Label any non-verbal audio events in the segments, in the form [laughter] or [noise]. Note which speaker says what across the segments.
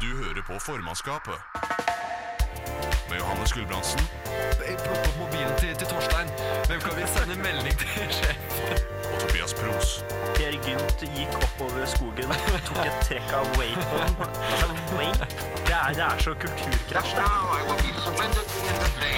Speaker 1: Du hører på formannskapet. Med Johannes Gulbrandsen
Speaker 2: Jeg plukker opp mobilen til, til Torstein. Hvem kan vi sende melding til [laughs] sjef?
Speaker 1: og Tobias Pros.
Speaker 3: Per Gynt gikk oppover skogen, tok et trekk av wapen. Altså, wake? Det er, det er så kulturkrasj, det.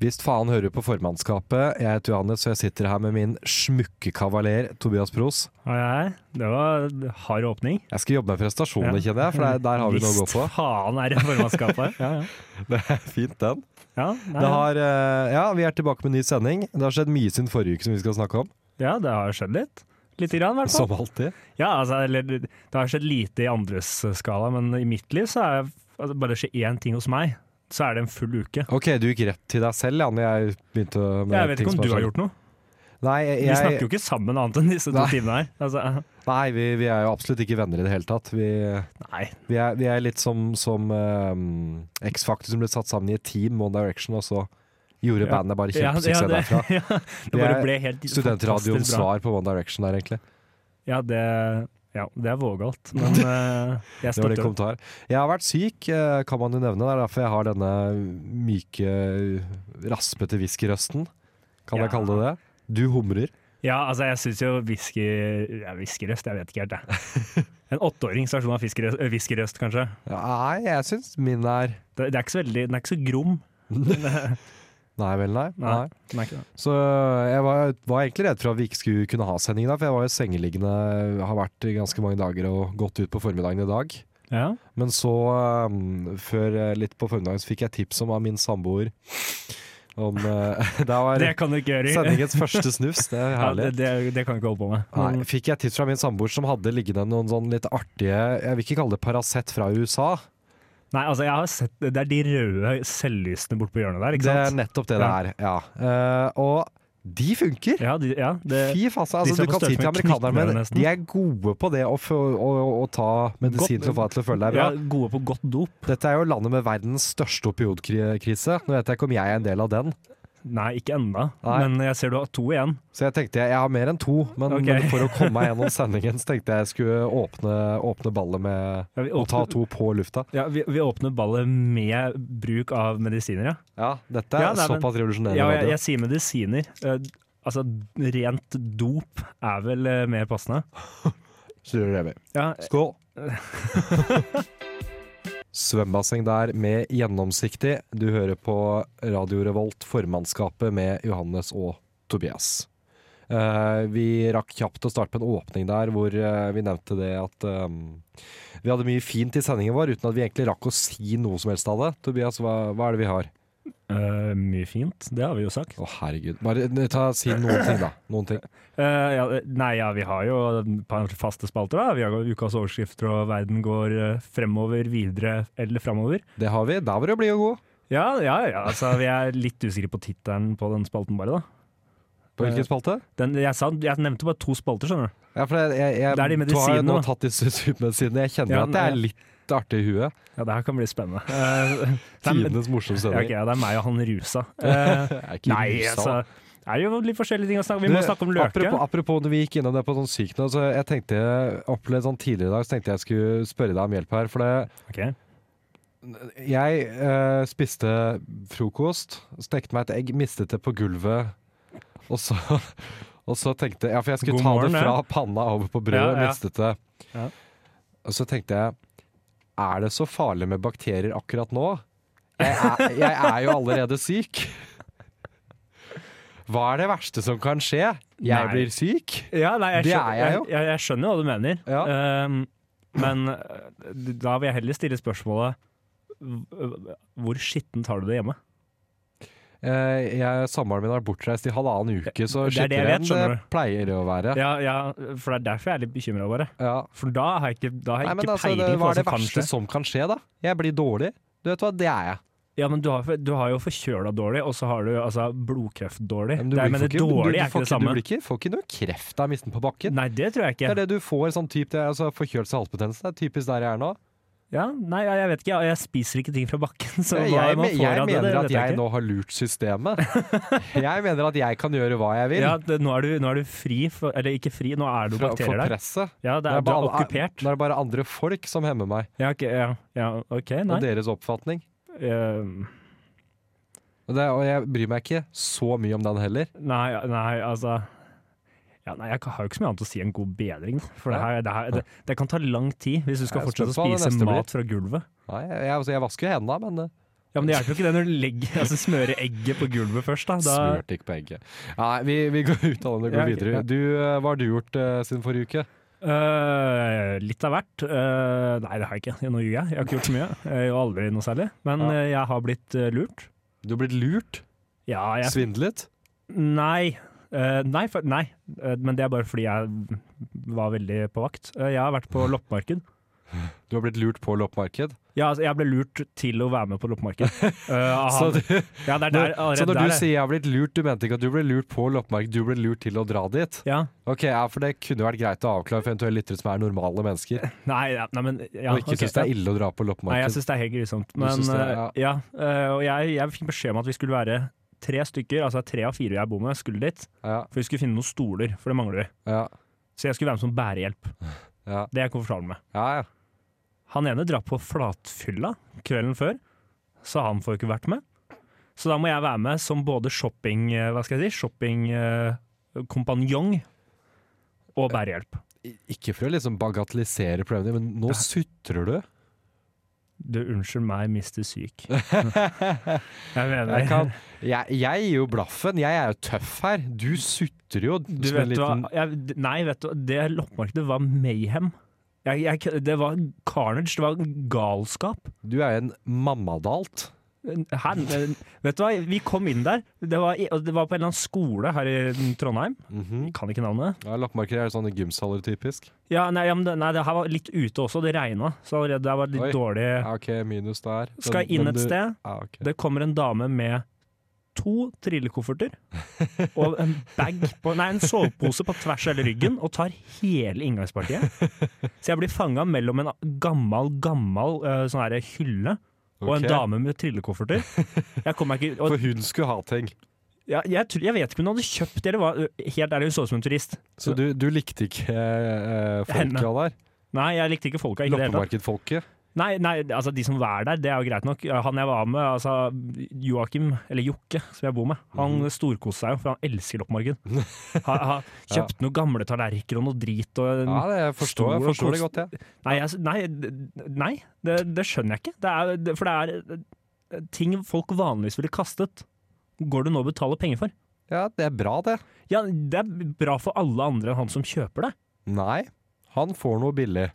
Speaker 4: Hvis faen hører på formannskapet. Jeg heter Johannes, og jeg sitter her med min smukke kavaler Tobias Pros.
Speaker 5: Ja, ja, ja. det var hard åpning.
Speaker 4: Jeg skal jobbe med prestasjoner,
Speaker 5: Ja.
Speaker 4: kjenner jeg, for der, der har vi noe å gå på.
Speaker 5: Visst faen er det
Speaker 4: [laughs]
Speaker 5: formannskapet. Ja, ja.
Speaker 4: Det er fint, den.
Speaker 5: Ja, nei,
Speaker 4: Det har, eh, ja, vi er tilbake med en ny sending. Det har skjedd mye siden forrige uke som vi skal snakke om.
Speaker 5: ja, det har skjedd litt. Lite grann, i hvert fall.
Speaker 4: Som alltid.
Speaker 5: Ja, altså, eller, det har skjedd lite i andres skala, men i mitt liv så er jeg- altså, bare det skjer én ting hos meg, så er det en full uke.
Speaker 4: Ok, du gikk rett til deg selv, ja, når jeg begynte med
Speaker 5: Jeg vet
Speaker 4: ting
Speaker 5: ikke om
Speaker 4: som
Speaker 5: du har gjort noe.
Speaker 4: Nei, jeg,
Speaker 5: Vi snakker jo ikke sammen annet enn disse to
Speaker 4: Nei.
Speaker 5: timene her. Altså,
Speaker 4: nei vi, vi er jo absolutt ikke venner i det hele tatt. Vi,
Speaker 5: nei.
Speaker 4: vi, er, vi er litt som, som eh, X-Factor som ble satt sammen i et team, One Direction, og så gjorde
Speaker 5: Ja.
Speaker 4: bandet bare
Speaker 5: Ja,
Speaker 4: kjempesuksess
Speaker 5: ja, det-
Speaker 4: derfra.
Speaker 5: [laughs] Ja, det
Speaker 4: Vi
Speaker 5: bare
Speaker 4: er
Speaker 5: ble helt
Speaker 4: Studentradioens
Speaker 5: fantastisk bra.
Speaker 4: svar på One Direction der, egentlig.
Speaker 5: Ja, det, ja, det er vågalt,
Speaker 4: [laughs]
Speaker 5: men eh, jeg
Speaker 4: Det var det
Speaker 5: støtter det.
Speaker 4: kommentar. Jeg har vært syk, eh, kan man jo nevne. Det er derfor jeg har denne myke, raspete whiskyrøsten. Kan jeg
Speaker 5: Ja.
Speaker 4: kalle det det? Du humrer.
Speaker 5: Ja, altså jeg syns jo whisky ja, Whiskyrøst, jeg vet ikke helt, jeg.
Speaker 4: [laughs]
Speaker 5: En åtteårings versjon av fiskerøst- øh, whiskyrøst, kanskje.
Speaker 4: Nei, jeg syns min er
Speaker 5: Det, det er ikke så veldig, den er ikke så grom.
Speaker 4: Nei vel, nei. nei.
Speaker 5: Nei, den er ikke det.
Speaker 4: Så jeg var, var egentlig redd for at vi ikke skulle kunne ha sending i dag, for jeg var jo sengeliggende, har vært i ganske mange dager og gått ut på formiddagen i dag.
Speaker 5: Ja.
Speaker 4: Men så, um, før eh, litt på formiddagen, så fikk jeg tips om av min samboer om eh, [laughs] Det var
Speaker 5: Det kan du ikke gjøre. [laughs]
Speaker 4: sendingens første snufs, det er
Speaker 5: Ja,
Speaker 4: herlig.
Speaker 5: det, det, det kan du ikke holde på med. Mm.
Speaker 4: Nei, fikk jeg tips fra min samboer som hadde liggende noen sånn litt artige Jeg vil ikke kalle det Paracet fra USA.
Speaker 5: Nei, altså jeg har sett Det er de røde selvlysene borte på hjørnet der,
Speaker 4: Det
Speaker 5: ikke
Speaker 4: er
Speaker 5: sant?
Speaker 4: nettopp det
Speaker 5: Ja.
Speaker 4: det er. Ja. Eh, og de funker!
Speaker 5: Ja, de, ja, det,
Speaker 4: Fy faen, altså,
Speaker 5: som er
Speaker 4: du
Speaker 5: på
Speaker 4: kan si
Speaker 5: størrelse
Speaker 4: til
Speaker 5: med
Speaker 4: amerikanerne, men
Speaker 5: knyttneven nesten.
Speaker 4: de er gode på det å, få, å, å ta medisin
Speaker 5: Godt-
Speaker 4: til å få deg til å føle deg bra.
Speaker 5: ja, gode på godt dop.
Speaker 4: Dette er jo landet med verdens største opioidkrise. Nå vet jeg ikke om jeg er en del av den,
Speaker 5: Nei, ikke ennå,
Speaker 4: Nei.
Speaker 5: men jeg ser du har to igjen.
Speaker 4: så jeg tenkte jeg, jeg har mer enn to. Men,
Speaker 5: Ok.
Speaker 4: men for å komme meg gjennom sendingen så tenkte jeg jeg skulle åpne, åpne ballet med
Speaker 5: Ja, vi
Speaker 4: å ta
Speaker 5: åpner,
Speaker 4: to på lufta.
Speaker 5: ja, vi, vi åpner ballet med bruk av medisiner, ja.
Speaker 4: Ja, dette er
Speaker 5: Ja, nei, men-
Speaker 4: såpass revolusjonerende.
Speaker 5: Ja, og jeg,
Speaker 4: radio.
Speaker 5: jeg sier medisiner. Eh, altså, rent dop er vel eh, mer passende.
Speaker 4: Så gjør det vi.
Speaker 5: Ja,
Speaker 4: Skål! [laughs] Svømmebasseng der med gjennomsiktig. Du hører på Radio Revolt, formannskapet med Johannes og Tobias. Eh, vi rakk kjapt å starte på en åpning der hvor eh, vi nevnte det at eh, vi hadde mye fint i sendingen vår uten at vi egentlig rakk å si noe som helst av det. Tobias, hva, hva er det vi har?
Speaker 5: eh, mye fint. Det har vi jo sagt.
Speaker 4: Å, herregud. Bare eh, ta, si noen ting, da. Noen ting.
Speaker 5: Eh, ja, nei, ja, vi har jo et par faste spalter, da. Vi har ukas overskrifter, og verden går eh, fremover, videre eller framover.
Speaker 4: Det har vi. Der var du blid og god.
Speaker 5: Ja, ja, ja. Altså, vi er litt usikre på tittelen på den spalten, bare, da.
Speaker 4: På hvilken spalte?
Speaker 5: Den, jeg, sa, jeg nevnte bare to spalter, skjønner du.
Speaker 4: Ja, for jeg, jeg, jeg
Speaker 5: Det er de
Speaker 4: har jo
Speaker 5: medisinene,
Speaker 4: nå
Speaker 5: da.
Speaker 4: tatt disse supermedisinene. Jeg kjenner
Speaker 5: Ja,
Speaker 4: at det er
Speaker 5: nei.
Speaker 4: litt artig i huet.
Speaker 5: Ja, det her kan bli spennende. Eh, det er-
Speaker 4: Tidenes morsomste
Speaker 5: ja, ok,
Speaker 4: sending.
Speaker 5: ja, det er meg og han rusa. Eh,
Speaker 4: Jeg
Speaker 5: [laughs]
Speaker 4: er ikke
Speaker 5: Nei,
Speaker 4: rusa,
Speaker 5: altså
Speaker 4: da.
Speaker 5: Det er jo litt forskjellige ting å snakke om. Vi må
Speaker 4: Du,
Speaker 5: snakke om løke.
Speaker 4: Apropos, apropos når vi gikk innom det på sånn sykt nå, så jeg tenkte opplevd sånn tidligere i dag, så tenkte jeg skulle spørre deg om hjelp her. For det,
Speaker 5: Ok.
Speaker 4: jeg eh, spiste frokost, stekte meg et egg, mistet det på gulvet, og så, [laughs] og så tenkte jeg Ja, for jeg skulle
Speaker 5: God
Speaker 4: ta det
Speaker 5: morgen, det.
Speaker 4: fra panna over på brødet,
Speaker 5: Ja, ja.
Speaker 4: mistet det.
Speaker 5: Ja.
Speaker 4: Og så tenkte jeg Er det så farlig med bakterier akkurat nå? Jeg er, jeg er jo allerede syk. Hva er det verste som kan skje? Jeg
Speaker 5: Nei.
Speaker 4: blir syk?
Speaker 5: Ja, nei, jeg
Speaker 4: Det er
Speaker 5: skjønner,
Speaker 4: jeg jo.
Speaker 5: Jeg, jeg skjønner hva du mener.
Speaker 4: Ja.
Speaker 5: Ehm, men eh, da vil jeg heller stille spørsmålet hv- Hvor skittent har du det hjemme?
Speaker 4: Eh, jeg- Samboeren min har vært bortreist i halvannen uke, så
Speaker 5: Det er det jeg
Speaker 4: skittere
Speaker 5: vet,
Speaker 4: enn
Speaker 5: skjønner
Speaker 4: det pleier å være.
Speaker 5: Ja, ja, for det er derfor jeg er litt bekymra, bare.
Speaker 4: Ja.
Speaker 5: For da har jeg ikke, da
Speaker 4: Nei,
Speaker 5: har jeg
Speaker 4: men
Speaker 5: ikke
Speaker 4: altså,
Speaker 5: peiling
Speaker 4: det,
Speaker 5: på
Speaker 4: hva
Speaker 5: hva
Speaker 4: er det
Speaker 5: som kan
Speaker 4: verste
Speaker 5: skje.
Speaker 4: som kan skje, da? Jeg blir dårlig. Du vet hva, det er jeg.
Speaker 5: Ja, men du har, du har jo forkjøla dårlig, og så har du altså blodkreft dårlig.
Speaker 4: Men
Speaker 5: Det er- Men
Speaker 4: får
Speaker 5: det
Speaker 4: ikke- du-
Speaker 5: dårlige
Speaker 4: du
Speaker 5: er
Speaker 4: får
Speaker 5: ikke det samme.
Speaker 4: Du blir ikke, får ikke noe kreft av å miste den på bakken.
Speaker 5: Nei, det tror jeg
Speaker 4: Det er
Speaker 5: ikke.
Speaker 4: det du får, sånn typ, det er altså forkjølelse og halsbetennelse. Det er typisk der jeg er nå.
Speaker 5: Ja, nei, jeg jeg vet ikke. Jeg spiser ikke ting fra bakken. [laughs] Så
Speaker 4: Jeg,
Speaker 5: hva
Speaker 4: jeg,
Speaker 5: man
Speaker 4: me-
Speaker 5: får
Speaker 4: jeg
Speaker 5: av det, det
Speaker 4: mener
Speaker 5: vet
Speaker 4: at
Speaker 5: jeg
Speaker 4: jeg
Speaker 5: ikke.
Speaker 4: nå har lurt
Speaker 5: [laughs]
Speaker 4: systemet. Jeg mener at jeg kan gjøre hva jeg vil.
Speaker 5: ja, det, nå, er du, nå er du fri for Eller ikke fri, nå er det jo
Speaker 4: Fra, for
Speaker 5: bakterier der.
Speaker 4: presset.
Speaker 5: Ja, det er, du er okkupert.
Speaker 4: Nå er det bare andre folk som hemmer meg,
Speaker 5: Ja, ok, ja, ja, ok, nei.
Speaker 4: og deres oppfatning.
Speaker 5: Eh,
Speaker 4: Og, det, og jeg bryr meg ikke så mye om den heller.
Speaker 5: Nei, nei, altså ja, nei, Jeg har jo ikke så mye annet å si enn god bedring. da. For det, her, det, her, det, det kan ta lang tid hvis du skal
Speaker 4: Jeg er
Speaker 5: fortsette å
Speaker 4: spent på hva det
Speaker 5: spise
Speaker 4: neste blir.
Speaker 5: mat fra gulvet.
Speaker 4: Nei, jeg, jeg, altså, jeg vasker jo hendene, men det
Speaker 5: Ja, Men det hjelper jo ikke det når du legger, altså, smører egget på gulvet først. da. da
Speaker 4: smørte ikke på egget. Nei, vi, vi går ut av den og
Speaker 5: Ja,
Speaker 4: går
Speaker 5: ok, ja.
Speaker 4: videre. Du, eh, hva har du gjort eh, siden forrige uke?
Speaker 5: Øh, litt av hvert. Øh, nei, det har jeg ikke. Nå ljuger jeg. Jeg har ikke gjort så mye. Jeg gjør aldri noe særlig. Men
Speaker 4: Ja.
Speaker 5: øh, jeg har blitt øh, lurt.
Speaker 4: Du har blitt lurt?
Speaker 5: Ja, jeg
Speaker 4: Svindlet?
Speaker 5: Nei. Eh, nei, for, nei. Eh, men det er bare fordi jeg var veldig på vakt. Eh, jeg har vært på loppemarked.
Speaker 4: Du har blitt lurt på loppemarked?
Speaker 5: Ja, altså, jeg ble lurt til å være med på loppemarked.
Speaker 4: [laughs]
Speaker 5: Eh, av
Speaker 4: Så,
Speaker 5: han-
Speaker 4: du,
Speaker 5: ja, det er der,
Speaker 4: når, [laughs] så
Speaker 5: allerede
Speaker 4: når du
Speaker 5: der er-
Speaker 4: sier 'jeg har blitt lurt', du mente ikke at du ble lurt på loppemarked, du ble lurt til å dra dit?
Speaker 5: ja.
Speaker 4: Ok, ja, For det kunne vært greit å avklare for eventuelle lyttere som er normale mennesker,
Speaker 5: Nei, ja, nei, men [laughs] ja,
Speaker 4: og ikke
Speaker 5: ok,
Speaker 4: synes syns det
Speaker 5: ja.
Speaker 4: er ille å dra på
Speaker 5: Nei, jeg
Speaker 4: loppemarked.
Speaker 5: syns det er helt grusomt.
Speaker 4: Du
Speaker 5: Men
Speaker 4: synes det er-
Speaker 5: eh, ja, eh, og jeg, jeg fikk beskjed om at vi skulle være tre stykker, altså tre av fire jeg bor med, skulle dit.
Speaker 4: Ja,
Speaker 5: For vi skulle finne noen stoler, for det mangler vi.
Speaker 4: ja,
Speaker 5: Så jeg skulle være med som bærehjelp.
Speaker 4: Ja.
Speaker 5: Det er jeg komfortabel med.
Speaker 4: ja, ja.
Speaker 5: Han ene drar på flatfylla kvelden før, så han får ikke vært med. Så da må jeg være med som både shopping, eh, hva skal jeg si, shoppingkompanjong og bærehjelp.
Speaker 4: I- Ikke for å liksom bagatellisere problemene, men nå sutrer du.
Speaker 5: Du, unnskyld meg, mister [laughs] syk. Jeg mener
Speaker 4: Jeg, kan, jeg, jeg gir jo blaffen. Jeg er jo tøff her. Du sutrer jo
Speaker 5: Du
Speaker 4: som en
Speaker 5: vet hva
Speaker 4: liten
Speaker 5: jeg, Nei, vet du hva, det loppemarkedet var mayhem. Jeg, jeg, det var carnage, det var galskap.
Speaker 4: Du er jo en mammadalt.
Speaker 5: Hæ? Vet du hva, vi kom inn der. Det var, i- og det var på en eller annen skole her i Trondheim.
Speaker 4: Mhm.
Speaker 5: Kan ikke navnet.
Speaker 4: Ja, Loppemarkeder er sånne gymsaler, typisk.
Speaker 5: Ja, nei, ja, men det, nei, det her var litt ute også, det regna. Så allerede der var det litt
Speaker 4: Oi.
Speaker 5: dårlig.
Speaker 4: Ja, OK, minus der. Men-
Speaker 5: Skal inn
Speaker 4: men
Speaker 5: et
Speaker 4: du-
Speaker 5: sted.
Speaker 4: Ja, ok.
Speaker 5: Det kommer en dame med to
Speaker 4: [laughs]
Speaker 5: trillekofferter og en bag på, nei, en sovepose på tvers av hele ryggen og tar hele inngangspartiet. Så jeg blir fanga mellom en gammel, gammel eh, sånn her hylle og en
Speaker 4: Ok.
Speaker 5: dame med trillekofferter. Jeg kom meg ikke
Speaker 4: For
Speaker 5: og,
Speaker 4: hun skulle ha ting.
Speaker 5: ja, jeg, tror- jeg vet ikke om hun hadde kjøpt det, eller hva. Helt ærlig, hun så ut som en turist.
Speaker 4: Så du, du likte ikke eh,
Speaker 5: Henne.
Speaker 4: folka der?
Speaker 5: Nei, jeg likte ikke folka. Ikke i det hele tatt.
Speaker 4: Loppemarkedfolket?
Speaker 5: Nei, nei, altså de som var der, det er jo greit nok. Han jeg var med, altså Joakim, eller Jokke, som jeg bor med, han storkoste seg jo, for han elsker loppemarked. Han han kjøpte noen gamle tallerkener og noe drit og
Speaker 4: Ja, det jeg forstår, jeg
Speaker 5: stor
Speaker 4: forstår det
Speaker 5: kost-
Speaker 4: godt, jeg.
Speaker 5: Nei, jeg, nei, d- nei det, det skjønner jeg ikke. Det er, det- for det er eh, ting folk vanligvis ville kastet, går det nå å betale penger for.
Speaker 4: Ja, det er bra, det.
Speaker 5: Ja, det er bra for alle andre enn han som kjøper det.
Speaker 4: Nei, han får noe billig.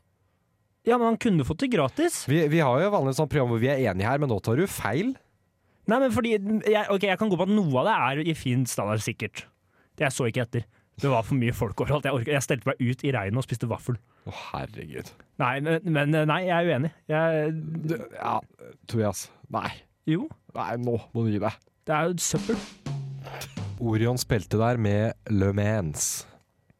Speaker 5: Ja, men han kunne fått det gratis.
Speaker 4: Vi, vi har jo vanligvis sånn program hvor vi er enige her, men nå tar du feil.
Speaker 5: Nei, men fordi mm, jeg, Ok, jeg kan gå på at noe av det er i fin standard, sikkert. Det jeg så ikke etter. Det var for mye folk [laughs] overalt. Jeg, orket- jeg stelte meg ut i regnet og spiste vaffel.
Speaker 4: Å, herregud.
Speaker 5: Nei, men, men eh, nei, jeg er uenig. Jeg,
Speaker 4: Du, ja, Tobias. Nei.
Speaker 5: jo,
Speaker 4: Nei, nå må du gi deg.
Speaker 5: det er jo søppel.
Speaker 4: Orion spilte der med Le Mans.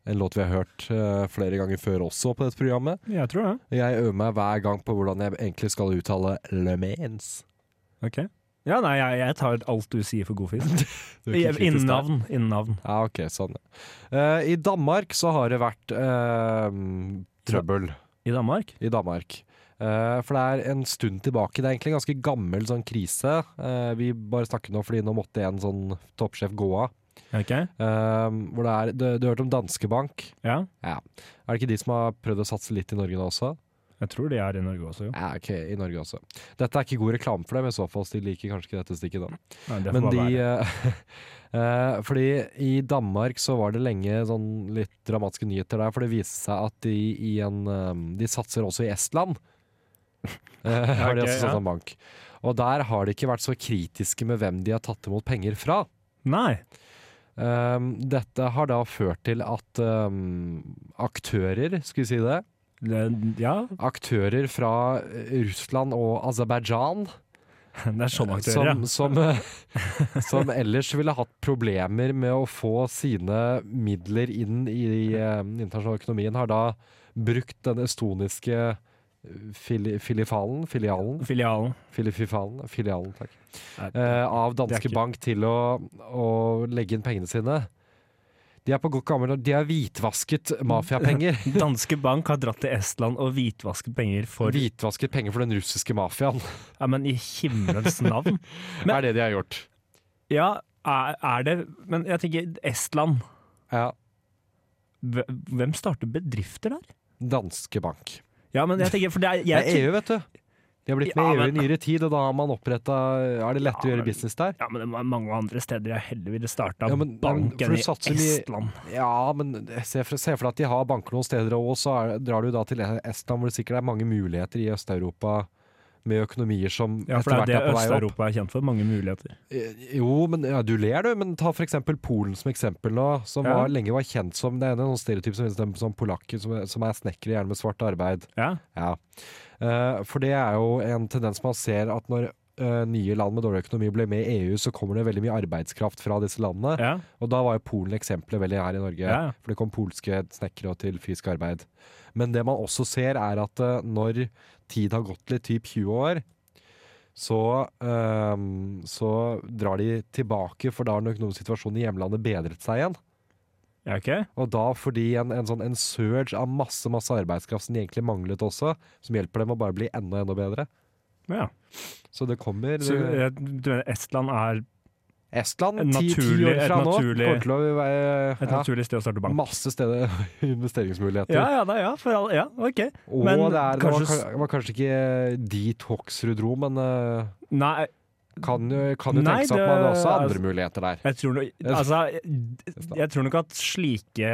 Speaker 4: En låt vi har hørt eh, flere ganger før også på dette programmet.
Speaker 5: Jeg tror det.
Speaker 4: Jeg øver meg hver gang på hvordan jeg egentlig skal uttale Le Mans.
Speaker 5: Ok. Ja, nei, jeg, jeg tar alt du sier for god [laughs] fisk.
Speaker 4: Du er ikke kritisk der.
Speaker 5: Innavn. Innavn.
Speaker 4: Ja, ok, sånn. Eh, I Danmark så har det vært eh, trøbbel
Speaker 5: I Danmark?
Speaker 4: i Danmark. Eh, for det er en stund tilbake, det er egentlig en ganske gammel sånn krise. Eh, vi bare snakker nå fordi nå måtte en sånn toppsjef gå av.
Speaker 5: Ok.
Speaker 4: Eh, hvor det er, du, du hørte om Danske Bank.
Speaker 5: Ja.
Speaker 4: Er det ikke de som har prøvd å satse litt i Norge nå også?
Speaker 5: Jeg tror de er i Norge også, jo.
Speaker 4: Ja, ok, i Norge også. Dette er ikke god reklame for dem, i så fall. så De liker kanskje ikke dette stikket da.
Speaker 5: Nei, det får
Speaker 4: Men
Speaker 5: bare
Speaker 4: de eh,
Speaker 5: være.
Speaker 4: [laughs] eh, Fordi i Danmark så var det lenge sånn litt dramatiske nyheter der, for det viste seg at de i en eh, De satser også i
Speaker 5: [laughs]
Speaker 4: Estland. Eh, [laughs] har de
Speaker 5: Ok,
Speaker 4: også
Speaker 5: ja.
Speaker 4: satt en bank. Og der har de ikke vært så kritiske med hvem de har tatt imot penger fra.
Speaker 5: Nei.
Speaker 4: Um, dette har da ført til at um, aktører, skal vi si det,
Speaker 5: Det, ja, [laughs]
Speaker 4: aktører fra eh, Russland og Aserbajdsjan
Speaker 5: det er sånne aktører,
Speaker 4: som, som, eh, som ellers ville hatt problemer med å få sine midler inn i eh, den internasjonale økonomien, har da brukt den estoniske fili, filifalen, filialen,
Speaker 5: Filialen.
Speaker 4: filififalen, filialen, takk.
Speaker 5: Nei,
Speaker 4: eh, av
Speaker 5: Det er
Speaker 4: Danske
Speaker 5: ikke-
Speaker 4: Bank til å, å legge inn pengene sine. De er på godt gammel De har hvitvasket mafiapenger.
Speaker 5: Danske Bank har dratt til Estland og hvitvasket penger for
Speaker 4: Hvitvasket penger for den russiske mafiaen,
Speaker 5: Ja, men i himmelens navn. Men-
Speaker 4: er det de har gjort.
Speaker 5: [laughs] Ja, er, er det Men jeg tenker Estland.
Speaker 4: Ja,
Speaker 5: Hve- Hvem starter bedrifter der?
Speaker 4: Danske Bank.
Speaker 5: Ja, men jeg tenker For det
Speaker 4: [laughs]
Speaker 5: er,
Speaker 4: Det
Speaker 5: jeg,
Speaker 4: er E EU, vet du. De har blitt med E
Speaker 5: Ja,
Speaker 4: i EU i
Speaker 5: men-
Speaker 4: nyere tid, og da har man oppretta Er det lett å
Speaker 5: Ja,
Speaker 4: gjøre
Speaker 5: men-
Speaker 4: business der?
Speaker 5: Ja, men det var mange andre steder jeg heller ville starta
Speaker 4: Ja, men- ja, men- for
Speaker 5: banken
Speaker 4: du
Speaker 5: i
Speaker 4: satser mye-
Speaker 5: Estland.
Speaker 4: Ja, men se for, se for deg at de har banker noen steder, og så er, drar du da til Estland, hvor det sikkert er mange muligheter i Øst-Europa med økonomier som
Speaker 5: Ja, for
Speaker 4: etter hvert
Speaker 5: det er
Speaker 4: er
Speaker 5: det
Speaker 4: på vei opp.
Speaker 5: Øst-Europa er kjent for. Mange muligheter.
Speaker 4: Eh, Jo, men ja, du ler du, men ta for eksempel Polen som eksempel nå, som
Speaker 5: Ja.
Speaker 4: var, lenge var kjent som det ene noen stereotyp som finnes dem som polakker som, er- som er snekkere, gjerne med svart arbeid.
Speaker 5: Ja,
Speaker 4: Ja. Eh, for det er jo en tendens man ser at når eh, nye land med dårlig økonomi blir med i EU, så kommer det veldig mye arbeidskraft fra disse landene.
Speaker 5: ja,
Speaker 4: Og da var jo Polen eksempelet veldig her i Norge,
Speaker 5: Ja.
Speaker 4: for det kom polske snekkere til fysisk arbeid. Men det man også ser er at eh, når tid har gått litt, typ 20 år, så, ehm, så drar de tilbake, for da har den økonomiske situasjonen i hjemlandet bedret seg igjen.
Speaker 5: ja ok?
Speaker 4: Og da fordi en, en sånn en surge av masse, masse arbeidskraft som de egentlig manglet også, som hjelper dem å bare bli enda, enda bedre.
Speaker 5: Ja.
Speaker 4: Så det kommer
Speaker 5: Så
Speaker 4: eh,
Speaker 5: eh, du mener Estland er
Speaker 4: Estland
Speaker 5: en
Speaker 4: ti, ti
Speaker 5: naturlig-
Speaker 4: år
Speaker 5: et
Speaker 4: fra nå.
Speaker 5: naturlig-
Speaker 4: Kommer til å være
Speaker 5: et
Speaker 4: ja,
Speaker 5: naturlig sted å starte bank?
Speaker 4: masse steder [laughs] investeringsmuligheter.
Speaker 5: Ja, ja, da, ja, for all, ja, ok.
Speaker 4: Og
Speaker 5: Men
Speaker 4: det, er, det var,
Speaker 5: kanskje-
Speaker 4: ka- var kanskje ikke dit Hoksrud dro, men eh,
Speaker 5: Nei,
Speaker 4: kan jo, kan jo
Speaker 5: Nei,
Speaker 4: tenke seg at
Speaker 5: det-
Speaker 4: man også har
Speaker 5: altså-
Speaker 4: andre muligheter der.
Speaker 5: Jeg tror, nok- altså, jeg tror nok at slike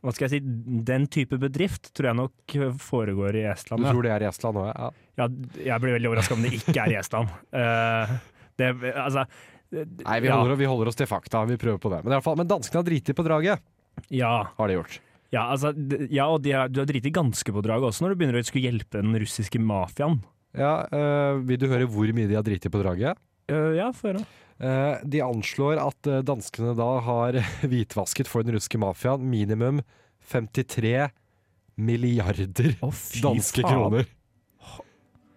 Speaker 5: Hva skal jeg si Den type bedrift tror jeg nok foregår i
Speaker 4: Du
Speaker 5: Estland. Ja.
Speaker 4: tror det er i Estland òg? Ja.
Speaker 5: Ja, jeg blir veldig overraska om det ikke er i
Speaker 4: [laughs]
Speaker 5: Estland. Eh, det, altså
Speaker 4: Nei, vi holder, vi holder oss til fakta. Vi prøver på det. Men, i alle fall, men danskene har driti på draget,
Speaker 5: Ja,
Speaker 4: har de gjort.
Speaker 5: ja, altså, d- ja og de har, du har driti ganske på draget også når du begynner å skulle hjelpe den russiske mafiaen.
Speaker 4: Ja, eh, vil du høre hvor mye de har driti på draget?
Speaker 5: Eh, ja, få høre.
Speaker 4: Eh, de anslår at eh, danskene da har [laughs] hvitvasket for den russiske mafiaen minimum 53 milliarder
Speaker 5: Å, fy
Speaker 4: danske
Speaker 5: faen.
Speaker 4: kroner.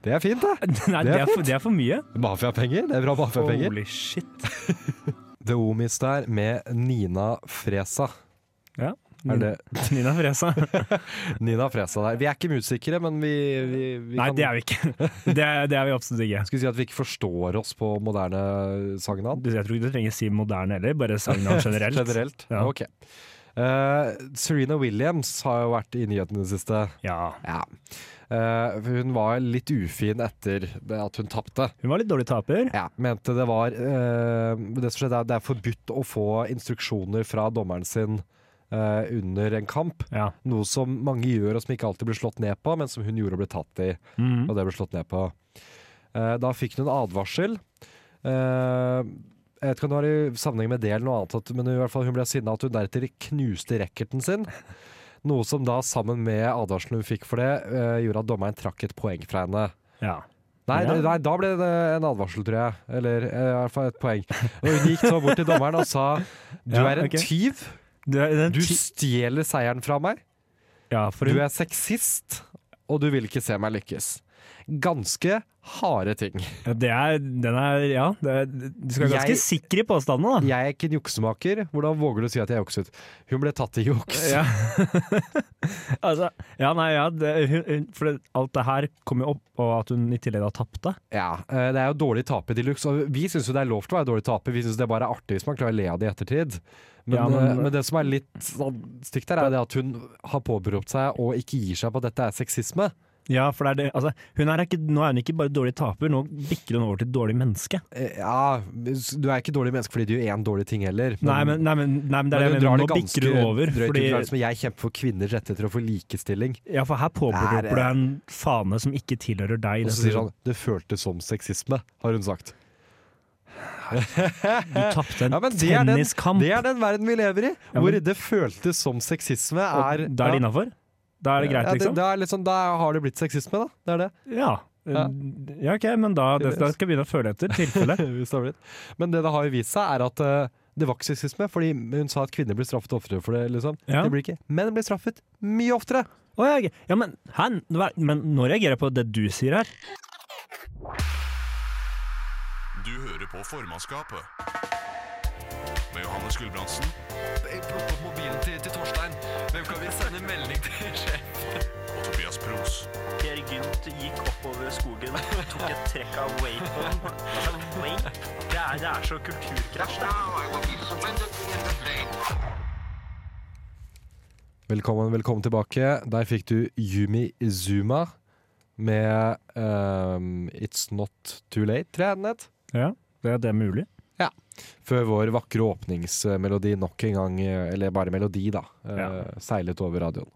Speaker 4: Det er fint, det.
Speaker 5: [laughs] Nei,
Speaker 4: Det
Speaker 5: det
Speaker 4: er
Speaker 5: er, for,
Speaker 4: fint.
Speaker 5: det er for mye.
Speaker 4: Mafiapenger. Det er bra mafiapenger.
Speaker 5: Holy shit.
Speaker 4: The Omis der med Nina Fresa.
Speaker 5: Ja.
Speaker 4: Er det
Speaker 5: Nina
Speaker 4: [laughs]
Speaker 5: Fresa.
Speaker 4: Nina Fresa der? Vi er ikke musikere, men vi, vi, vi
Speaker 5: Mm. Nei,
Speaker 4: kan
Speaker 5: det er vi ikke. [laughs] Det er, det er vi absolutt ikke.
Speaker 4: Skulle si at vi ikke forstår oss på moderne sangnavn?
Speaker 5: Du, Jeg tror ikke du trenger si moderne heller, bare
Speaker 4: [laughs]
Speaker 5: sangnavn generelt.
Speaker 4: Generelt?
Speaker 5: Ja.
Speaker 4: Ok. Eh, Serena Williams har jo vært i nyhetene i det siste.
Speaker 5: Ja.
Speaker 4: Ja. Eh, hun var litt ufin etter det at hun tapte.
Speaker 5: Hun var litt dårlig taper.
Speaker 4: Ja, mente det var eh, Det som skjedde, er at det er forbudt å få instruksjoner fra dommeren sin eh, under en kamp.
Speaker 5: Ja.
Speaker 4: Noe som mange gjør, og som ikke alltid blir slått ned på, men som hun gjorde og ble tatt i.
Speaker 5: Mhm.
Speaker 4: Og det ble slått ned på. Eh, Da fikk hun en advarsel. Eh, Jeg vet ikke om det var i sammenheng med det eller noe annet, at- men i hvert fall hun ble sinna at hun deretter knuste racketen
Speaker 5: [laughs]
Speaker 4: sin. Noe som da, sammen med advarselen hun fikk for det, eh, gjorde at dommeren trakk et poeng fra henne.
Speaker 5: ja.
Speaker 4: Nei,
Speaker 5: Ja.
Speaker 4: det- nei, da ble det en advarsel, tror jeg. Eller eh, i hvert fall et poeng. Og hun gikk så bort til dommeren og
Speaker 5: [laughs]
Speaker 4: sa Du
Speaker 5: Ja,
Speaker 4: er en
Speaker 5: ok.
Speaker 4: tyv.
Speaker 5: Du er den
Speaker 4: Du
Speaker 5: ti-
Speaker 4: stjeler seieren fra meg.
Speaker 5: ja, for
Speaker 4: Du
Speaker 5: hun,
Speaker 4: er sexist, og du vil ikke se meg lykkes. Ganske harde ting.
Speaker 5: ja, det er, den er Ja, det er, du skal være ganske
Speaker 4: Jeg-
Speaker 5: sikker i påstandene, da.
Speaker 4: Jeg er ikke en juksemaker. Hvordan våger du å si at jeg jukset? Hun ble tatt i juks.
Speaker 5: Ja. [laughs] altså, ja, nei, ja, det, hun, hun, for det, alt det her kom jo opp, og at hun i tillegg da tapte.
Speaker 4: Ja, eh, Det er jo dårlig taper de luxe. og Vi syns jo det er lov til å være dårlig taper. Vi syns det bare er artig hvis man klarer å le av det i ettertid. Men,
Speaker 5: Ja, men-
Speaker 4: eh, men det som er litt sånn stygt her, er det at hun har påberopt seg og ikke gir seg på at dette er sexisme.
Speaker 5: Ja, for det er det altså, hun er ikke, Nå er hun ikke bare dårlig taper, nå bikker hun over til dårlig menneske.
Speaker 4: Eh, Ja, du er ikke dårlig menneske fordi du gjør én dårlig ting heller.
Speaker 5: Nei, men, nei, men, nei, men det er
Speaker 4: men hun
Speaker 5: det jeg
Speaker 4: drar det
Speaker 5: mener. Nå
Speaker 4: ganske
Speaker 5: bikker hun over.
Speaker 4: drøyt ut,
Speaker 5: Fordi,
Speaker 4: det er som jeg kjemper for kvinners rettigheter og for likestilling.
Speaker 5: ja, for her
Speaker 4: Det er-
Speaker 5: påberoper du en fane som ikke tilhører deg.
Speaker 4: Og
Speaker 5: Det
Speaker 4: så
Speaker 5: er
Speaker 4: sier
Speaker 5: sånn,
Speaker 4: han 'det føltes som sexisme', har hun sagt.
Speaker 5: Du tapte
Speaker 4: sånn,
Speaker 5: en
Speaker 4: Ja, men det er den-
Speaker 5: tenniskamp.
Speaker 4: Det er den verden vi lever i,
Speaker 5: Ja,
Speaker 4: hvor
Speaker 5: men-
Speaker 4: det føltes som sexisme
Speaker 5: Og
Speaker 4: er
Speaker 5: Da er det
Speaker 4: ja.
Speaker 5: innafor? Da er det greit,
Speaker 4: Ja,
Speaker 5: liksom?
Speaker 4: da, er litt sånn- da har det blitt sexisme, da. Det er det.
Speaker 5: Ja.
Speaker 4: Ja.
Speaker 5: Ja, OK, men da, det, da skal jeg begynne å føle etter. Tilfelle.
Speaker 4: [laughs] Hvis det har blitt. Men det det har jo vist seg, er at eh, det var ikke sexisme, fordi hun sa at kvinner blir straffet oftere for det. liksom.
Speaker 5: Ja.
Speaker 4: Det blir ikke. Menn blir straffet mye oftere
Speaker 5: Å, ja, ok. ja, men, hæ? Hva- men nå reagerer jeg på det du sier her.
Speaker 1: Du hører på formannskapet med Johannes Gulbrandsen
Speaker 2: Plukk opp mobilen til, til Torstein. Hvem kan vi sende melding til? sjef?
Speaker 1: og Tobias Pros.
Speaker 3: Per Gynt gikk oppover skogen, tok et trekk av vapen. Altså, vape, det er, det er så kulturkrasj. det.
Speaker 4: Velkommen, velkommen tilbake. Der fikk du Yumi Izuma med ehm, It's Not Too Late, tror jeg den het.
Speaker 5: Ja, det er det mulig.
Speaker 4: Før vår vakre åpningsmelodi nok en gang, eh, eller bare melodi, da, eh,
Speaker 5: Ja.
Speaker 4: seilet over radioen.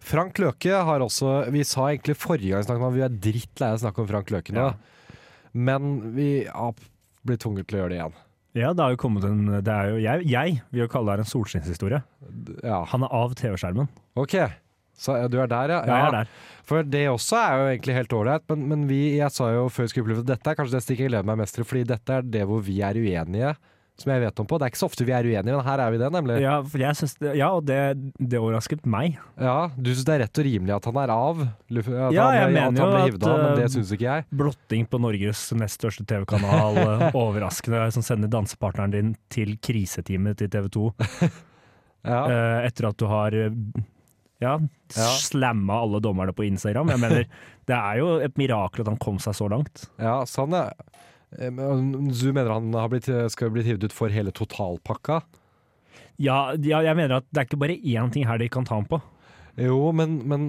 Speaker 4: Frank Løke har også Vi sa egentlig forrige gang vi snakket om at vi er drittlei av å snakke om Frank Løke nå,
Speaker 5: Ja.
Speaker 4: men vi har blitt tvunget til å gjøre det igjen.
Speaker 5: Ja, det har jo kommet en det er jo, jeg, jeg vil jo kalle det her en solskinnshistorie.
Speaker 4: Ja,
Speaker 5: Han er av TV-skjermen.
Speaker 4: OK. Så eh, du er der, ja?
Speaker 5: Ja, jeg er der.
Speaker 4: For det også er jo egentlig helt ålreit, men, men vi, jeg sa jo før Skummel at dette er kanskje det stikket jeg gleder meg mest til, fordi dette er det hvor vi er uenige, som jeg vet om på. Det er ikke så ofte vi er uenige, men her er vi det, nemlig. Ja,
Speaker 5: Ja, for jeg synes det, ja og det, det overrasket meg.
Speaker 4: Du syns det er rett og rimelig at han er av? Luf- At
Speaker 5: Ja,
Speaker 4: han,
Speaker 5: jeg
Speaker 4: ble-
Speaker 5: mener
Speaker 4: at
Speaker 5: jo
Speaker 4: han ble
Speaker 5: at,
Speaker 4: hivd av, men
Speaker 5: eh,
Speaker 4: det syns ikke jeg.
Speaker 5: Blotting på Norges nest største
Speaker 4: [laughs]
Speaker 5: TV-kanal, eh, overraskende, som sender dansepartneren din til kriseteamet til TV 2
Speaker 4: Ja.
Speaker 5: eh, etter at du har eh, ja, slamma alle dommerne på Instagram. Jeg
Speaker 4: [laughs]
Speaker 5: mener, det er jo et mirakel at han kom seg så langt.
Speaker 4: ja, sånn, ja. Eh, men Du mener han har blitt, eh, skal blitt hivd ut for hele totalpakka?
Speaker 5: Ja, ja, jeg mener at det er ikke bare én ting her de kan ta ham på.
Speaker 4: Jo, men, men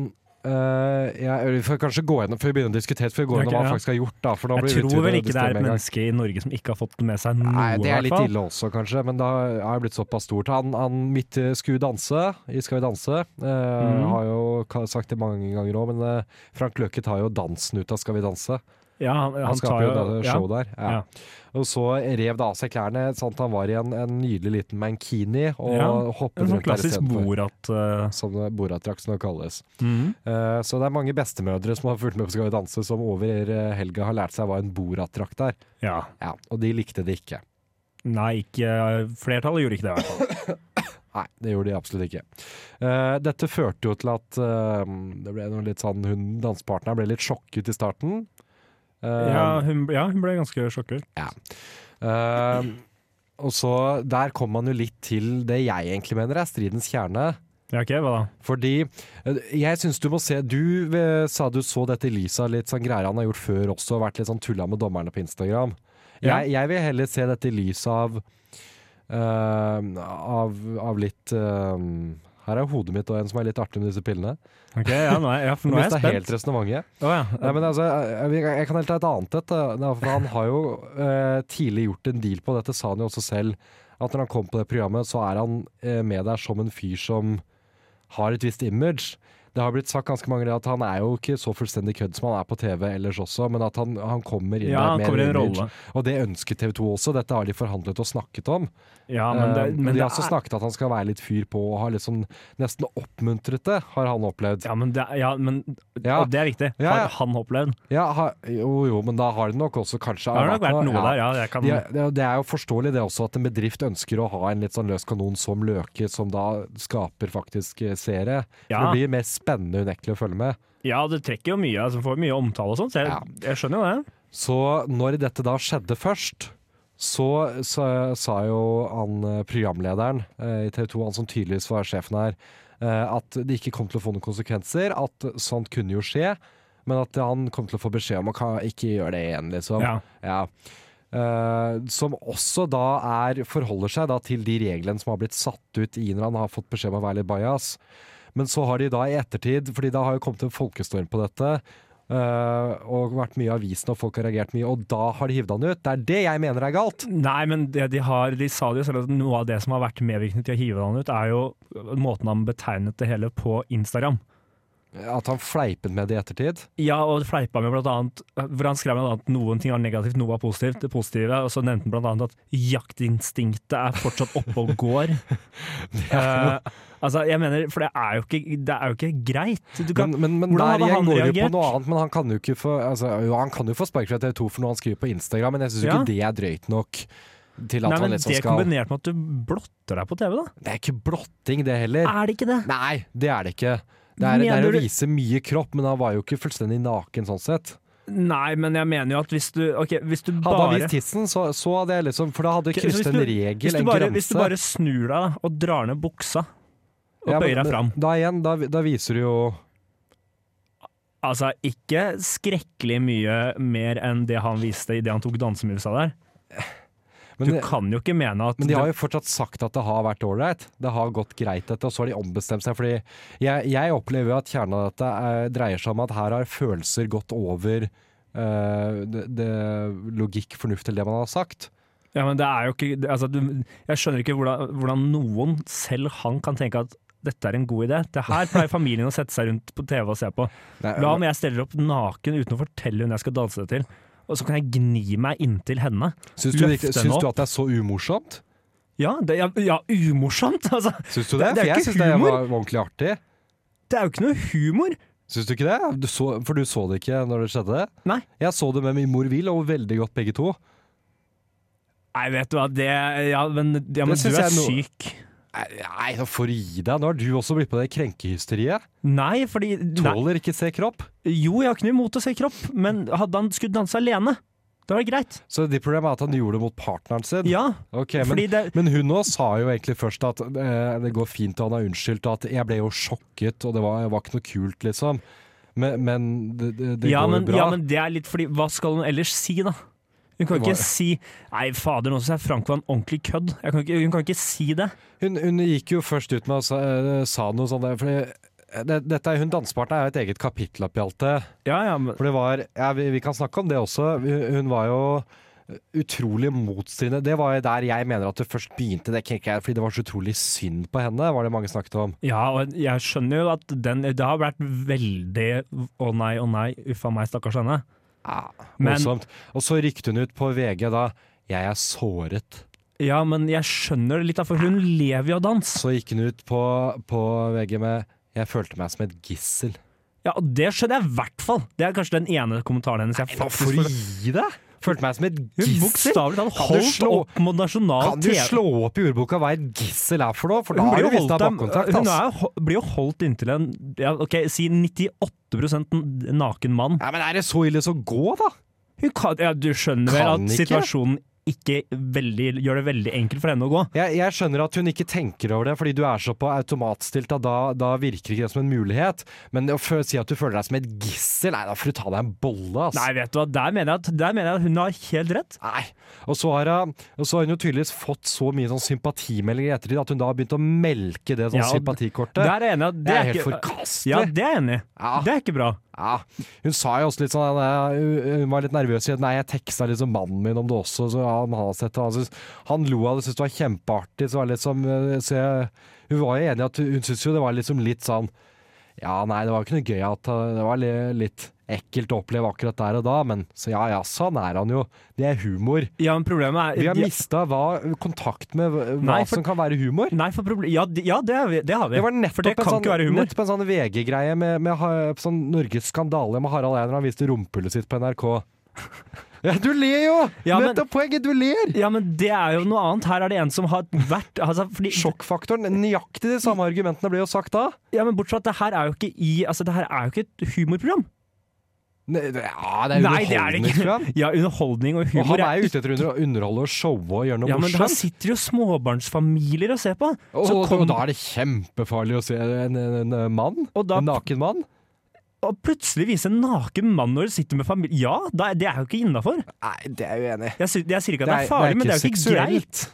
Speaker 4: eh, jeg, vi får kanskje gå gjennom før vi begynner å diskutere, før vi går
Speaker 5: Ok,
Speaker 4: gjennom hva
Speaker 5: ja.
Speaker 4: han faktisk har gjort. Da, for da blir
Speaker 5: Jeg tror
Speaker 4: utvidet
Speaker 5: vel ikke det er
Speaker 4: diskusjonen
Speaker 5: et
Speaker 4: med en gang.
Speaker 5: menneske i Norge som ikke har fått med seg noe,
Speaker 4: Nei, det
Speaker 5: i
Speaker 4: er
Speaker 5: hvert
Speaker 4: litt
Speaker 5: fall.
Speaker 4: ille også, kanskje, men da har jeg blitt såpass stort. Han, han midt eh, skulle danse i Skal vi danse. Eh,
Speaker 5: Mhm.
Speaker 4: Har jo ka- sagt det mange ganger òg, men eh, Frank Løke tar jo dansen ut av Skal vi danse.
Speaker 5: Ja, han,
Speaker 4: Han,
Speaker 5: han tar
Speaker 4: skaper jo
Speaker 5: jo
Speaker 4: det show der. Ja.
Speaker 5: Ja.
Speaker 4: Og så rev det av seg klærne. Sant? Han var i en, en nydelig liten mankini og
Speaker 5: Ja,
Speaker 4: hoppet
Speaker 5: En sånn
Speaker 4: rundt der
Speaker 5: klassisk
Speaker 4: istedenfor.
Speaker 5: Borat eh,
Speaker 4: Som Borat-drakt, som det kalles. Eh, så det er mange bestemødre som har fulgt med på Skal vi danse, som over eh, helga har lært seg hva en Borat-drakt er.
Speaker 5: Ja.
Speaker 4: Ja, og de likte det ikke.
Speaker 5: Nei, ikke eh, Flertallet gjorde ikke det, i hvert fall.
Speaker 4: Nei, det gjorde de absolutt ikke. Eh, dette førte jo til at eh, det ble noe litt sånn hun dansepartneren ble litt sjokket i starten. Eh,
Speaker 5: [laughs] Ja, hun, ja, hun ble ganske sjokkert.
Speaker 4: eh, og så der kom man jo litt til det jeg egentlig mener er stridens kjerne.
Speaker 5: Ja, OK, hva da?
Speaker 4: Fordi eh, jeg syns du må se Du eh, sa du så dette Elisa, litt sånn greier han har gjort før også, vært litt sånn tulla med dommerne på Instagram.
Speaker 5: Ja.
Speaker 4: Jeg, jeg vil heller se dette i lys av, eh, av Av litt eh, Her er hodet mitt og en som er litt artig med disse pillene.
Speaker 5: Ok, ja, nå er, ja, for nå er jeg
Speaker 4: Mista helt
Speaker 5: spent.
Speaker 4: resonnementet.
Speaker 5: Å ja.
Speaker 4: Nei, men altså, jeg, jeg kan helt ta et annet et. da. Nei, For han har jo eh, tidlig gjort en deal på dette, sa han jo også selv. At når han kom på det programmet, så er han eh, med der som en fyr som har et visst image. Det har blitt sagt ganske mange ganger at han er jo ikke så fullstendig kødd som han er på TV ellers også, men at han, han kommer inn
Speaker 5: ja,
Speaker 4: der
Speaker 5: han
Speaker 4: med
Speaker 5: kommer i en
Speaker 4: image.
Speaker 5: rolle.
Speaker 4: Og det ønsker TV 2 også. Dette har de forhandlet og snakket om.
Speaker 5: Ja, men det,
Speaker 4: Eh, og
Speaker 5: men
Speaker 4: de
Speaker 5: det
Speaker 4: har også
Speaker 5: er,
Speaker 4: snakket at han skal være litt fyr på, og har liksom nesten oppmuntret det, har han opplevd.
Speaker 5: ja, men, det, er- ja, men
Speaker 4: Ja.
Speaker 5: og det er viktig.
Speaker 4: Ja, ja.
Speaker 5: Har han opplevd?
Speaker 4: Ja, ha, jo, jo, men da har det nok også kanskje
Speaker 5: Det har nok vært noe der, ja. Jeg kan,
Speaker 4: De er- det er- det er jo forståelig det også, at en bedrift ønsker å ha en litt sånn løs kanon som Løke, som da skaper faktisk eh, seere. For
Speaker 5: Ja.
Speaker 4: Det blir mer spennende unektelig å følge med.
Speaker 5: ja, det trekker jo mye, altså får mye omtale og sånn, så
Speaker 4: Ja.
Speaker 5: jeg, jeg skjønner jo det.
Speaker 4: Så når dette da skjedde først, så, så sa jo han eh, programlederen eh, i TV 2, han som tydeligvis var sjefen her, eh, at det ikke kom til å få noen konsekvenser, at sånt kunne jo skje, men at han kom til å få beskjed om å ka- ikke gjøre det igjen, liksom.
Speaker 5: Ja.
Speaker 4: Ja. Eh, som også da er, forholder seg da til de reglene som har blitt satt ut i når han har fått beskjed om å være litt bajas. Men så har de da i ettertid, fordi det har jo kommet en folkestorm på dette, eh, og vært mye i avisen og folk har reagert mye, og da har de hivd han ut. Det er det jeg mener er galt.
Speaker 5: Nei, men det de, har, de sa det jo selv at noe av det som har vært medvirkende til å hive han ut, er jo måten han betegnet det hele på Instagram.
Speaker 4: At han fleipet med det i ettertid.
Speaker 5: Ja, og fleipa med blant annet For han skrev blant annet noen ting var negativt, noe var positivt. Det positive, Og så nevnte han blant annet at jaktinstinktet er fortsatt oppe og
Speaker 4: [laughs]
Speaker 5: går. Eh, altså, jeg mener, for det er jo ikke, det er jo ikke greit. Du kan,
Speaker 4: Men, men, men
Speaker 5: Hvordan
Speaker 4: der
Speaker 5: hadde
Speaker 4: igjen
Speaker 5: han
Speaker 4: går det jo på
Speaker 5: reagert?
Speaker 4: noe annet, men han kan jo ikke få altså, Jo, han kan jo få spark fra TV 2 for noe han skriver på Instagram, men jeg syns jo
Speaker 5: Ja.
Speaker 4: ikke det er drøyt nok til at
Speaker 5: nei,
Speaker 4: han
Speaker 5: men
Speaker 4: liksom
Speaker 5: det
Speaker 4: skal
Speaker 5: kombinert med at du blotter deg på TV, da.
Speaker 4: Det er ikke blotting, det heller.
Speaker 5: Er det ikke det?
Speaker 4: Nei, det er det ikke. Det er, det er
Speaker 5: Mener
Speaker 4: å
Speaker 5: du-
Speaker 4: vise mye kropp, men han var jo ikke fullstendig naken sånn sett.
Speaker 5: Nei, men jeg mener jo at hvis du, ok, hvis du
Speaker 4: Hadde han
Speaker 5: bare
Speaker 4: vist tissen, så, så hadde jeg liksom For da hadde jeg
Speaker 5: Ok, så
Speaker 4: krysset
Speaker 5: hvis
Speaker 4: en
Speaker 5: du- hvis
Speaker 4: regel,
Speaker 5: du
Speaker 4: en
Speaker 5: bare,
Speaker 4: grense.
Speaker 5: Hvis du bare snur deg da, og drar ned buksa og
Speaker 4: Ja, men-
Speaker 5: bøyer deg
Speaker 4: men
Speaker 5: fram
Speaker 4: Da igjen, da, da viser du jo
Speaker 5: Altså, ikke skrekkelig mye mer enn det han viste idet han tok dansemovesa der.
Speaker 4: men,
Speaker 5: Du kan jo ikke mene at
Speaker 4: men de har
Speaker 5: det-
Speaker 4: jo fortsatt sagt at det har vært ålreit. Det har gått greit, dette, og så har de ombestemt seg. Fordi jeg, jeg opplever jo at kjernen av dette eh, dreier seg om at her har følelser gått over eh, det, det logikk, fornuft eller det man har sagt.
Speaker 5: Ja, men det er jo ikke det- altså, du, Jeg skjønner ikke hvordan, hvordan noen, selv han, kan tenke at dette er en god idé. Det her pleier familien å sette seg rundt på TV og se på.
Speaker 4: Nei,
Speaker 5: La om jeg steller opp naken uten å fortelle hun jeg skal danse det til, og så kan jeg gni meg inntil henne.
Speaker 4: syns, du, det
Speaker 5: løft
Speaker 4: ikke-
Speaker 5: den
Speaker 4: syns du
Speaker 5: opp.
Speaker 4: at det er så umorsomt?
Speaker 5: Ja, det, ja, ja umorsomt, [laughs] altså.
Speaker 4: Syns du
Speaker 5: Det-
Speaker 4: det?
Speaker 5: det er
Speaker 4: For jeg
Speaker 5: ikke
Speaker 4: syns det
Speaker 5: humor.
Speaker 4: var ordentlig artig.
Speaker 5: Det er jo ikke noe humor.
Speaker 4: Syns du ikke det? Du så, for du så det ikke når det skjedde?
Speaker 5: Nei.
Speaker 4: Jeg så det med min mor Will, og veldig godt begge to.
Speaker 5: Nei, vet du hva, det Ja, men, ja, men
Speaker 4: Det
Speaker 5: du
Speaker 4: synes
Speaker 5: er
Speaker 4: jeg er noe-
Speaker 5: syk.
Speaker 4: Nei, Nei, da får du gi deg. Nå har du også blitt på det krenkehysteriet.
Speaker 5: Nei, fordi nei.
Speaker 4: Tåler ikke se kropp.
Speaker 5: Jo, jeg har ikke noe imot å se kropp, men hadde han skulle danse alene, da var det greit.
Speaker 4: Så det problemet er at han gjorde det mot partneren sin.
Speaker 5: Ja,
Speaker 4: Ok, men,
Speaker 5: fordi det
Speaker 4: men hun òg sa jo egentlig først at eh, det går fint, og han har unnskyldt, og at jeg ble jo sjokket, og det var, var ikke noe kult, liksom. Men, men det, det, det
Speaker 5: ja,
Speaker 4: går
Speaker 5: men,
Speaker 4: jo bra.
Speaker 5: ja, men det er litt fordi Hva skal hun ellers si, da? Hun kan
Speaker 4: Det
Speaker 5: ikke
Speaker 4: var-
Speaker 5: si Nei, fader, nå syns jeg Frank var en ordentlig kødd. Jeg kan ikke, hun kan ikke si det.
Speaker 4: Hun, hun gikk jo først ut med å sa, eh, sa noe sånt der, for det, dette, er- hun dansepartneren er jo et eget kapittel oppi alt det.
Speaker 5: Ja, ja, men
Speaker 4: For det var ja, vi, vi kan snakke om det også. Hun hun var jo utrolig motstridende. Det var jo der jeg mener at det først begynte, det kan ikke jeg- fordi det var så utrolig synd på henne, var det mange snakket om.
Speaker 5: Ja, og jeg skjønner jo at den Det har vært veldig Å nei, å nei, uffa meg, stakkars henne. Men-
Speaker 4: Voldsomt. Og så rykte hun ut på VG da 'Jeg er såret'.
Speaker 5: Ja, men jeg skjønner det litt, da, for hun lever jo av dans.
Speaker 4: Så gikk hun ut på, på VG med 'Jeg følte meg som et gissel'.
Speaker 5: Ja, og det skjønner jeg i hvert fall. Det er kanskje den ene kommentaren hennes jeg faktisk
Speaker 4: Hvorfor gi deg? Følte meg som et
Speaker 5: Hun
Speaker 4: gissel.
Speaker 5: bokstavelig talt
Speaker 4: Kan du
Speaker 5: holdt
Speaker 4: slå-
Speaker 5: opp mot nasjonal
Speaker 4: Kan du
Speaker 5: TV.
Speaker 4: slå opp i ordboka hva et gissel er for noe? For da
Speaker 5: Hun
Speaker 4: har
Speaker 5: blir
Speaker 4: du
Speaker 5: jo
Speaker 4: visst av
Speaker 5: holdt, av,
Speaker 4: bakkontakt.
Speaker 5: hun
Speaker 4: ass.
Speaker 5: er, jo- blir jo holdt inntil en ja, Ok, si 98 naken mann.
Speaker 4: Ja, men er det så ille så gå, da?
Speaker 5: Hun kan, ja, du skjønner vel
Speaker 4: Kan
Speaker 5: at
Speaker 4: ikke.
Speaker 5: situasjonen ikke veldig, gjør det veldig enkelt for henne å gå.
Speaker 4: Jeg, jeg skjønner at hun ikke tenker over det, fordi du er så på automatstilt, da, da, da virker ikke det som en mulighet. Men å fø- si at du føler deg som et gissel, nei, da får du ta deg en bolle, ass.
Speaker 5: Nei, vet du hva, der mener jeg at, der mener jeg at hun har helt rett.
Speaker 4: Nei. Og så, har hun, og så har hun jo tydeligvis fått så mye sånn sympatimeldinger i ettertid at hun da har begynt å melke det sånn
Speaker 5: Ja, og
Speaker 4: sympatikortet.
Speaker 5: Der er jeg enig. i at
Speaker 4: det er helt
Speaker 5: ikke-
Speaker 4: forkastelig.
Speaker 5: Ja, det er jeg enig i.
Speaker 4: Ja.
Speaker 5: Det er ikke bra.
Speaker 4: Ja, hun sa jo også litt sånn eh, Hun hun var litt nervøs i at Nei, jeg teksta liksom mannen min om det også Så han har sett det Han, syntes- han lo av det, syntes det var kjempeartig Så, var det litt som, eh, så jeg, hun var jo enig i at Hun syntes jo det var liksom litt sånn Ja, nei, det var jo ikke noe gøy at eh, Det var li- litt ekkelt å oppleve akkurat der og da Men så ja, ja, sånn er han jo Det er humor
Speaker 5: Ja, men problemet er
Speaker 4: Vi har mistet hva, kontakt med hva
Speaker 5: Nei,
Speaker 4: hva
Speaker 5: for-
Speaker 4: som kan være humor
Speaker 5: Nei, for problem... Ja, det, ja, det, er vi, det har vi.
Speaker 4: det var nettopp,
Speaker 5: for det kan
Speaker 4: en,
Speaker 5: ikke være
Speaker 4: sånn,
Speaker 5: humor.
Speaker 4: nettopp en sånn VG-greie med, med ha- sånn Norges skandale med Harald Eier når han viste rumpehullet sitt på NRK. [laughs] Ja, du ler jo!
Speaker 5: Ja, men-
Speaker 4: nettopp poenget, du ler!
Speaker 5: Ja, men det er jo noe annet. Her er det en som har vært altså, fordi,
Speaker 4: Sjokkfaktoren. Nøyaktig de samme argumentene ble jo sagt da.
Speaker 5: Ja, men Bortsett fra at det her er jo ikke i Altså, det her er jo ikke et humorprogram.
Speaker 4: Ne- Ja, det er
Speaker 5: Nei, det er det ikke.
Speaker 4: underholdningsprogram.
Speaker 5: [laughs] Ja, underholdning og
Speaker 4: Og
Speaker 5: humor
Speaker 4: han er jo ute etter å under- underholde og showe og gjøre noe
Speaker 5: ja, men Her
Speaker 4: morsomt.
Speaker 5: sitter jo småbarnsfamilier og ser på.
Speaker 4: Og,
Speaker 5: Så
Speaker 4: og,
Speaker 5: kom-
Speaker 4: og da er det kjempefarlig å se en, en, en mann.
Speaker 5: Og da-
Speaker 4: en naken mann.
Speaker 5: Og plutselig vise en naken mann når du sitter med familie Ja, da, det er jo ikke innafor.
Speaker 4: Nei, det er jeg uenig i.
Speaker 5: Jeg, sy- jeg sier ikke at det er farlig, men det er jo ikke greit.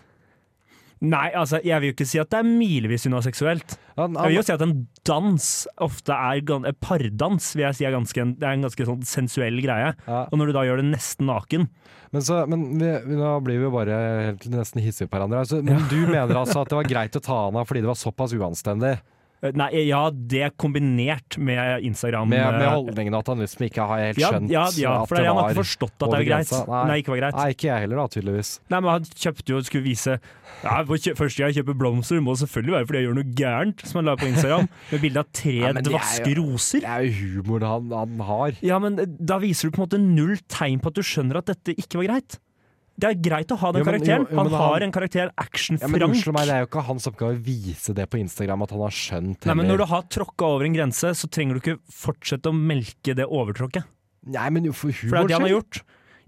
Speaker 5: Nei, altså, jeg vil jo ikke si at det er milevis unna seksuelt.
Speaker 4: Han,
Speaker 5: Jeg
Speaker 4: han,
Speaker 5: vil jo si at en dans ofte er gan- eh, Pardans vil jeg si er, ganske, en- det er en ganske sånn sensuell greie.
Speaker 4: Ja.
Speaker 5: Og når du da gjør det nesten naken
Speaker 4: Men, så, men vi, vi, nå blir vi jo bare helt, nesten hissige på hverandre. Altså, men du mener altså at det var greit å ta han av fordi det var såpass uanstendig?
Speaker 5: Eh, Nei, ja, det kombinert med Instagram.
Speaker 4: Med, med
Speaker 5: eh,
Speaker 4: holdningen at han liksom ikke har helt
Speaker 5: ja,
Speaker 4: skjønt
Speaker 5: ja, ja,
Speaker 4: at
Speaker 5: for det er,
Speaker 4: det
Speaker 5: han har
Speaker 4: var
Speaker 5: ikke forstått at det
Speaker 4: over
Speaker 5: er greit.
Speaker 4: grensa.
Speaker 5: Nei, ikke var greit.
Speaker 4: Nei, ikke jeg heller, da, tydeligvis.
Speaker 5: Nei, men han kjøpte jo og skulle vise ja, hvor kjø- Først jeg kjøper blomster, det må selvfølgelig være fordi jeg gjør noe gærent, som han la på
Speaker 4: [laughs]
Speaker 5: Instagram, med bilde av tre
Speaker 4: Ja, men det er
Speaker 5: dvaske roser. eh,
Speaker 4: Det er jo humoren han, han har.
Speaker 5: Ja, men da viser du på en måte null tegn på at du skjønner at dette ikke var greit. Det er greit å ha den
Speaker 4: Jo, men-
Speaker 5: karakteren.
Speaker 4: jo, jo,
Speaker 5: han,
Speaker 4: men han-
Speaker 5: har en karakter.
Speaker 4: Ja, men
Speaker 5: Action-Frank.
Speaker 4: unnskyld meg, det er jo ikke hans oppgave å vise det på Instagram at han har skjønt
Speaker 5: Nei, men Når
Speaker 4: heller.
Speaker 5: du har tråkka over en grense, så trenger du ikke fortsette å melke det overtråkket.
Speaker 4: Nei, men jo, for
Speaker 5: For det er
Speaker 4: humor
Speaker 5: det han har gjort.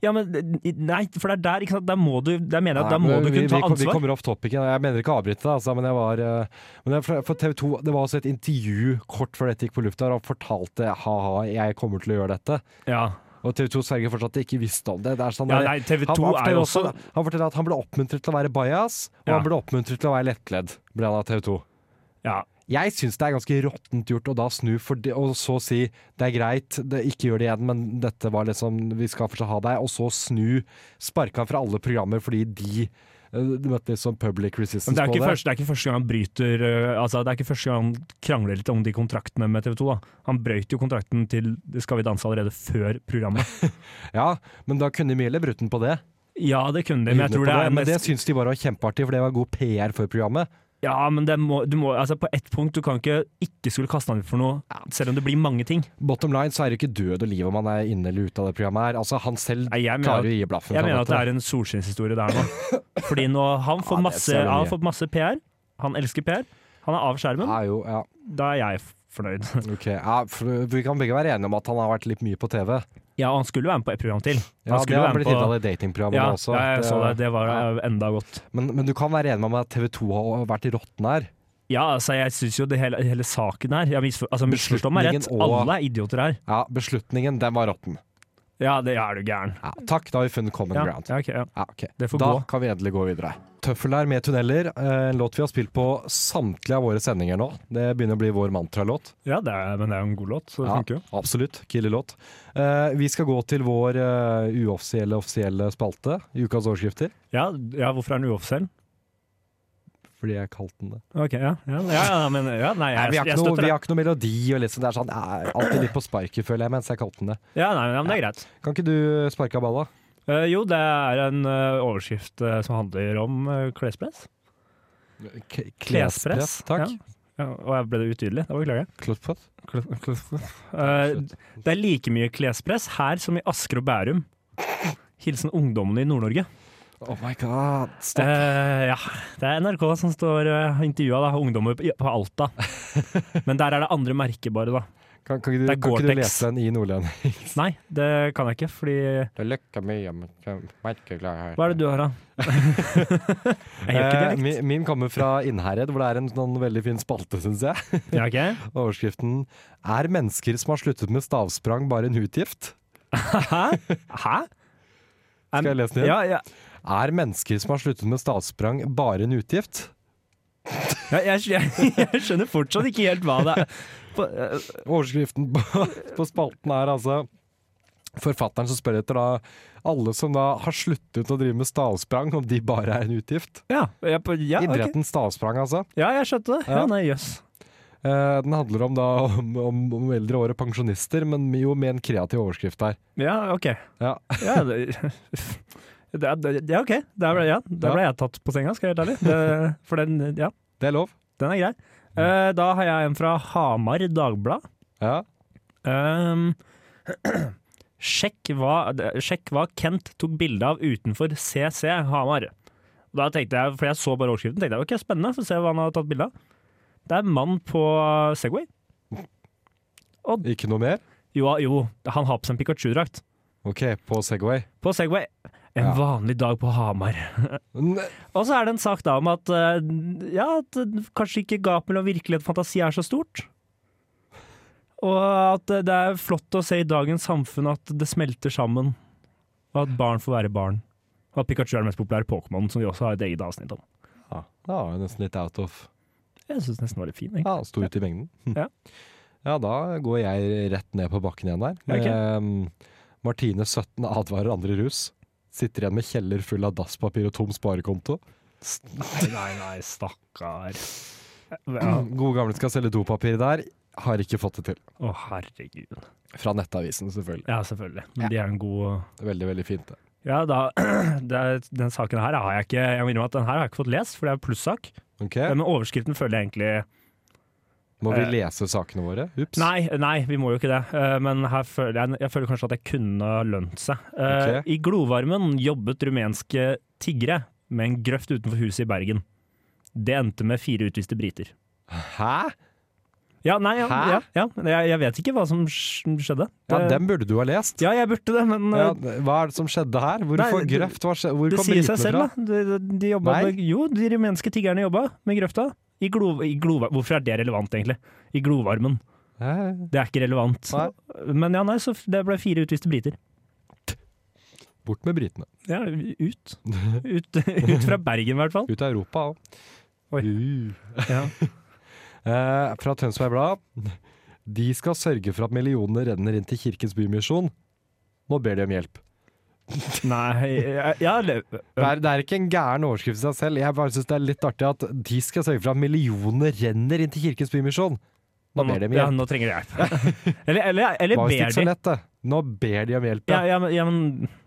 Speaker 5: Ja, men, eh, nei, for det er der, ikke sant? Der må du, der mener jeg at
Speaker 4: Nei,
Speaker 5: der må
Speaker 4: men
Speaker 5: du
Speaker 4: vi,
Speaker 5: kunne ta
Speaker 4: vi, kom- Vi
Speaker 5: ansvar.
Speaker 4: kommer off topicen. Jeg mener ikke å avbryte deg, altså, men jeg var eh, men jeg- for, for TV 2 Det var også et intervju kort før dette gikk på lufta, og han fortalte ha-ha, jeg kommer til å gjøre dette.
Speaker 5: Ja.
Speaker 4: Og TV 2 Sverige fortsatt ikke visste om det. det er sånn
Speaker 5: ja,
Speaker 4: der-
Speaker 5: nei, TV
Speaker 4: han,
Speaker 5: 2
Speaker 4: han,
Speaker 5: er
Speaker 4: forteller
Speaker 5: jo
Speaker 4: også,
Speaker 5: også
Speaker 4: han forteller at han ble oppmuntret til å være bias, og
Speaker 5: Ja.
Speaker 4: han ble oppmuntret til å være lettledd, ble han av TV 2.
Speaker 5: ja,
Speaker 4: Jeg syns det er ganske råttent gjort å da snu for det, og så si det er greit, det, ikke gjør det igjen, men dette var liksom Vi skal fortsatt ha deg, og så snu sparka fra alle programmer fordi de eh, du møtte liksom public resistance
Speaker 5: Men det er,
Speaker 4: på
Speaker 5: ikke
Speaker 4: det.
Speaker 5: første, det er ikke første gang han bryter øh, altså, Det er ikke første gang han krangler litt om de kontraktene med TV 2. Da. Han brøyt jo kontrakten til Skal vi danse allerede før
Speaker 4: [laughs]
Speaker 5: programmet.
Speaker 4: Ja, men da kunne de heller brutt den på det.
Speaker 5: Ja, det kunne de, men jeg
Speaker 4: Hylle på
Speaker 5: tror det er
Speaker 4: men det
Speaker 5: mest
Speaker 4: syns de bare var kjempeartig, for det var god PR for programmet.
Speaker 5: Ja, men det må, du må, altså, på ett punkt du kan ikke ikke skulle kaste han ut for noe, selv om det blir mange ting.
Speaker 4: Bottom line så er det ikke død og liv om han er inne eller ute av det programmet her. Altså, han selv
Speaker 5: Nei, jeg mener
Speaker 4: klarer jo å gi blaffen.
Speaker 5: Jeg mener at det er en solskinnshistorie der nå.
Speaker 4: [laughs]
Speaker 5: Fordi nå, han
Speaker 4: Ja,
Speaker 5: får
Speaker 4: det
Speaker 5: masse,
Speaker 4: ser du
Speaker 5: han har
Speaker 4: mye.
Speaker 5: fått masse PR. Han elsker PR. Han er av skjermen.
Speaker 4: Ja, jo, ja.
Speaker 5: Da er jeg f- fornøyd. [laughs]
Speaker 4: Ok, ja, for Vi kan begge være enige om at han har vært litt mye på TV.
Speaker 5: Ja, og han skulle være med på et program til.
Speaker 4: Ja,
Speaker 5: Han
Speaker 4: det
Speaker 5: skulle
Speaker 4: har
Speaker 5: være
Speaker 4: blitt
Speaker 5: med på
Speaker 4: hintet i datingprogrammet
Speaker 5: ja,
Speaker 4: også.
Speaker 5: ja, jeg
Speaker 4: at,
Speaker 5: så det.
Speaker 4: eh,
Speaker 5: Det var
Speaker 4: ja.
Speaker 5: eh, enda godt.
Speaker 4: Men, men du kan være enig med meg at TV 2 har vært råtten her.
Speaker 5: Ja, altså, jeg syns jo det hele, hele saken her jeg misfor, altså, Misforstå meg rett,
Speaker 4: Beslutningen og-
Speaker 5: alle er idioter her.
Speaker 4: Ja, Beslutningen, den var råtten.
Speaker 5: Ja, det er du gæren.
Speaker 4: Ja, takk, da har vi funnet common
Speaker 5: Ja,
Speaker 4: ground.
Speaker 5: ja, ok, ja.
Speaker 4: Ja, ok.
Speaker 5: Det får
Speaker 4: da
Speaker 5: gå.
Speaker 4: kan vi endelig gå videre. Tøffel her med tunneler, eh, en låt vi har spilt på samtlige av våre sendinger nå. Det begynner å bli vår mantralåt.
Speaker 5: ja det er, men det er jo en god låt, så det
Speaker 4: Ja,
Speaker 5: funker jo.
Speaker 4: absolutt. Killerlåt. Eh, vi skal gå til vår eh, uoffisielle offisielle spalte, ukas overskrifter.
Speaker 5: Ja, ja, hvorfor er den uoffisiell?
Speaker 4: Fordi jeg kalte den det.
Speaker 5: Ok, ja. ja, ja, ja, men, ja nei,
Speaker 4: Nei, vi,
Speaker 5: jeg,
Speaker 4: har
Speaker 5: jeg
Speaker 4: ikke noe,
Speaker 5: støtter
Speaker 4: vi
Speaker 5: det.
Speaker 4: har ikke noe melodi. Og liksom, det er sånn, eh, alltid litt på sparket, føler jeg, mens jeg kalte den det.
Speaker 5: Ja, nei, men det er greit.
Speaker 4: Kan ikke du sparke av balla?
Speaker 5: Eh, jo, det er en eh, overskrift eh, som handler om eh, klespress.
Speaker 4: K-
Speaker 5: Klespress.
Speaker 4: Takk.
Speaker 5: Ja. Ja, og jeg ble det utydelig. Det beklager jeg.
Speaker 4: Klespress.
Speaker 5: Eh, det er like mye klespress her som i Asker og Bærum. Hilsen ungdommene i Nord-Norge.
Speaker 4: Oh my god. Stopp.
Speaker 5: Eh, ja, det er NRK som står uh, intervjua da, ungdommer på, på
Speaker 4: [laughs]
Speaker 5: Alta. Men der er det andre merkebare, da.
Speaker 4: Kan, kan, ikke du,
Speaker 5: det er
Speaker 4: kan ikke du
Speaker 5: Gore-Tex.
Speaker 4: lese den i nordlending?
Speaker 5: Nei, det kan jeg ikke, fordi
Speaker 4: [laughs] Det lykker mye, men merkeglar her.
Speaker 5: Hva er det du
Speaker 4: [laughs]
Speaker 5: har, da? jeg gjør ikke dialekt.
Speaker 4: Eh, min, min kommer fra Innherred, hvor det er en sånn veldig fin spalte, syns jeg. [laughs]
Speaker 5: Ja, ok.
Speaker 4: Overskriften 'Er mennesker som har sluttet med stavsprang, bare en utgift?'
Speaker 5: Hæ? Hæ?
Speaker 4: Skal jeg lese den igjen?
Speaker 5: Ja, ja,
Speaker 4: Er mennesker som har sluttet med stavsprang, bare en utgift?
Speaker 5: Ja, jeg, jeg, [laughs] jeg skjønner fortsatt ikke helt hva det er. På, eh,
Speaker 4: Overskriften på, [laughs] på spalten er altså Forfatteren som spør etter da alle som da har sluttet å drive med stavsprang, om de bare er en utgift.
Speaker 5: ja, jeg, på, ja, ok.
Speaker 4: Idretten stavsprang, altså.
Speaker 5: ja, jeg skjønte det. Ja,
Speaker 4: Ja.
Speaker 5: nei, jøss.
Speaker 4: Eh, den handler om, da, om, om, om eldre år og pensjonister, men jo med en kreativ overskrift der.
Speaker 5: Ja, OK.
Speaker 4: Ja.
Speaker 5: Ja, det, det, er- det, ja, ok. Der ble, ja, der ble jeg tatt på senga, skal jeg være helt ærlig. Det, for den, ja,
Speaker 4: Det er lov.
Speaker 5: den er grei. Eh, da har jeg en fra Hamar Dagblad.
Speaker 4: Ja.
Speaker 5: Um, sjekk, hva, sjekk hva Kent tok bilde av utenfor CC Hamar. Da tenkte jeg, For jeg så bare overskriften, tenkte jeg ok, spennende, få se hva han har tatt bilde av. Det er en mann på Segway.
Speaker 4: Ikke noe mer?
Speaker 5: Jo, jo han har på seg en Pikachu-drakt.
Speaker 4: OK, på Segway.
Speaker 5: På Segway. En
Speaker 4: Ja.
Speaker 5: vanlig dag på Hamar.
Speaker 4: N
Speaker 5: Og så er det en sak da om at eh, ja, at eh, kanskje ikke gap mellom virkelighet og fantasi er så stort. Og at eh, det er flott å se i dagens samfunn at det smelter sammen. Og at barn får være barn. Og at Pikachu er den mest populære Pokémon, som vi også har et eget avsnitt om.
Speaker 4: ja, da var jeg nesten litt out of
Speaker 5: Jeg syns nesten var litt fin.
Speaker 4: [laughs]
Speaker 5: egentlig.
Speaker 4: Ja, sto ute i mengden. Hm.
Speaker 5: [laughs] Ja.
Speaker 4: Ja, da går jeg rett ned på bakken igjen der.
Speaker 5: Ok.
Speaker 4: Ehm, Martine 17 advarer andre rus. Sitter igjen med kjeller full av dasspapir og tom sparekonto.
Speaker 5: Nei, nei, nei, stakkar. Ja.
Speaker 4: Gode gamle skal selge dopapir der. Har ikke fått det til.
Speaker 5: Å, herregud.
Speaker 4: Fra Nettavisen, selvfølgelig.
Speaker 5: Ja, selvfølgelig. Men de er en god
Speaker 4: Veldig, veldig fint. det.
Speaker 5: Ja, da, [clears throat] det er, den saken her har jeg ikke Jeg må innrømme at den her har jeg ikke fått lest, for det er plussak.
Speaker 4: Ok?
Speaker 5: Men overskriften føler jeg egentlig
Speaker 4: Må vi
Speaker 5: Eh.
Speaker 4: lese sakene våre? Ups.
Speaker 5: Nei, nei, vi må jo ikke det. Eh, Men her føler jeg, jeg føler kanskje at det kunne ha lønt seg. Eh,
Speaker 4: Ok.
Speaker 5: I glovarmen jobbet rumenske tiggere med en grøft utenfor huset i Bergen. Det endte med fire utviste briter.
Speaker 4: Hæ?
Speaker 5: Ja, nei, ja,
Speaker 4: Hæ?
Speaker 5: ja, ja. Jeg, jeg vet ikke hva som sk- skjedde.
Speaker 4: Ja,
Speaker 5: Det-
Speaker 4: den burde du ha lest.
Speaker 5: Eh, ja jeg burde det, men
Speaker 4: Ja,
Speaker 5: eh,
Speaker 4: hva er det som skjedde her? Hvorfor
Speaker 5: Nei, det-
Speaker 4: grøft? Hva skje, hvor
Speaker 5: det
Speaker 4: kom
Speaker 5: sier
Speaker 4: britene
Speaker 5: seg selv,
Speaker 4: fra?
Speaker 5: da. De, de, de jobba
Speaker 4: Nei.
Speaker 5: med, jo, de rumenske tiggerne jobba med grøfta. I glo, i glova- hvorfor er det relevant, egentlig? I glovarmen.
Speaker 4: Hæ?
Speaker 5: Det er ikke relevant.
Speaker 4: Nei.
Speaker 5: Men ja, nei, så f- det ble fire utviste briter.
Speaker 4: Bort med britene.
Speaker 5: Ja,
Speaker 4: [laughs]
Speaker 5: ut. Ut, ut fra Bergen, i hvert fall.
Speaker 4: Ut av Europa Uh. òg.
Speaker 5: Oi. Ja.
Speaker 4: Eh, fra Tønsberg Blad. De skal sørge for at millionene renner inn til Kirkens Bymisjon. Nå ber de om hjelp.
Speaker 5: Nei ja, ja, det-
Speaker 4: Det er, det er ikke en gæren overskrift i seg selv. Jeg bare synes det er litt artig at de skal sørge for at millionene renner inn til Kirkens Bymisjon. Nå ber de om
Speaker 5: ja,
Speaker 4: hjelp.
Speaker 5: nå trenger de hjelp.
Speaker 4: [laughs]
Speaker 5: Eller, eller, eller
Speaker 4: Det var visst
Speaker 5: ber
Speaker 4: ikke så
Speaker 5: de.
Speaker 4: lett, det. Nå ber de om hjelp. Ja.
Speaker 5: Ja, ja, men, ja, men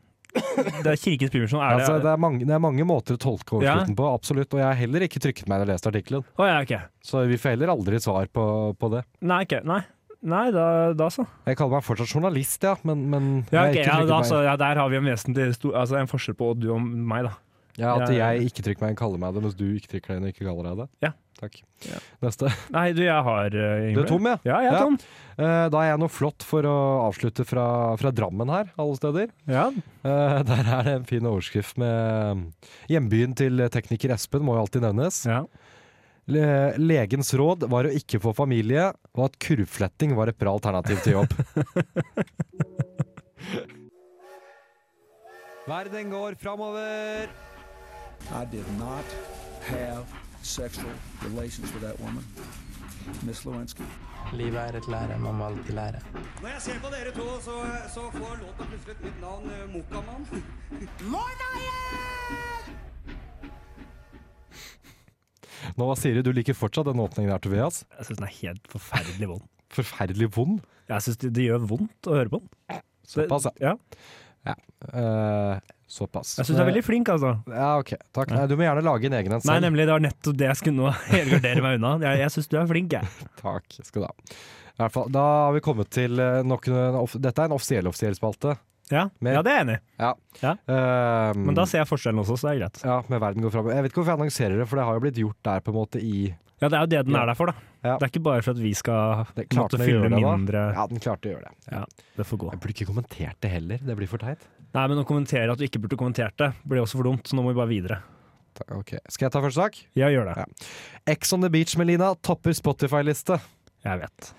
Speaker 5: det er Kirkens Bymisjon. Er
Speaker 4: Altså, det,
Speaker 5: det
Speaker 4: er mange, det er mange måter å tolke overskriften på, absolutt. Og jeg har heller ikke trykket meg når jeg leste artikkelen.
Speaker 5: Å ja, ok.
Speaker 4: Så vi får heller aldri svar på, på det.
Speaker 5: Nei, ok. Nei, nei da, da så.
Speaker 4: Jeg kaller meg fortsatt journalist, ja, men, men
Speaker 5: Ja,
Speaker 4: jeg har
Speaker 5: ok,
Speaker 4: ikke
Speaker 5: ja,
Speaker 4: trykket
Speaker 5: da,
Speaker 4: meg-
Speaker 5: så, ja, der har vi en vesentlig stor, altså, en forskjell på du og meg, da.
Speaker 4: ja, At
Speaker 5: ja, ja.
Speaker 4: jeg ikke trykker meg inn, kaller meg det, mens du ikke trykker deg inn og ikke kaller deg det.
Speaker 5: Ja.
Speaker 4: Takk.
Speaker 5: Ja.
Speaker 4: Neste.
Speaker 5: Nei, du, jeg har uh,
Speaker 4: Du er tom, ja?
Speaker 5: Ja, jeg er
Speaker 4: Ja.
Speaker 5: tom.
Speaker 4: Eh, Da er jeg noe flott for å avslutte fra, fra Drammen her, alle steder.
Speaker 5: Ja.
Speaker 4: Eh, [laughs] Der er det en fin overskrift med mm, Hjembyen til tekniker Espen må jo alltid nevnes.
Speaker 5: ja.
Speaker 4: Le- Legens råd var å ikke få familie, og at kurvfletting var et bra alternativ til
Speaker 5: [laughs]
Speaker 4: jobb. Verden går framover!
Speaker 6: I did not have sexual relations with that woman, Miss Lewinsky.
Speaker 7: Livet er et lære, man må alltid lære.
Speaker 8: Når jeg ser på dere to, så, så får låta plutselig et nytt navn, eh, Mokamann.
Speaker 5: [laughs]
Speaker 4: Nå, Siri, du liker fortsatt den åpningen her, Tobias.
Speaker 5: Jeg syns den er helt forferdelig vond.
Speaker 4: Forferdelig vond.
Speaker 5: Jeg syns det, det gjør vondt å høre på den. Det-
Speaker 4: Såpass, ja.
Speaker 5: ja.
Speaker 4: Eh, såpass.
Speaker 5: Jeg syns du er veldig flink, altså.
Speaker 4: Ja, ok. Takk. Nei, du må gjerne lage en egen en
Speaker 5: Nei,
Speaker 4: selv.
Speaker 5: nemlig. Det var nettopp det jeg skulle nå [laughs] helgardere meg unna. Jeg, jeg syns du er flink, jeg.
Speaker 4: Takk skal du ha. I hvert fall, da har vi kommet til eh, nok en off Dette er en offisiell offisiell spalte.
Speaker 5: Ja,
Speaker 4: Men-
Speaker 5: ja det er jeg enig i.
Speaker 4: Eh,
Speaker 5: Men da ser jeg forskjellen også, så det er greit.
Speaker 4: ja, med verden går framover. Jeg vet ikke hvorfor jeg annonserer det, for det har jo blitt gjort der på en måte i
Speaker 5: Ja, det er jo det den er der for, da.
Speaker 4: Ja.
Speaker 5: Det er ikke bare for at vi skal
Speaker 4: Det klarte den
Speaker 5: måtte
Speaker 4: å
Speaker 5: fylle
Speaker 4: gjøre det, da.
Speaker 5: mindre
Speaker 4: Ja, den klarte å gjøre det.
Speaker 5: Det får gå.
Speaker 4: Jeg burde ikke kommentert det heller. Det blir for teit.
Speaker 5: Nei, men å kommentere at du ikke burde kommentert det, blir også for dumt, så nå må vi bare videre.
Speaker 4: Ta- Ok. Skal jeg ta første sak?
Speaker 5: Ja, gjør det.
Speaker 4: Ja. Ex on the beach, Melina, topper Spotify-liste.
Speaker 5: Jeg vet.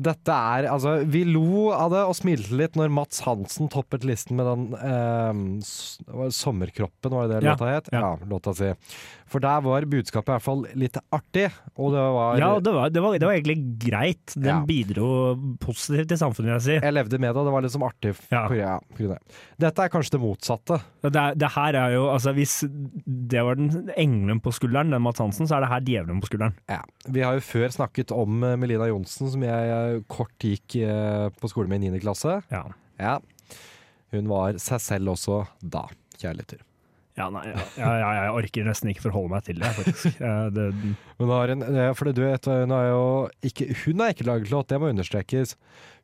Speaker 4: Dette er, altså, Vi lo av det og smilte litt når Mats Hansen toppet listen med den eh, s- var det 'Sommerkroppen', var det det
Speaker 5: Ja,
Speaker 4: låta het?
Speaker 5: ja.
Speaker 4: Ja. låta si. For der var budskapet i hvert fall litt artig, og det var
Speaker 5: Ja, og det var, det var, det var egentlig greit. Den
Speaker 4: Ja.
Speaker 5: bidro positivt til samfunnet, vil jeg si.
Speaker 4: Jeg levde med det, og det var liksom artig.
Speaker 5: Ja.
Speaker 4: På, ja, på grunn av det. Dette er kanskje det motsatte.
Speaker 5: Det, er- det her er jo, altså Hvis det var den engelen på skulderen, den Mads Hansen, så er det her djevelen på skulderen.
Speaker 4: Ja. Vi har jo før snakket om eh, Melina Johnsen, som jeg eh, kort gikk eh, på skole med i 9. klasse.
Speaker 5: Ja.
Speaker 4: Ja. Hun var seg selv også da, kjære lytter.
Speaker 5: Ja, nei, ja, ja, ja, jeg orker nesten ikke forholde meg til det,
Speaker 4: [laughs]
Speaker 5: faktisk. Eh, Det,
Speaker 4: Hun har en, eh, fordi du vet, hun har jo ikke, hun har ikke laget låt, det må understrekes.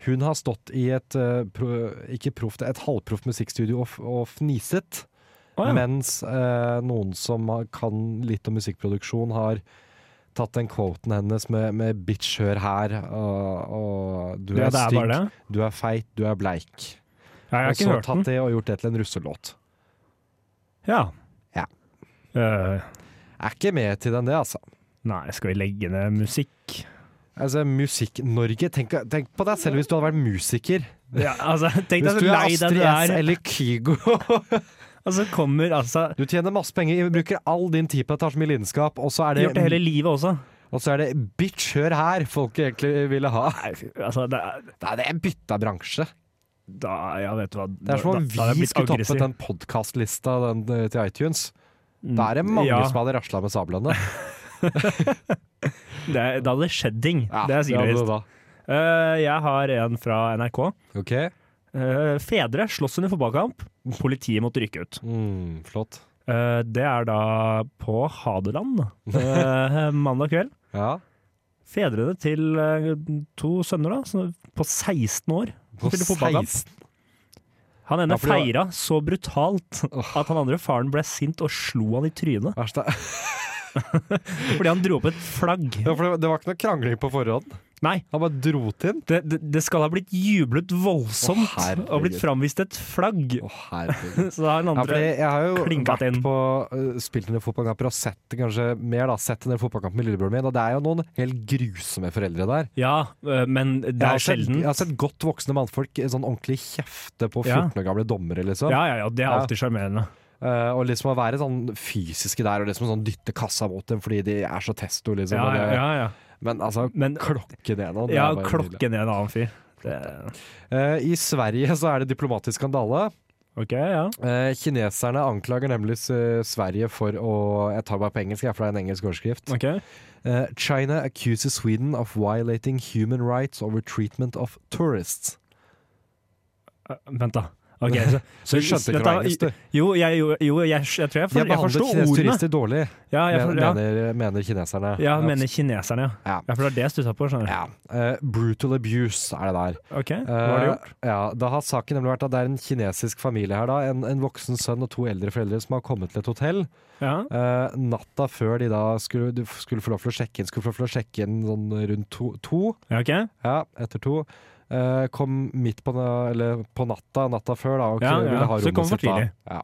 Speaker 4: Hun har stått i et, eh, pro, ikke proft, et halvproft musikkstudio og, f- og fniset,
Speaker 5: Å, ja.
Speaker 4: mens eh, noen som har- kan litt om musikkproduksjon har tatt den quoten hennes med, med bitch hør her, og, og du
Speaker 5: ja,
Speaker 4: er
Speaker 5: det er bare
Speaker 4: stygg,
Speaker 5: det.
Speaker 4: du er feit, du er bleik.
Speaker 5: Ja, jeg har
Speaker 4: og
Speaker 5: ikke
Speaker 4: så
Speaker 5: hørt
Speaker 4: tatt
Speaker 5: den.
Speaker 4: det og gjort det til en russelåt.
Speaker 5: Ja.
Speaker 4: Ja.
Speaker 5: Eh,
Speaker 4: Er ikke med til den det, altså.
Speaker 5: nei, skal vi legge ned musikk?
Speaker 4: Altså, Musikk-Norge, tenk, tenk på deg selv hvis du hadde vært musiker. [laughs]
Speaker 5: Ja, altså, Tenk deg
Speaker 4: Hvis
Speaker 5: så
Speaker 4: du er
Speaker 5: lei deg
Speaker 4: Astrid
Speaker 5: du
Speaker 4: S
Speaker 5: er,
Speaker 4: eller Kygo [laughs]
Speaker 5: og så kommer altså
Speaker 4: Du tjener masse penger, bruker all din tid på dette her som i lidenskap, og så er
Speaker 5: Gjort det hele
Speaker 4: det,
Speaker 5: livet også.
Speaker 4: og så er det bitch, hør her, folk egentlig ville ha.
Speaker 5: Nei, fy, altså, det, er-
Speaker 4: Nei, det er bytta bransje.
Speaker 5: da, ja, vet du hva
Speaker 4: Det er som om vi skulle toppet den podkastlista til iTunes. Da er det mange
Speaker 5: Mm, ja.
Speaker 4: som hadde rasla med
Speaker 5: [laughs]
Speaker 4: sablene.
Speaker 5: Det, da hadde det skjedd ting.
Speaker 4: Ja,
Speaker 5: det er sikkert
Speaker 4: hadde
Speaker 5: visst.
Speaker 4: det da.
Speaker 5: Eh, jeg har en fra NRK.
Speaker 4: Ok,
Speaker 5: Eh, fedre slåss under fotballkamp. Politiet måtte rykke ut.
Speaker 4: mm, flott.
Speaker 5: Eh, det er da på Hadeland eh, [laughs] mandag kveld.
Speaker 4: Ja.
Speaker 5: Fedrene til eh, to sønner, da, som- på 16 år, som spiller fotballkamp.
Speaker 4: 16.
Speaker 5: Han ene
Speaker 4: Ja, for det
Speaker 5: feira så brutalt at han andre faren ble sint og slo han i trynet
Speaker 4: Verst er-
Speaker 5: fordi han dro opp et flagg.
Speaker 4: [laughs] Ja, for det, det var ikke noe krangling på forhånd.
Speaker 5: Nei,
Speaker 4: Han bare dro til den.
Speaker 5: det, det, det skal ha blitt jublet voldsomt
Speaker 4: Å, herregud.
Speaker 5: og blitt framvist et flagg.
Speaker 4: Å,
Speaker 5: [laughs]
Speaker 4: herregud.
Speaker 5: Så da har den
Speaker 4: Ja, fordi
Speaker 5: andre
Speaker 4: jeg har jo
Speaker 5: klinket
Speaker 4: vært
Speaker 5: inn.
Speaker 4: på uh, spilt en del fotballkamper og sett det kanskje mer da, sett en del fotballkamper med lillebroren min, og det er jo noen helt grusomme foreldre der.
Speaker 5: Ja, øh, men det
Speaker 4: Jeg
Speaker 5: er
Speaker 4: har, sett,
Speaker 5: sjelden.
Speaker 4: jeg har sett godt voksne mannfolk eh, sånn ordentlig kjefte på
Speaker 5: Ja.
Speaker 4: 14 år gamle dommere, liksom.
Speaker 5: Ja, ja, ja, det er alltid sjarmerende.
Speaker 4: Eh, og liksom å være sånn fysiske der, og liksom sånn dytte kassa mot dem fordi de er så testo, liksom.
Speaker 5: Ja,
Speaker 4: og
Speaker 5: ja,
Speaker 4: det-
Speaker 5: ja, ja.
Speaker 4: Men altså,
Speaker 5: Men-
Speaker 4: klokke ned nå. det
Speaker 5: ja
Speaker 4: er bare nydelig.
Speaker 5: klokken er en annen fyr. Det,
Speaker 4: Eh, I Sverige så er det diplomatisk skandale.
Speaker 5: ok, ja.
Speaker 4: Eh, kineserne anklager nemlig eh, Sverige for å Jeg tar bare på engelsk, jeg, for det er en engelsk overskrift.
Speaker 5: Ok.
Speaker 4: Eh, China accuses Sweden of violating human rights over treatment of tourists.
Speaker 5: Øh, Vent, da.
Speaker 4: [laughs]
Speaker 5: Ok, så,
Speaker 4: Så du skjønte ikke noe engelsk, du?
Speaker 5: Jo, jeg, jo, jo jeg, jeg tror
Speaker 4: De
Speaker 5: jeg, for,
Speaker 4: har
Speaker 5: jeg
Speaker 4: behandlet
Speaker 5: forstår
Speaker 4: kinesiske
Speaker 5: ordene.
Speaker 4: turister dårlig,
Speaker 5: Ja, jeg, for,
Speaker 4: men-
Speaker 5: ja.
Speaker 4: mener, mener kineserne.
Speaker 5: Ja, mener kineserne, ja.
Speaker 4: Ja.
Speaker 5: ja. For det er det jeg stussa på. skjønner du.
Speaker 4: Ja. Eh, brutal abuse er det der.
Speaker 5: Ok, hva har de gjort?
Speaker 4: Eh, ja, da har saken nemlig vært at det er en kinesisk familie her, da. En, en voksen sønn og to eldre foreldre som har kommet til et hotell.
Speaker 5: Ja.
Speaker 4: Eh, natta før de da skulle, de f- skulle få lov til å sjekke inn, skulle få lov til å sjekke inn sånn rundt to, to
Speaker 5: ja, ok.
Speaker 4: ja, etter to, eh, kom midt på, na- eller på natta, natta før da, og
Speaker 5: Ja, ja,
Speaker 4: ville ha
Speaker 5: så
Speaker 4: rommet
Speaker 5: kom for
Speaker 4: sitt da.
Speaker 5: tidlig.
Speaker 4: Ja.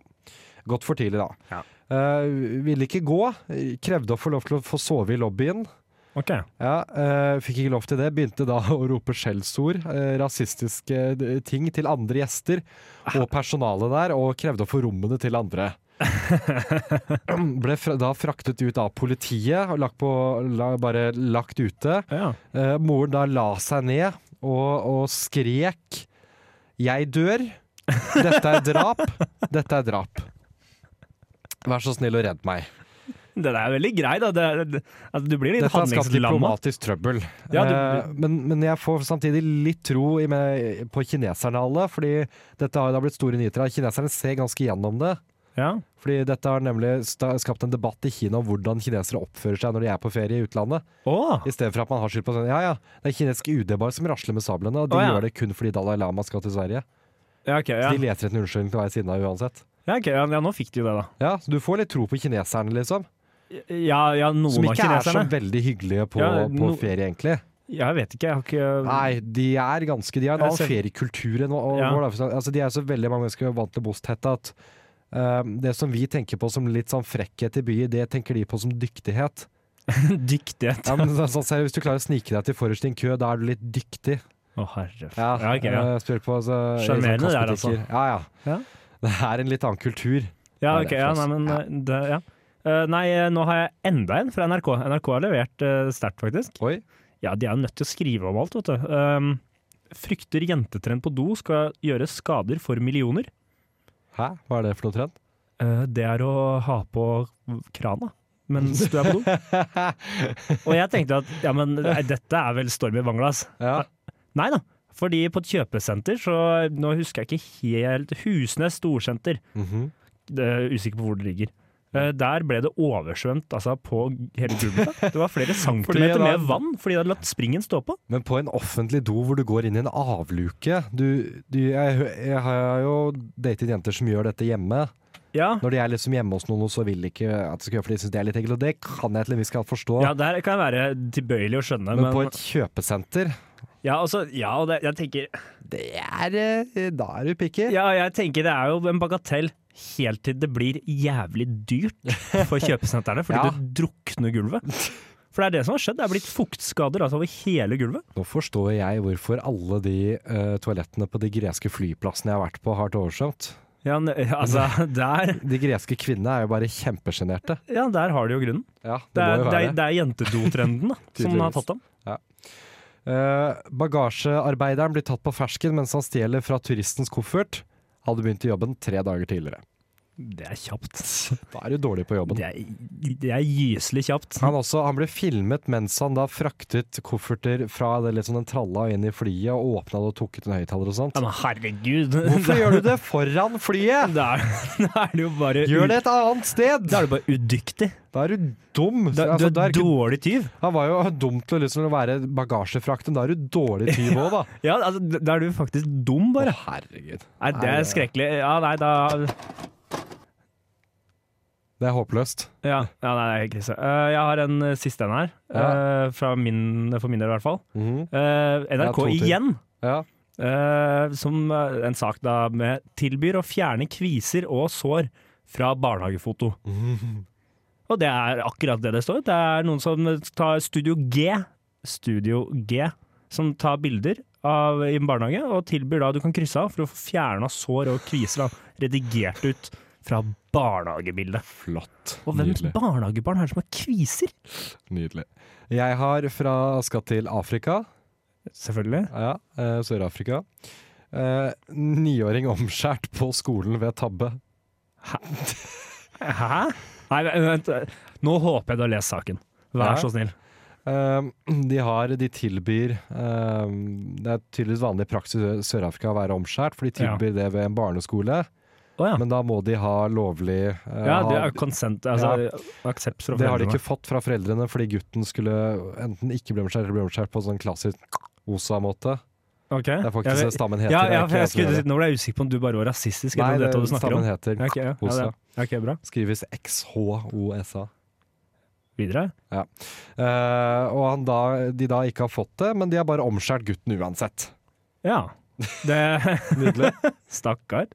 Speaker 4: Gått for tidlig da. Eh, ville ikke gå, krevde å få lov til å få sove i lobbyen.
Speaker 5: ok.
Speaker 4: Ja, eh, fikk ikke lov til det, begynte da [laughs] å rope skjellsord, eh, rasistiske d- ting til andre gjester og personalet der, og krevde å få rommene til
Speaker 5: [laughs]
Speaker 4: andre. Ble fra, da fraktet ut av politiet og lagt, på, la, bare lagt ute.
Speaker 5: Ja.
Speaker 4: Eh, moren da la seg ned og, og skrek 'Jeg dør. Dette er drap. Dette er drap'. Vær så snill og redd meg.
Speaker 5: Det der er veldig grei, da. Det, er- det, altså, du blir litt
Speaker 4: Dette har skapt
Speaker 5: handlingslamma.
Speaker 4: diplomatisk trøbbel.
Speaker 5: Ja, du-
Speaker 4: Eh, men, men jeg får samtidig litt tro i meg, på kineserne alle, fordi dette har jo da blitt store nyheter. her. Kineserne ser ganske gjennom det.
Speaker 5: Ja.
Speaker 4: Fordi dette har nemlig sta- skapt en debatt i Kina om hvordan kinesere oppfører seg når de er på ferie i utlandet.
Speaker 5: Å!
Speaker 4: I stedet for at man har skyld på sånn Ja ja, det er kinesiske UD bare som rasler med sablene, og de
Speaker 5: Å, ja.
Speaker 4: gjør det kun fordi Dalai Lama skal til Sverige.
Speaker 5: Ja, ok, ja.
Speaker 4: Så de leter etter en unnskyldning til å være siden av uansett.
Speaker 5: Ja, ok, ja, ja, nå fikk de jo det, da.
Speaker 4: Ja, så du får litt tro på kineserne, liksom.
Speaker 5: Ja, ja, noen
Speaker 4: Som
Speaker 5: av
Speaker 4: ikke er så
Speaker 5: kineserne.
Speaker 4: veldig hyggelige på,
Speaker 5: Ja,
Speaker 4: på
Speaker 5: no-
Speaker 4: ferie, egentlig.
Speaker 5: Jeg vet ikke, jeg har ikke
Speaker 4: Nei, de er ganske De har en
Speaker 5: Jeg
Speaker 4: annen
Speaker 5: ser-
Speaker 4: feriekultur enn vår.
Speaker 5: Ja.
Speaker 4: da. For- Altså, de er så veldig mange mennesker vant til bosthette at eh, det som vi tenker på som litt sånn frekkhet i byen, det tenker de på som dyktighet.
Speaker 5: [laughs] Dyktighet.
Speaker 4: Ja, men, så, så, seriøst, hvis du klarer å snike deg til forrest i en kø, da er du litt dyktig.
Speaker 5: Å, herre f-
Speaker 4: Ja,
Speaker 5: Ja, ok, ja.
Speaker 4: eh, spør på altså, i sånne
Speaker 5: Sjarmerende det er,
Speaker 4: kassebutikker.
Speaker 5: altså.
Speaker 4: Ja, ja.
Speaker 5: Ja.
Speaker 4: [laughs] Det er en litt annen kultur.
Speaker 5: Ja,
Speaker 4: Nei,
Speaker 5: ok,
Speaker 4: det er
Speaker 5: ja, nei,
Speaker 4: flest.
Speaker 5: men eh, det, ja. Eh, Nei, eh, nå har jeg enda en fra NRK. NRK har levert eh, sterkt, faktisk.
Speaker 4: Oi.
Speaker 5: Ja, de er jo nødt til å skrive om alt, vet du. Ehm, frykter jentetrend på do skal gjøre skader for millioner.
Speaker 4: Hæ? Hva er det for noe trend?
Speaker 5: Eh, det er å ha på krana mens du er på do.
Speaker 4: [laughs]
Speaker 5: Og jeg tenkte at ja, men nei, dette er vel storm i Banglas.
Speaker 4: Ja.
Speaker 5: Nei da. Fordi på et kjøpesenter, så nå husker jeg ikke helt Husnes storsenter.
Speaker 4: Mhm.
Speaker 5: Eh, usikker på hvor det ligger. Eh, der ble det oversvømt altså, på hele gulvet. Det
Speaker 4: [laughs]
Speaker 5: var flere centimeter
Speaker 4: da-
Speaker 5: med vann fordi de hadde latt springen stå på.
Speaker 4: Men på en offentlig do hvor du går inn i en avluke du, du, jeg, hø- jeg har jo datet jenter som gjør dette hjemme.
Speaker 5: Ja,
Speaker 4: Når de er liksom hjemme hos noen, så vil de ikke at det skal gjøre for de syns det er litt ekkelt. Og det kan jeg til en viss grad forstå.
Speaker 5: ja der kan jeg være tilbøyelig å skjønne,
Speaker 4: men,
Speaker 5: men,
Speaker 4: på et kjøpesenter,
Speaker 5: ja, altså, ja, og det, jeg tenker,
Speaker 4: det er eh, Da er du picky.
Speaker 5: ja, jeg tenker det er jo en bagatell helt til det blir jævlig dyrt
Speaker 4: [laughs]
Speaker 5: for kjøpesentrene, fordi
Speaker 4: Ja.
Speaker 5: det drukner gulvet. For det er det som har skjedd. Det er blitt fuktskader altså, over hele gulvet.
Speaker 4: Nå forstår jeg hvorfor alle de eh, toalettene på de greske flyplassene jeg har vært på, har vært oversvømt.
Speaker 5: Ja, ne-
Speaker 4: [laughs]
Speaker 5: altså, der,
Speaker 4: De greske kvinnene er jo bare kjempesjenerte.
Speaker 5: ja, der har de jo grunnen.
Speaker 4: Ja, det,
Speaker 5: Det er,
Speaker 4: må jo
Speaker 5: det
Speaker 4: være
Speaker 5: er, det er
Speaker 4: [laughs]
Speaker 5: jentedotrenden da, som har
Speaker 4: Tydeligvis.
Speaker 5: tatt dem.
Speaker 4: Eh, bagasjearbeideren blir tatt på fersken mens han stjeler fra turistens koffert. Hadde begynt i jobben tre dager tidligere.
Speaker 5: Det er kjapt.
Speaker 4: Da er du dårlig på jobben.
Speaker 5: Det er, det er gyselig kjapt.
Speaker 4: Han, også, han ble filmet mens han da fraktet kofferter fra det, liksom den tralla og inn i flyet og åpna det og tok ut en høyttaler og sånt.
Speaker 5: Ja, men herregud!
Speaker 4: Hvorfor gjør du det foran flyet?
Speaker 5: [laughs] Da er, da er du jo bare
Speaker 4: Gjør det et annet sted!
Speaker 5: Da er du bare udyktig.
Speaker 4: Da er du dum.
Speaker 5: Da,
Speaker 4: Altså,
Speaker 5: du
Speaker 4: da
Speaker 5: er
Speaker 4: er ikke-
Speaker 5: dålig tyv.
Speaker 4: han var jo dum til å liksom være bagasjefrakt, men da er du dårlig tyv òg, da.
Speaker 5: Ja, altså, da er du faktisk dum, bare.
Speaker 4: herregud.
Speaker 5: Nei, det er skrekkelig. Ja, nei, da
Speaker 4: Det er håpløst.
Speaker 5: Ja, ja nei, det er helt krise. Eh, jeg har en eh, siste en her, eh, fra min, for min del i hvert fall.
Speaker 4: Mhm.
Speaker 5: Eh,
Speaker 4: Ja,
Speaker 5: NRK
Speaker 4: to til.
Speaker 5: igjen,
Speaker 4: Ja.
Speaker 5: eh, som eh, en sak da med tilbyr å fjerne kviser og sår fra barnehagefoto. Og det er akkurat det det står. Det er noen som tar Studio G, Studio G, som tar bilder av, i en barnehage, og tilbyr da du kan krysse av for å få fjerna sår og kviser da, redigert ut fra barnehagebildet.
Speaker 4: Flott.
Speaker 5: Og hvem
Speaker 4: Nydelig.
Speaker 5: barnehagebarn er det som har kviser?
Speaker 4: Nydelig. Jeg har fra skal til Afrika,
Speaker 5: Selvfølgelig.
Speaker 4: ja, eh, Sør-Afrika. Eh, niåring omskjært på skolen ved tabbe.
Speaker 5: Hæ? Nei, vent. Nå håper jeg du har lest saken. Vær
Speaker 4: Ja.
Speaker 5: så snill.
Speaker 4: Eh, de har, de tilbyr eh, Det er tydeligvis vanlig praksis i Sør-Afrika å være omskjært, for de
Speaker 5: Ja.
Speaker 4: tilbyr det ved en barneskole.
Speaker 5: Å ja.
Speaker 4: Men da må de ha lovlig eh,
Speaker 5: ja, det
Speaker 4: ha-
Speaker 5: er consent, altså aksept fra
Speaker 4: Det har de
Speaker 5: foreldrene.
Speaker 4: ikke fått fra foreldrene fordi gutten skulle enten ikke bli omskjært eller bli omskjært på sånn klassisk Osa-måte.
Speaker 5: Ok.
Speaker 4: Det er faktisk
Speaker 5: Jeg
Speaker 4: det
Speaker 5: vet-
Speaker 4: stammen heter.
Speaker 5: ja,
Speaker 4: det er
Speaker 5: ja,
Speaker 4: ikke
Speaker 5: for jeg
Speaker 4: jeg som
Speaker 5: skulle
Speaker 4: gjør
Speaker 5: si, Nå ble jeg usikker på om du bare var rasistisk.
Speaker 4: Nei,
Speaker 5: Eller om
Speaker 4: det,
Speaker 5: det, du snakker
Speaker 4: stammen
Speaker 5: om.
Speaker 4: heter
Speaker 5: Ja, ok, ja, ja,
Speaker 4: Osa.
Speaker 5: det. Ok, bra.
Speaker 4: Skrives XHOSA.
Speaker 5: Videre.
Speaker 4: Eh, og han da, de da ikke har fått det, men de har bare omskjært gutten uansett. [laughs]
Speaker 5: Ja. Det
Speaker 4: Nydelig.
Speaker 5: [laughs] Stakkar.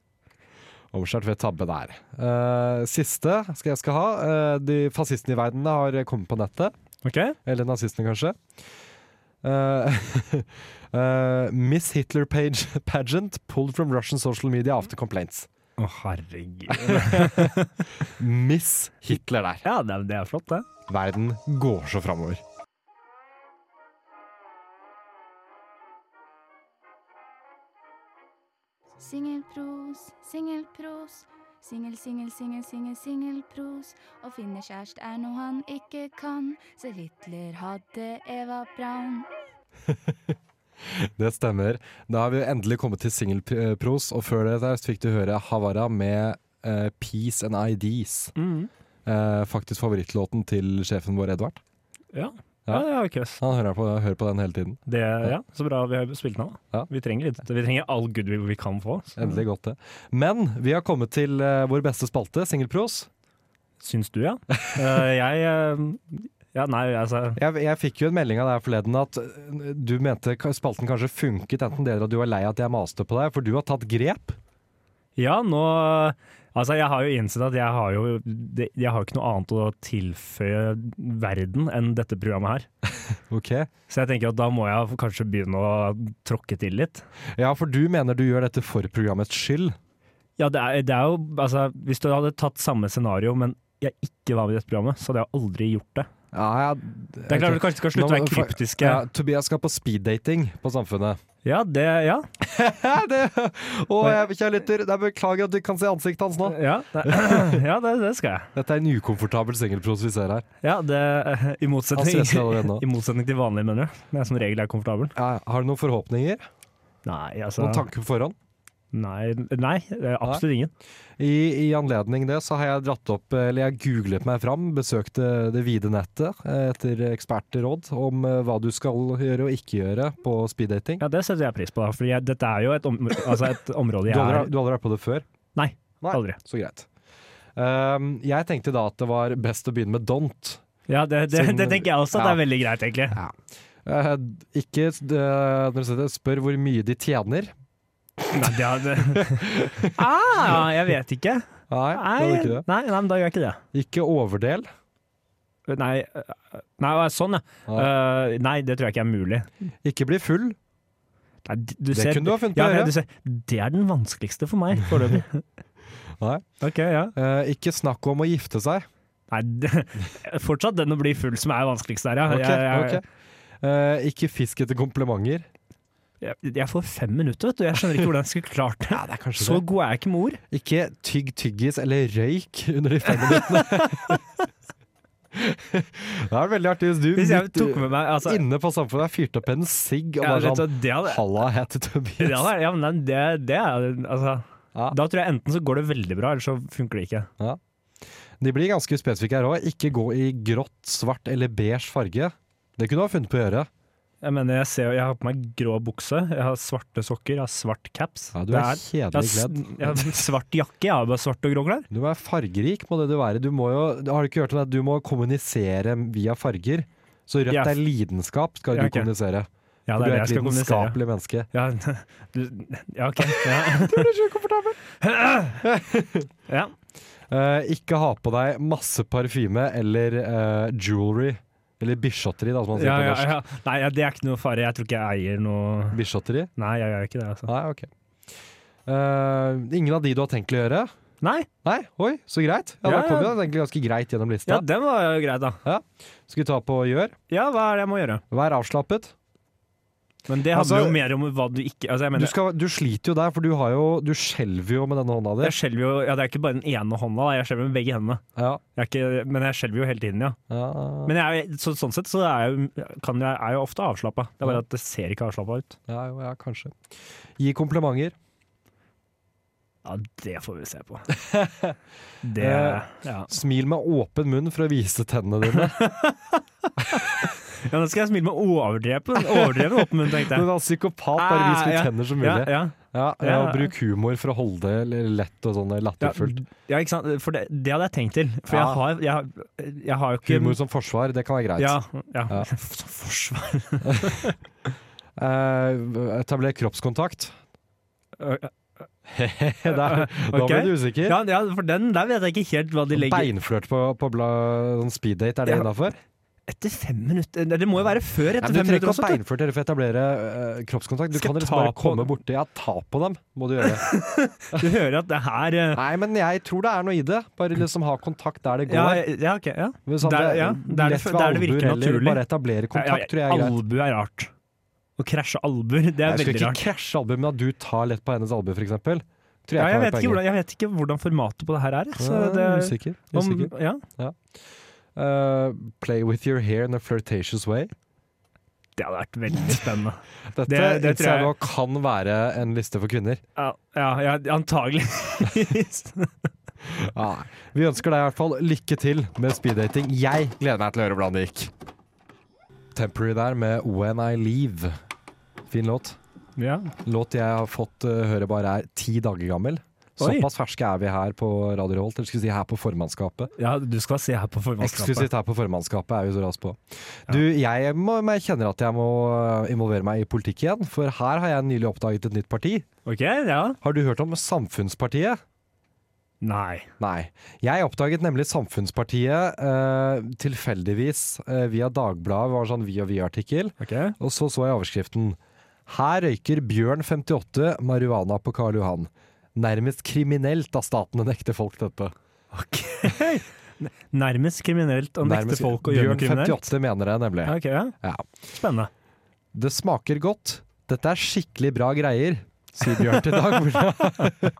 Speaker 4: Omskjært ved tabbe der. Eh, siste skal jeg skal ha. Eh, de fascistene i verden har kommet på nettet.
Speaker 5: Ok.
Speaker 4: Eller nazistene, kanskje. Eh, [laughs] eh, Miss Hitler page, pageant pulled from Russian social media after complaints.
Speaker 5: Å, herregud.
Speaker 4: [laughs] Miss Hitler der.
Speaker 5: Ja, det er, det er flott, det.
Speaker 4: Verden går så framover.
Speaker 9: Singelpros, singelpros. Singel, singel, singel, singel, singelpros. Å finne kjæreste er noe han ikke kan, så Hitler hadde Eva Braun.
Speaker 4: Det stemmer. Da har vi jo endelig kommet til singelpros, og før det der så fikk du høre Havara med eh, Peace and IDs. Eh, faktisk favorittlåten til sjefen vår, Edvard. Ja.
Speaker 5: Ja. Ja, det er køss.
Speaker 4: Han hører på, hører på den hele tiden.
Speaker 5: altså. Det, ja, så bra vi har spilt den av. da.
Speaker 4: Ja.
Speaker 5: Vi trenger litt. Vi trenger all goodwill vi kan få. så-
Speaker 4: Endelig godt, det. Men vi har kommet til eh, vår beste spalte, singelpros.
Speaker 5: Syns
Speaker 4: [laughs]
Speaker 5: du, ja. Eh, jeg eh, Ja, nei, altså
Speaker 4: Jeg, jeg fikk jo en melding av deg forleden at øh, du mente ka- spalten kanskje funket, enten det eller at du var lei at jeg maste på deg, for du har tatt grep.
Speaker 5: Ja, nå Altså, jeg har jo innsett at jeg har jo det- Jeg har jo ikke noe annet å tilføye verden enn dette programmet her.
Speaker 4: Ok.
Speaker 5: Så jeg tenker at da må jeg kanskje begynne å tråkke til litt.
Speaker 4: Ja, for du mener du gjør dette for programmets skyld.
Speaker 5: Ja, det er, det er jo Altså, hvis du hadde tatt samme scenario, men jeg ikke var med i dette programmet, så hadde jeg aldri gjort det.
Speaker 4: Ja, ja.
Speaker 5: Det er klart du kanskje skal slutte å være
Speaker 4: Ja,
Speaker 5: kryptiske.
Speaker 4: Tobias skal på speeddating på Samfunnet.
Speaker 5: Ja, det Ja.
Speaker 4: [laughs] Ja, det, å, jeg, kjære lytter, jeg beklager at du ikke kan se ansiktet hans nå.
Speaker 5: Ja, det, [clears throat] ja, det, det skal jeg.
Speaker 4: Dette er en ukomfortabel singelpros vi ser her.
Speaker 5: Ja, det, I motsetning,
Speaker 4: Han stresser allerede nå.
Speaker 5: [laughs] i motsetning til vanlig, mener du? Men jeg som regel er komfortabel?
Speaker 4: Ja, har du noen forhåpninger?
Speaker 5: Nei, altså
Speaker 4: Noen tanker på forhånd?
Speaker 5: Nei, nei eh, absolutt ingen.
Speaker 4: I, I anledning det så har jeg dratt opp, eller jeg googlet meg fram, besøkte det vide nettet eh, etter ekspertråd om eh, hva du skal gjøre og ikke gjøre på speeddating.
Speaker 5: Ja, Det setter jeg pris på, da, for dette er jo et, om, altså
Speaker 4: [laughs]
Speaker 5: et område
Speaker 4: Du
Speaker 5: jeg
Speaker 4: har aldri-
Speaker 5: er
Speaker 4: du har aldri vært på det før?
Speaker 5: Nei,
Speaker 4: Nei.
Speaker 5: aldri.
Speaker 4: Så greit. Ehm, jeg tenkte da at det var best å begynne med don't.
Speaker 5: Ja, Det, det,
Speaker 4: Siden-
Speaker 5: det tenker jeg også at det er
Speaker 4: ja.
Speaker 5: veldig greit, egentlig.
Speaker 4: Eh, ikke eh, når du sier det, spør hvor mye de tjener.
Speaker 5: Nei, det er, det.
Speaker 4: [laughs]
Speaker 5: Ah, jeg vet ikke.
Speaker 4: Nei, det var
Speaker 5: Nei, nei,
Speaker 4: ikke det.
Speaker 5: nei, men da gjør jeg ikke det.
Speaker 4: Ikke overdel.
Speaker 5: Nei, eh, nei sånn, ja. Eh, nei, det tror jeg ikke er mulig.
Speaker 4: Ikke bli full.
Speaker 5: Nei, d- du
Speaker 4: Det
Speaker 5: ser,
Speaker 4: kunne du ha funnet på
Speaker 5: ja,
Speaker 4: å
Speaker 5: men
Speaker 4: gjøre.
Speaker 5: du ser, Det er den vanskeligste for meg foreløpig.
Speaker 4: [laughs] Nei.
Speaker 5: Ok, ja.
Speaker 4: Eh, ikke snakk om å gifte seg.
Speaker 5: Nei, det, [laughs] fortsatt den å bli full som er vanskeligst der, ja.
Speaker 4: Ok,
Speaker 5: Jeg- jeg-
Speaker 4: ok. Eh, ikke fisk etter komplimenter.
Speaker 5: Jeg, jeg får fem minutter, vet du. Jeg skjønner ikke hvordan jeg skulle klart det.
Speaker 4: det er kanskje
Speaker 5: Så god er jeg ikke med ord.
Speaker 4: Ikke tygg tyggis eller røyk under de fem minuttene.
Speaker 5: [laughs]
Speaker 4: det er veldig artig hvis du
Speaker 5: Hvis jeg
Speaker 4: midt
Speaker 5: tok med meg altså,
Speaker 4: inne på samfunnet har fyrt opp en sigg og
Speaker 5: ja,
Speaker 4: bare
Speaker 5: vet du,
Speaker 4: sånn
Speaker 5: hva, det hadde,
Speaker 4: Halla, jeg heter Tobias.
Speaker 5: det hadde, ja, men nei, det, det er altså,
Speaker 4: Ja.
Speaker 5: Da tror jeg enten så går det veldig bra, eller så funker det ikke.
Speaker 4: De blir ganske spesifikke her òg. Ikke gå i grått, svart eller beige farge. Det kunne du ha funnet på å gjøre.
Speaker 5: Jeg mener, jeg, ser, jo- jeg har på meg grå bukse, jeg har svarte sokker, jeg har svart caps.
Speaker 4: Ja, du
Speaker 5: Det
Speaker 4: er
Speaker 5: jeg har,
Speaker 4: kjedelig kledd.
Speaker 5: s- jeg har svart jakke, jeg har bare svart og grå klær.
Speaker 4: Du er fargerik, må det du være. Du må jo, har du ikke hørt om det? Du må kommunisere via farger. Så rødt
Speaker 5: Ja.
Speaker 4: er lidenskap, skal du
Speaker 5: Ja, ok.
Speaker 4: kommunisere.
Speaker 5: Ja,
Speaker 4: For
Speaker 5: det
Speaker 4: du
Speaker 5: er det
Speaker 4: er
Speaker 5: jeg
Speaker 4: et
Speaker 5: skal kommunisere.
Speaker 4: lidenskapelig menneske.
Speaker 5: Ja, [laughs] du, ja OK. Ja.
Speaker 4: [laughs] Du blir så komfortabel!
Speaker 5: [laughs] Ja.
Speaker 4: Eh, ikke ha på deg masse parfyme eller eh, jewelry. Eller bishotteri, da, som man sier
Speaker 5: Ja,
Speaker 4: på
Speaker 5: ja,
Speaker 4: norsk.
Speaker 5: ja. Nei, ja, det er ikke noe fare. Jeg tror ikke jeg eier noe
Speaker 4: Bishotteri?
Speaker 5: Nei, jeg gjør ikke det. altså.
Speaker 4: Nei, ok. Eh, ingen av de du har tenkt å gjøre?
Speaker 5: Nei,
Speaker 4: Nei? Oi, så greit. Ja,
Speaker 5: Ja,
Speaker 4: Da kom vi
Speaker 5: ja.
Speaker 4: da egentlig ganske greit gjennom
Speaker 5: ja,
Speaker 4: lista.
Speaker 5: den var jo grei, da.
Speaker 4: Skal vi ta på gjør?
Speaker 5: Ja, hva er det jeg må gjøre?
Speaker 4: Vær avslappet.
Speaker 5: Men det handler
Speaker 4: Altså-
Speaker 5: jo mer om hva du ikke Altså,
Speaker 4: Du,
Speaker 5: jeg mener
Speaker 4: skal, du sliter jo der, for du, har jo, du skjelver jo med denne hånda di.
Speaker 5: Jeg skjelver jo Ja, det er ikke bare den ene hånda, da. jeg skjelver med begge hendene.
Speaker 4: Ja.
Speaker 5: Jeg er ikke, men jeg skjelver jo hele tiden, ja.
Speaker 4: Ja.
Speaker 5: Men jeg, er- så, sånn sett så er jeg, jo- kan jeg, er jeg jo ofte avslappa. Det er bare at det ser ikke avslappa ut.
Speaker 4: Ja, jo, ja, kanskje. Gi komplimenter.
Speaker 5: Ja, det får vi se
Speaker 4: [laughs]
Speaker 5: på. Det
Speaker 4: Eh,
Speaker 5: Ja,
Speaker 4: Smil med åpen munn for å vise tennene
Speaker 5: [laughs]
Speaker 4: dine.
Speaker 5: ja nå skal jeg smile med overdreven, overdreven åpen munn,
Speaker 4: [laughs]
Speaker 5: tenkte
Speaker 4: Du
Speaker 5: jeg.
Speaker 4: er en psykopat, bare vis
Speaker 5: Ah, ja.
Speaker 4: med tenner som
Speaker 5: Ja,
Speaker 4: mulig.
Speaker 5: ja.
Speaker 4: Ja, ja,
Speaker 5: Ja.
Speaker 4: og Bruk humor for å holde det l- lett og sånn
Speaker 5: Ja,
Speaker 4: latterfullt.
Speaker 5: ja, ikke sant? For det, det hadde jeg tenkt til. For
Speaker 4: Ja.
Speaker 5: jeg, har, jeg, har- jeg har jo ikke
Speaker 4: Humor som forsvar, det kan være greit.
Speaker 5: Ja. ja.
Speaker 4: Ja.
Speaker 5: [laughs] Forsvar
Speaker 4: [laughs] Eh, etabler kroppskontakt. Det er, [laughs] Da
Speaker 5: Ok.
Speaker 4: ble du usikker.
Speaker 5: ja, ja, for den der vet jeg ikke helt hva de legger
Speaker 4: Beinflørt på, på bla, sånn speeddate, er det
Speaker 5: Ja.
Speaker 4: innafor?
Speaker 5: Etter fem minutter Nei, Det må jo være før
Speaker 4: Ja, men
Speaker 5: etter
Speaker 4: du
Speaker 5: fem
Speaker 4: trenger ikke
Speaker 5: minutter
Speaker 4: å
Speaker 5: også. vet du.
Speaker 4: beinflørte for å etablere eh, kroppskontakt. Du
Speaker 5: Skal
Speaker 4: kan
Speaker 5: jeg
Speaker 4: liksom
Speaker 5: ta
Speaker 4: bare
Speaker 5: på-
Speaker 4: komme borti Ja, ta på dem, må du
Speaker 5: [laughs]
Speaker 4: gjøre.
Speaker 5: Du hører at det her eh,
Speaker 4: Nei, men jeg tror det er noe i det. Bare liksom ha kontakt der [laughs] det går.
Speaker 5: Ja, ja ok. Ja.
Speaker 4: Men sånn,
Speaker 5: Der-
Speaker 4: det,
Speaker 5: ja, der det-
Speaker 4: lett ved
Speaker 5: der det
Speaker 4: albuer
Speaker 5: virker
Speaker 4: heller,
Speaker 5: naturlig.
Speaker 4: Bare etablere kontakt, tror jeg er greit.
Speaker 5: Albu er rart. Å krasje albuer, det er
Speaker 4: Jeg skal
Speaker 5: veldig
Speaker 4: ikke
Speaker 5: rart.
Speaker 4: krasje albuen, men at du tar lett på hennes albue, f.eks. Tror jeg,
Speaker 5: Ja,
Speaker 4: kan være
Speaker 5: jeg, vet ikke
Speaker 4: poenget.
Speaker 5: hvordan, jeg vet ikke hvordan formatet på det her er. jeg. Så
Speaker 4: Ja,
Speaker 5: det,
Speaker 4: usikker.
Speaker 5: om,
Speaker 4: usikker.
Speaker 5: ja.
Speaker 4: Eh, play with your hair in a flirtatious way.
Speaker 5: det hadde vært veldig spennende.
Speaker 4: Dette
Speaker 5: Det- det
Speaker 4: innser
Speaker 5: tror
Speaker 4: jeg
Speaker 5: jeg-
Speaker 4: nå kan være en liste for kvinner.
Speaker 5: Ja, ja, ja antageligvis.
Speaker 4: [laughs] Ja. Vi ønsker deg i hvert fall lykke til med speeddating. Jeg gleder meg til å høre hvordan det gikk. Temporary der med When I Leave. Fin låt.
Speaker 5: ja.
Speaker 4: Låt jeg har fått eh, høre bare er ti dager gammel.
Speaker 5: Oi.
Speaker 4: Såpass ferske er vi her på Radio Revolt, eller skulle si her på formannskapet.
Speaker 5: ja, du skal se her på formannskapet.
Speaker 4: Eksklusivt her på formannskapet er vi så raskt på. Du, jeg, må, jeg kjenner at jeg må eh, involvere meg i politikk igjen, for her har jeg nylig oppdaget et nytt parti.
Speaker 5: Ok, ja.
Speaker 4: Har du hørt om Samfunnspartiet?
Speaker 5: Nei.
Speaker 4: Nei. Jeg oppdaget nemlig Samfunnspartiet eh, tilfeldigvis eh, via Dagbladet, var en sånn vi og vi-artikkel,
Speaker 5: Ok.
Speaker 4: og så så jeg overskriften. Her røyker Bjørn 58 marihuana på Karl Johan. Nærmest kriminelt da staten nekter folk dette.
Speaker 5: Nærmest kriminelt å nekte
Speaker 4: Nærmest-
Speaker 5: folk å gjøre noe
Speaker 4: Bjørn
Speaker 5: kriminelt.
Speaker 4: 58 mener det nemlig.
Speaker 5: Ja, ok, ja.
Speaker 4: Ja.
Speaker 5: Spennende.
Speaker 4: Det smaker godt. Dette er skikkelig bra greier, sier Bjørn til Dagbladet.
Speaker 5: Det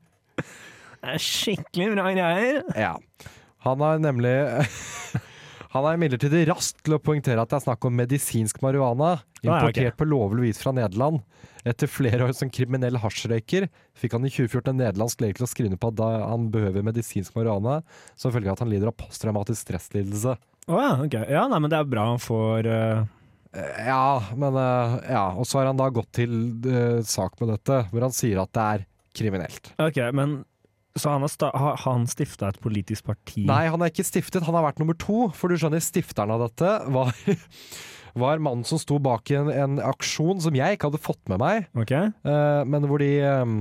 Speaker 5: er skikkelig bra greier.
Speaker 4: Ja. Han er nemlig [laughs] Han er imidlertid raskt til å poengtere at det er snakk om medisinsk marihuana,
Speaker 5: ja,
Speaker 4: importert på lovlig vis fra Nederland. Etter flere år som kriminell hasjrøyker fikk han i 2014 en nederlandsk lege til å skrive under på at da han behøver medisinsk marihuana som følge av at han lider av posttraumatisk stresslidelse.
Speaker 5: Å ja, ok. Ja, nei, men det er bra han får eh,
Speaker 4: Ja, men eh, Ja. Og så har han da gått til eh, sak med dette, hvor han sier at det er kriminelt.
Speaker 5: Ok, men så han har, sta har har han stifta et politisk parti?
Speaker 4: Nei, han er ikke stiftet, han har vært nummer to. For du skjønner, stifteren av dette var, [laughs] var mannen som sto bak en, en aksjon som jeg ikke hadde fått med meg,
Speaker 5: Ok?
Speaker 4: eh, men hvor de ehm,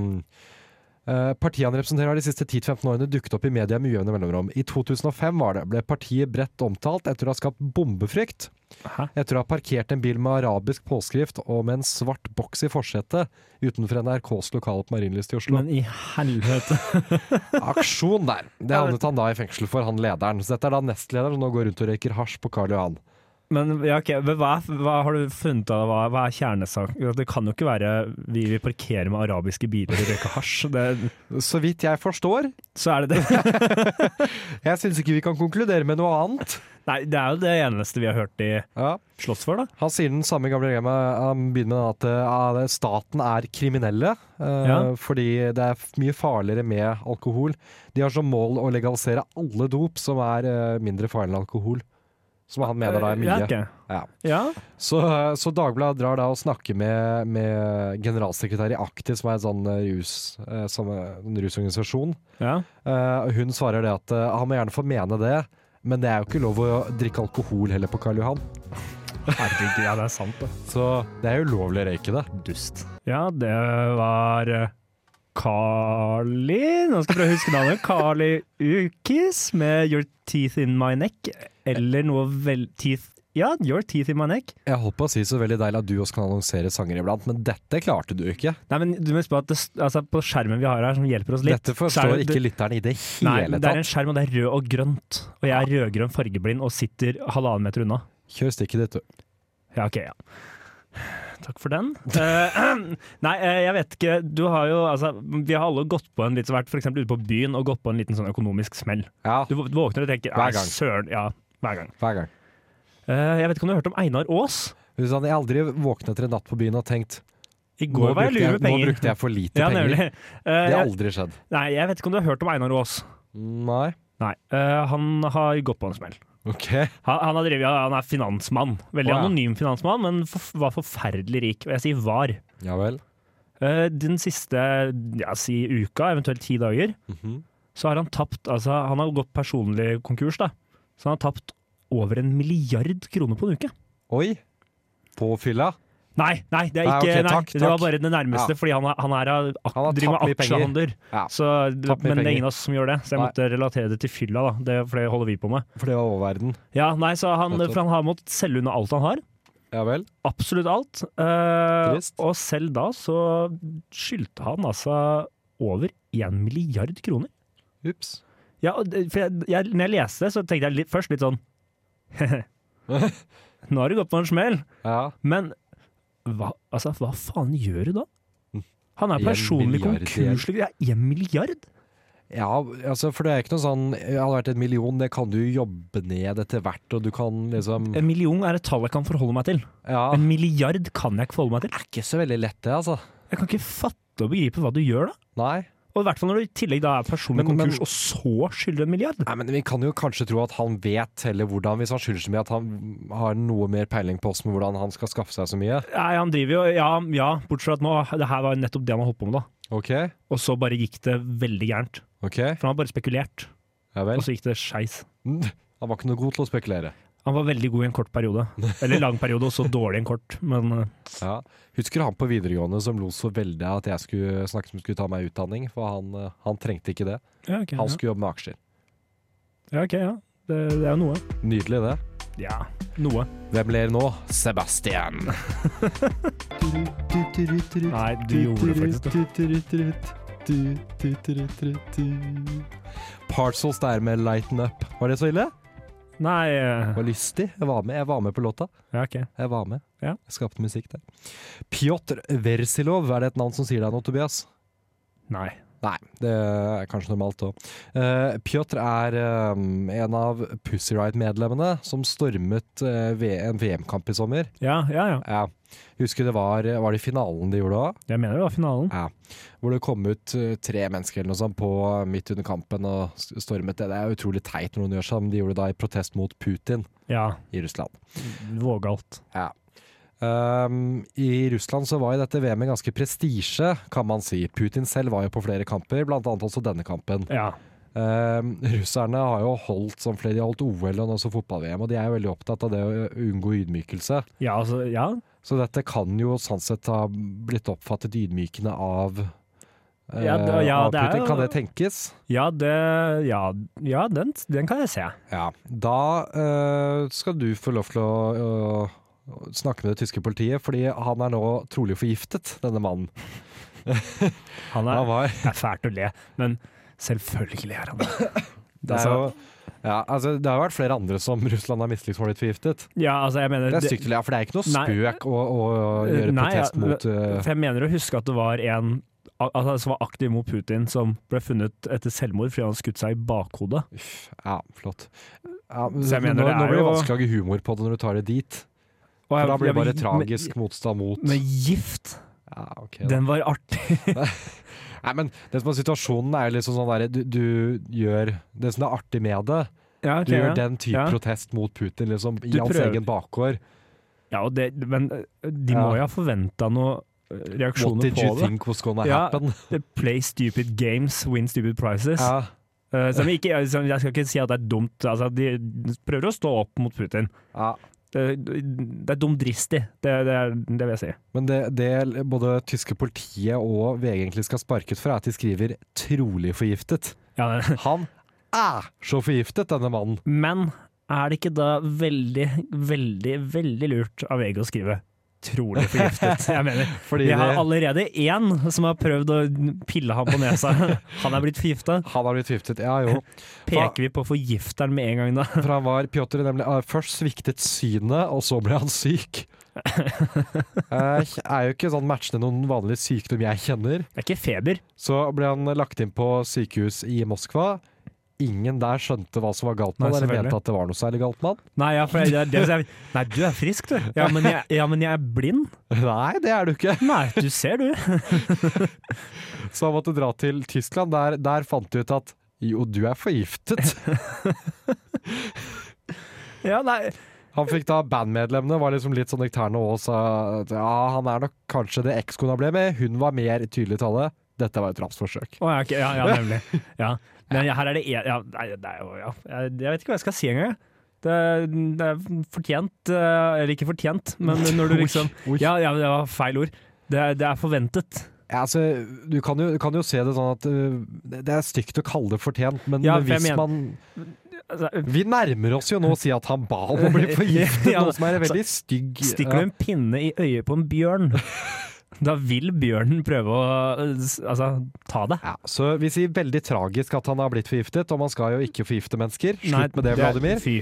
Speaker 4: eh, Partiet han representerer har de siste 10-15 årene dukket opp i media med ujevne mellomrom. I 2005 var det, ble partiet bredt omtalt etter å ha skapt bombefrykt.
Speaker 5: Hæ?
Speaker 4: Etter å ha parkert en bil med arabisk påskrift og med en svart boks i forsetet utenfor NRKs lokale på Marienlyst i Oslo.
Speaker 5: Men i helvete. [laughs]
Speaker 4: Aksjon der. Det
Speaker 5: Ja, men-
Speaker 4: havnet han da i fengsel for, han lederen. Så dette er da nestlederen som nå går rundt og røyker hasj på Karl Johan.
Speaker 5: Men ja, ok, men hva, er- hva har du funnet av hva, hva er kjernesaken? Det kan jo ikke være vi vil parkere med arabiske biler og røyke hasj. Det,
Speaker 4: Så vidt jeg forstår.
Speaker 5: så er det [laughs] det.
Speaker 4: Jeg syns ikke vi kan konkludere med noe annet.
Speaker 5: Nei, det er jo det eneste vi har hørt de
Speaker 4: Ja.
Speaker 5: slåss for, da.
Speaker 4: Han sier den samme gamle greia med Han begynner med at eh, ah, staten er kriminelle, eh,
Speaker 5: Ja.
Speaker 4: fordi det er f- mye farligere med alkohol. De har som mål å legalisere alle dop som er eh, mindre farlig enn alkohol. Som han mener da er mye.
Speaker 5: Ja, ok.
Speaker 4: Ja.
Speaker 5: ja.
Speaker 4: Så, eh, så Dagbladet drar da og snakker med, med generalsekretær i Aktiv, som er en sånn eh, rus, eh, som, eh, en rusorganisasjon.
Speaker 5: ja.
Speaker 4: Eh, og hun svarer det at eh, han må gjerne få mene det, men det er jo ikke lov å drikke alkohol heller på Karl Johan.
Speaker 5: Herregud, ja, det er sant, det.
Speaker 4: Så det er ulovlig å røyke det.
Speaker 5: Dust. Ja, det var eh, Carly Nå skal jeg prøve å huske
Speaker 4: [laughs]
Speaker 5: navnet. Carly Ukis med 'Your Teeth In My Neck'. Eller noe vel... Teeth Ja, 'Your Teeth In My Neck'.
Speaker 4: Jeg holdt på å si så veldig deilig at du også kan annonsere sanger iblant, men dette klarte du ikke.
Speaker 5: Nei, men du må huske på at det, altså, på skjermen vi har her, som hjelper oss litt
Speaker 4: Dette
Speaker 5: så er
Speaker 4: forstår
Speaker 5: det-
Speaker 4: ikke lytterne i det
Speaker 5: Nei,
Speaker 4: hele
Speaker 5: men det er en
Speaker 4: tatt.
Speaker 5: skjerm, og det er rød og grønt. Og jeg er rødgrønn fargeblind og sitter halvannen meter unna.
Speaker 4: Kjør stikket ditt, du.
Speaker 5: Ja, ok, ja. Takk for den. Eh, [clears throat] nei, eh, jeg vet ikke. Du har jo, altså, vi har alle gått på en litt, vært for eksempel ute på byen og gått på en liten sånn økonomisk smell.
Speaker 4: Ja,
Speaker 5: Du vå- våkner og tenker
Speaker 4: Hver
Speaker 5: «Nei,
Speaker 4: gang.
Speaker 5: søren, ja, hver gang.
Speaker 4: hver gang.
Speaker 5: Eh, jeg vet ikke om du har hørt om Einar Aas?
Speaker 4: Hun sa jeg har aldri våknet etter en natt på byen og tenkt
Speaker 5: I
Speaker 4: nå
Speaker 5: går var
Speaker 4: brukte
Speaker 5: jeg lur
Speaker 4: jeg,
Speaker 5: med
Speaker 4: nå
Speaker 5: penger.
Speaker 4: brukte jeg for lite
Speaker 5: ja,
Speaker 4: penger.
Speaker 5: nemlig. Eh,
Speaker 4: Det har aldri skjedd.
Speaker 5: nei, jeg vet ikke om du har hørt om Einar Aas?
Speaker 4: Nei.
Speaker 5: Nei, eh, han har gått på en smell.
Speaker 4: Ok.
Speaker 5: Han, han, har drevet, ja, han er finansmann. Veldig
Speaker 4: Å, ja.
Speaker 5: anonym finansmann, men forf- var forferdelig rik. Og jeg sier var.
Speaker 4: Ja vel.
Speaker 5: Eh, Den siste ja, si uka, eventuelt ti dager,
Speaker 4: Mhm.
Speaker 5: så har han tapt altså, Han har gått personlig konkurs, da. Så han har tapt over en milliard kroner på en uke.
Speaker 4: Oi. På fylla?
Speaker 5: Nei, nei, det er
Speaker 4: Nei,
Speaker 5: ikke,
Speaker 4: ok,
Speaker 5: nei,
Speaker 4: takk,
Speaker 5: det var
Speaker 4: takk.
Speaker 5: bare det nærmeste,
Speaker 4: Ja.
Speaker 5: fordi han, er- han er, av ak-
Speaker 4: Han har
Speaker 5: driver
Speaker 4: tapt
Speaker 5: med
Speaker 4: mye penger.
Speaker 5: aksjehandler.
Speaker 4: Ja.
Speaker 5: Så,
Speaker 4: Tapt mye
Speaker 5: men det er
Speaker 4: penger.
Speaker 5: ingen av oss som gjør det, så jeg
Speaker 4: Nei.
Speaker 5: måtte relatere det til fylla, da. Det, for det holder vi på med.
Speaker 4: For det var oververden.
Speaker 5: Ja, nei, så han,
Speaker 4: Nettopp.
Speaker 5: for han har måttet selge unna alt han har.
Speaker 4: Ja vel.
Speaker 5: absolutt alt. Eh,
Speaker 4: Trist.
Speaker 5: og selv da så skyldte han altså over én milliard kroner.
Speaker 4: Ups.
Speaker 5: Ja, og det- for jeg, jeg, når jeg leste det, så tenkte jeg litt, først litt sånn [laughs] Nå har du gått på en smell,
Speaker 4: Ja.
Speaker 5: men hva, altså, hva faen gjør du da? Han er
Speaker 4: En
Speaker 5: personlig
Speaker 4: milliard
Speaker 5: konkurs. Ja, én milliard?
Speaker 4: Ja, altså, for det er ikke noe sånn Jeg hadde vært en million, det kan du jobbe ned etter hvert, og du kan liksom
Speaker 5: En million er et tall jeg kan forholde meg til.
Speaker 4: Ja.
Speaker 5: En milliard kan jeg ikke forholde meg til.
Speaker 4: er ikke så veldig lett, det, altså.
Speaker 5: Jeg kan ikke fatte og begripe hva du gjør da.
Speaker 4: Nei.
Speaker 5: Og i hvert fall når du i tillegg da er personlig
Speaker 4: Men- men-
Speaker 5: konkurs, og så skylder en milliard.
Speaker 4: Nei, men Vi kan jo kanskje tro at han vet heller hvordan, hvis han skylder så mye, at han har noe mer peiling på oss med hvordan han skal skaffe seg så mye.
Speaker 5: Nei, han driver jo Ja, ja bortsett fra at nå Det her var jo nettopp det han holdt på med, da.
Speaker 4: Ok,
Speaker 5: Og så bare gikk det veldig gærent.
Speaker 4: ok,
Speaker 5: For han har bare spekulert,
Speaker 4: ja
Speaker 5: og
Speaker 4: vel.
Speaker 5: så gikk det skeis.
Speaker 4: Mm, Han var ikke noe god til å spekulere.
Speaker 5: Han var veldig god i en kort periode. Eller lang periode, og så dårlig i en kort. Men eh,
Speaker 4: Ja. Husker du han på videregående som lo så veldig av at jeg skulle snakke om skulle ta meg utdanning? For han, eh, han trengte ikke det.
Speaker 5: ja, ok.
Speaker 4: Han
Speaker 5: Ja,
Speaker 4: skulle jobbe med aksjer.
Speaker 5: ja, ok, ja. Det, det er jo noe.
Speaker 4: Nydelig, det.
Speaker 5: Ja, noe.
Speaker 4: Hvem ler nå? Sebastian.
Speaker 5: Nei, du gjorde det faktisk. da.
Speaker 4: Parcels der med Lighten Up. Var det så ille?
Speaker 5: Nei eh,
Speaker 4: Det var lystig. Jeg var med, jeg var med på låta.
Speaker 5: Ja, OK.
Speaker 4: Jeg var med.
Speaker 5: Ja.
Speaker 4: Jeg skapte musikk der. Pjotr Versilov, er det et navn som sier deg noe, Tobias?
Speaker 5: Nei.
Speaker 4: Nei, det er kanskje normalt òg. Pjotr er eh, en av Pussy Riot-medlemmene som stormet eh, V- en VM-kamp i sommer.
Speaker 5: Ja, ja, ja.
Speaker 4: Ja. Husker det var, var det i finalen de gjorde òg?
Speaker 5: Jeg mener det var finalen.
Speaker 4: Ja. Hvor det kom ut eh, tre mennesker eller noe sånt på eh, midt under kampen og s- stormet det. Det er utrolig teit når noen gjør sånn, men de gjorde det da i protest mot Putin
Speaker 5: Ja.
Speaker 4: i Russland.
Speaker 5: Vågalt.
Speaker 4: Ja. Ehm, I Russland så var jo dette VM-et ganske prestisje, kan man si. Putin selv var jo på flere kamper, blant annet også denne kampen.
Speaker 5: Ja.
Speaker 4: Ehm, russerne har jo holdt som flere, de har holdt OL og nå også fotball-VM, og de er jo veldig opptatt av det å unngå ydmykelse.
Speaker 5: Ja, altså, ja.
Speaker 4: Så dette kan jo sånn sett ha blitt oppfattet ydmykende av, eh,
Speaker 5: Ja, det- ja,
Speaker 4: av
Speaker 5: det er
Speaker 4: Putin.
Speaker 5: jo-
Speaker 4: Kan det tenkes?
Speaker 5: Ja, det Ja, ja den, den kan jeg se.
Speaker 4: Ja. Da eh, skal du få lov til å, å snakke med det tyske politiet, fordi han er nå trolig forgiftet, denne mannen.
Speaker 5: Han er
Speaker 4: Han var
Speaker 5: Det er fælt å le, men selvfølgelig er han det.
Speaker 4: [coughs] Det er
Speaker 5: Altså,
Speaker 4: jo, Ja, altså, det har jo vært flere andre som [laughs] Russland har mislikt som har blitt forgiftet.
Speaker 5: Ja, altså, jeg mener
Speaker 4: Det er stygt å le av, for det er ikke noe
Speaker 5: Nei.
Speaker 4: spøk å, å gjøre
Speaker 5: Nei, ja,
Speaker 4: protest mot eh,
Speaker 5: For jeg mener å huske at det var en al- altså, som var aktiv mot Putin, som ble funnet etter selvmord fordi han hadde skutt seg i bakhodet.
Speaker 4: Uff, ja, flott. Ja, men
Speaker 5: Så jeg mener
Speaker 4: nå,
Speaker 5: det
Speaker 4: nå
Speaker 5: er
Speaker 4: blir det
Speaker 5: jo-
Speaker 4: vanskelig å lage humor på det når du tar det dit. For da blir det bare tragisk motstand mot
Speaker 5: Men gift,
Speaker 4: ja, ok, da.
Speaker 5: den var
Speaker 4: [laughs]
Speaker 5: artig.
Speaker 4: Nei, men det som er situasjonen, er jo liksom sånn derre du, du gjør Det som er artig med det,
Speaker 5: Ja, ok,
Speaker 4: du gjør
Speaker 5: ja.
Speaker 4: den type
Speaker 5: Ja.
Speaker 4: protest mot Putin, liksom, i
Speaker 5: Du
Speaker 4: hans
Speaker 5: prøver.
Speaker 4: egen bakgård.
Speaker 5: Ja, og det, men eh, de
Speaker 4: Ja.
Speaker 5: må jo ha forventa noen
Speaker 4: What
Speaker 5: reaksjoner
Speaker 4: did you
Speaker 5: på det.
Speaker 4: think was gonna
Speaker 5: Ja. [laughs]
Speaker 4: happen?
Speaker 5: They Play stupid games, win stupid prizes.
Speaker 4: Ja.
Speaker 5: Eh, som ikke, som, jeg skal ikke si at det er dumt. Altså, de prøver å stå opp mot Putin.
Speaker 4: Ja.
Speaker 5: Det, det er dumdristig, det, det, er- det vil jeg si.
Speaker 4: Men det, det både tyske politiet og VG egentlig skal sparkes for, er at de skriver 'trolig forgiftet'.
Speaker 5: Ja, det,
Speaker 4: Han er så forgiftet, denne mannen!
Speaker 5: [laughs] Men er det ikke da veldig, veldig, veldig lurt av VG å skrive trolig forgiftet? [laughs] Jeg mener,
Speaker 4: Fordi
Speaker 5: vi har
Speaker 4: det-
Speaker 5: allerede én som har prøvd å pille ham på [laughs] nesa. Han er blitt forgifta.
Speaker 4: han har blitt forgiftet. Ja jo.
Speaker 5: Peker vi på forgifteren med en gang da?
Speaker 4: [laughs] For han var Piotr nemlig ah, først sviktet synet, og så ble han syk.
Speaker 5: [laughs]
Speaker 4: Eh, er jo ikke sånn matchende noen vanlig sykdom jeg kjenner.
Speaker 5: Det er ikke feber.
Speaker 4: Så ble han lagt inn på sykehus i Moskva. Ingen der skjønte hva som var galt med
Speaker 5: Nei,
Speaker 4: han, eller
Speaker 5: selvfølgelig.
Speaker 4: mente at det var noe særlig galt med han. [laughs]
Speaker 5: Nei, ja, for det er det som jeg, [laughs] nei du er frisk, du. Ja, men jeg, ja, men jeg er blind.
Speaker 4: Nei, det er du ikke!
Speaker 5: Nei, du ser, du.
Speaker 4: Så han måtte dra til Tyskland. Der, der fant de ut at jo, du er
Speaker 5: [laughs]
Speaker 4: forgiftet.
Speaker 5: Ja, nei.
Speaker 4: Han fikk da bandmedlemmene, var liksom litt sånn eksterne og sa at ja, han er nok kanskje det ekskona ble med. Hun var mer tydelig i tale. Dette var et drapsforsøk.
Speaker 5: Å, ja, ok, ja,
Speaker 4: [laughs]
Speaker 5: ja, nemlig. Ja. Men her er det en ja, nei, det er jo, ja. Jeg jeg vet ikke hva jeg skal si engang. jeg. Det, er- det er fortjent, eh, eller ikke fortjent, men når du liksom
Speaker 4: Oi.
Speaker 5: Ja, ja det var feil ord. Det, er- det er forventet.
Speaker 4: Ja, altså, du kan jo, kan jo se det sånn at øh, det- det er stygt å kalle det fortjent, men
Speaker 5: Ja, for jeg
Speaker 4: hvis
Speaker 5: mener-
Speaker 4: man
Speaker 5: Altså,
Speaker 4: Vi nærmer oss jo nå å si at han ba om å bli forgiftet,
Speaker 5: [laughs] Ja,
Speaker 4: noe
Speaker 5: altså,
Speaker 4: som er en veldig stygg
Speaker 5: Stikker du en pinne i øyet på en
Speaker 4: [laughs]
Speaker 5: bjørn, da vil bjørnen prøve å eh, s- altså, ta deg.
Speaker 4: ja, Så vi sier veldig tragisk at han har blitt forgiftet, og man skal jo ikke forgifte mennesker. Slutt
Speaker 5: Nei,
Speaker 4: med det, Vladimir.
Speaker 5: Fy.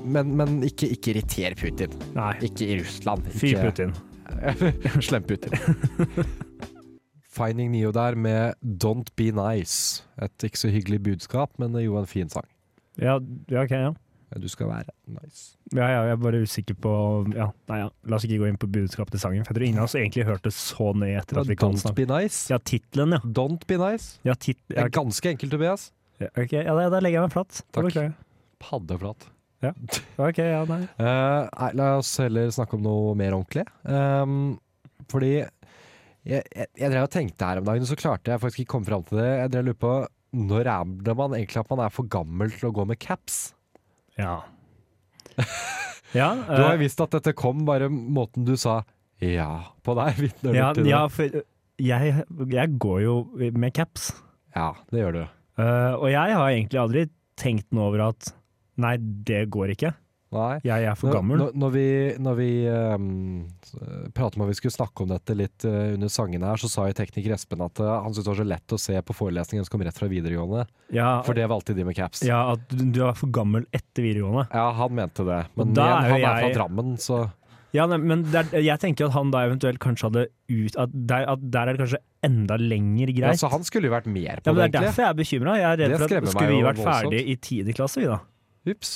Speaker 4: Men, men ikke, ikke irriter Putin.
Speaker 5: Nei.
Speaker 4: Ikke i Russland.
Speaker 5: Fy
Speaker 4: Ikke-
Speaker 5: Putin.
Speaker 4: [laughs] Slem
Speaker 5: [laughs]
Speaker 4: Putin. Finding Neo der med 'Don't Be Nice'. Et ikke så hyggelig budskap, men jo en fin sang.
Speaker 5: Ja, ja, ok, ja.
Speaker 4: Du skal være nice.
Speaker 5: Ja, ja, jeg er bare usikker på ja, Nei, ja. La oss ikke gå inn på budskapet til sangen. For jeg tror ingen av oss egentlig hørte så nøye etter at vi kan
Speaker 4: Don't
Speaker 5: snakke.
Speaker 4: be nice.
Speaker 5: Ja, tittelen, ja.
Speaker 4: Don't be nice.
Speaker 5: Ja, tit
Speaker 4: Det
Speaker 5: ja,
Speaker 4: er ganske enkelt, Tobias.
Speaker 5: ja, ok, ja, da- da legger jeg meg flat. Da
Speaker 4: Takk.
Speaker 5: beklager jeg.
Speaker 4: Paddeflat.
Speaker 5: Ok, ja, nei.
Speaker 4: Eh, nei, la oss heller snakke om noe mer ordentlig. Ehm, fordi jeg, jeg, jeg drev og tenkte her om dagen, og så klarte jeg faktisk ikke komme fram til det. Jeg drev og lurte på når er det man egentlig at man er for gammel til å gå med caps? [laughs]
Speaker 5: Ja. ja,
Speaker 4: Du har
Speaker 5: eh,
Speaker 4: jo visst at dette kom, bare måten du sa ja på der, [laughs] vitner
Speaker 5: ja,
Speaker 4: nok til det.
Speaker 5: ja, for eh, jeg, jeg går jo med caps.
Speaker 4: Ja, det gjør du.
Speaker 5: Eh, og jeg har egentlig aldri tenkt noe over at nei, det går ikke.
Speaker 4: Nei.
Speaker 5: Jeg er for
Speaker 4: Når-
Speaker 5: gammel.
Speaker 4: Når, når vi, når vi ehm, s- eh, pratet om at vi skulle snakke om dette litt eh, under sangene her, så sa jo tekniker Espen at eh, han syntes det var så lett å se på forelesningen som kom rett fra videregående.
Speaker 5: Ja,
Speaker 4: For det var alltid de med caps.
Speaker 5: ja, at du du er for gammel etter videregående.
Speaker 4: Ja, han mente det. Men
Speaker 5: Og da
Speaker 4: igjen,
Speaker 5: er jo
Speaker 4: han er fra
Speaker 5: jeg-
Speaker 4: Drammen, så
Speaker 5: Ja, nei, men der, jeg tenker at han da eventuelt kanskje hadde ut At der, at der er det kanskje enda lenger
Speaker 4: ja,
Speaker 5: greit.
Speaker 4: Så han skulle jo vært mer
Speaker 5: Ja,
Speaker 4: på
Speaker 5: men Det
Speaker 4: det,
Speaker 5: er derfor
Speaker 4: egentlig.
Speaker 5: jeg er bekymra. Jeg er redd
Speaker 4: Det
Speaker 5: for
Speaker 4: skremmer
Speaker 5: at
Speaker 4: meg
Speaker 5: skulle vi
Speaker 4: jo
Speaker 5: vært
Speaker 4: voldsomt.
Speaker 5: ferdig i tiende klasse, vi da.
Speaker 4: Ups.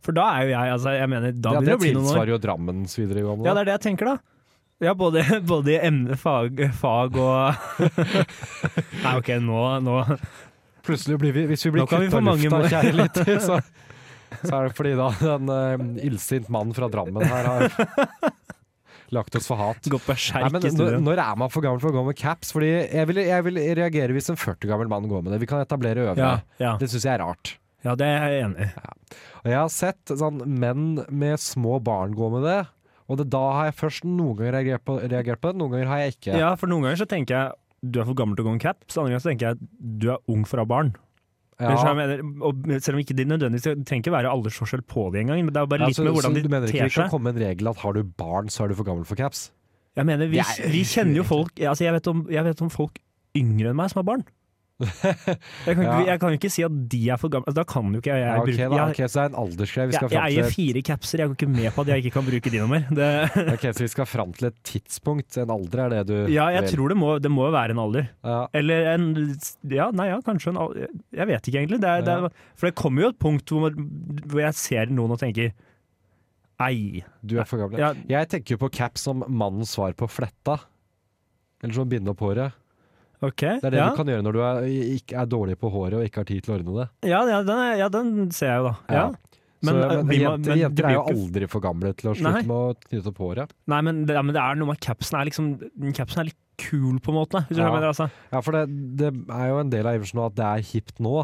Speaker 5: For da er jo jeg altså, jeg mener, da
Speaker 4: Ja,
Speaker 5: begynner
Speaker 4: det
Speaker 5: det å bli noen år.
Speaker 4: tilsvarer jo Drammens videregående.
Speaker 5: Ja, det er det jeg tenker, da. Ja, både, både i emne, fag, fag
Speaker 4: [laughs]
Speaker 5: og Nei, OK, nå, nå
Speaker 4: Plutselig blir vi, hvis vi blir
Speaker 5: Nå kan vi
Speaker 4: kutt
Speaker 5: få
Speaker 4: av
Speaker 5: mange
Speaker 4: lufta,
Speaker 5: mål.
Speaker 4: kjære lytter, [laughs] så, så er det fordi da en eh, illsint mann fra Drammen her har
Speaker 5: [laughs]
Speaker 4: lagt oss for hat.
Speaker 5: Gå
Speaker 4: Nei, men
Speaker 5: berserk i
Speaker 4: når,
Speaker 5: studio.
Speaker 4: når er man for gammel for å gå med caps? Fordi jeg vil, jeg vil reagere hvis en 40 gammel mann går med det. Vi kan etablere øvre.
Speaker 5: Ja, ja,
Speaker 4: Det syns jeg er rart.
Speaker 5: ja, det er jeg enig i.
Speaker 4: Og jeg har sett sånn, menn med små barn gå med det. Og det, da har jeg først noen ganger reagert på, reagert på det, noen ganger har jeg ikke.
Speaker 5: Ja, for noen ganger så tenker jeg du er for gammel til å gå med caps, andre ganger så tenker jeg du er ung fra barn.
Speaker 4: Ja.
Speaker 5: Men så jeg mener, og selv om ikke det nødvendigvis det trenger ikke være aldersforskjell på det engang, men det er jo bare
Speaker 4: Ja,
Speaker 5: litt
Speaker 4: så,
Speaker 5: med
Speaker 4: så
Speaker 5: hvordan
Speaker 4: du
Speaker 5: de
Speaker 4: mener ikke
Speaker 5: ter
Speaker 4: det kan
Speaker 5: seg.
Speaker 4: komme en regel at har du barn, så er du for gammel for caps?
Speaker 5: Jeg mener, vi,
Speaker 4: Det er- [laughs]
Speaker 5: vi kjenner jo folk altså jeg, vet om, jeg vet om folk yngre enn meg som har barn. Jeg kan, ikke,
Speaker 4: Ja.
Speaker 5: jeg kan jo ikke si at de er for gamle. Altså, da kan jo ikke jeg,
Speaker 4: Ja,
Speaker 5: jeg
Speaker 4: ok,
Speaker 5: bruke
Speaker 4: da,
Speaker 5: jeg-
Speaker 4: ok, så det er en aldersgreie. Vi skal
Speaker 5: Jeg, jeg
Speaker 4: fram
Speaker 5: eier
Speaker 4: til,
Speaker 5: fire capser, jeg går ikke med på at jeg ikke kan bruke de nummer. Det,
Speaker 4: [laughs]
Speaker 5: [laughs]
Speaker 4: ok, så vi skal fram til et tidspunkt. En alder er det du
Speaker 5: ja, jeg
Speaker 4: vil.
Speaker 5: tror det må, det må jo være en alder.
Speaker 4: Ja.
Speaker 5: Eller en Ja, nei ja, kanskje en alder Jeg vet ikke egentlig. Det er, det er, for det kommer jo et punkt hvor, hvor jeg ser noen og tenker Ei.
Speaker 4: Du er for gammel.
Speaker 5: Ja.
Speaker 4: Jeg tenker jo på cap som mannens svar på fletta. Eller som å binde opp håret.
Speaker 5: OK.
Speaker 4: Det er det
Speaker 5: ja.
Speaker 4: du kan gjøre når du er, ikke er dårlig på håret og ikke har tid til å ordne det.
Speaker 5: Ja, ja, den, er- ja, den ser jeg jo, da. Ja.
Speaker 4: Ja.
Speaker 5: Men,
Speaker 4: så,
Speaker 5: eh,
Speaker 4: men,
Speaker 5: blir man-
Speaker 4: jenter,
Speaker 5: men
Speaker 4: jenter er
Speaker 5: du
Speaker 4: jo
Speaker 5: blir jo
Speaker 4: aldri for gamle til å slutte
Speaker 5: Nei.
Speaker 4: med å knytte opp håret.
Speaker 5: Nei, men det, ja, men det er noe med capsen er liksom den Capsen er litt kul, på en måte. Hvis du
Speaker 4: Ja.
Speaker 5: skjønner hva jeg mener, altså.
Speaker 4: Ja, for det, det er jo en del av Iversen nå at det er hipt nå.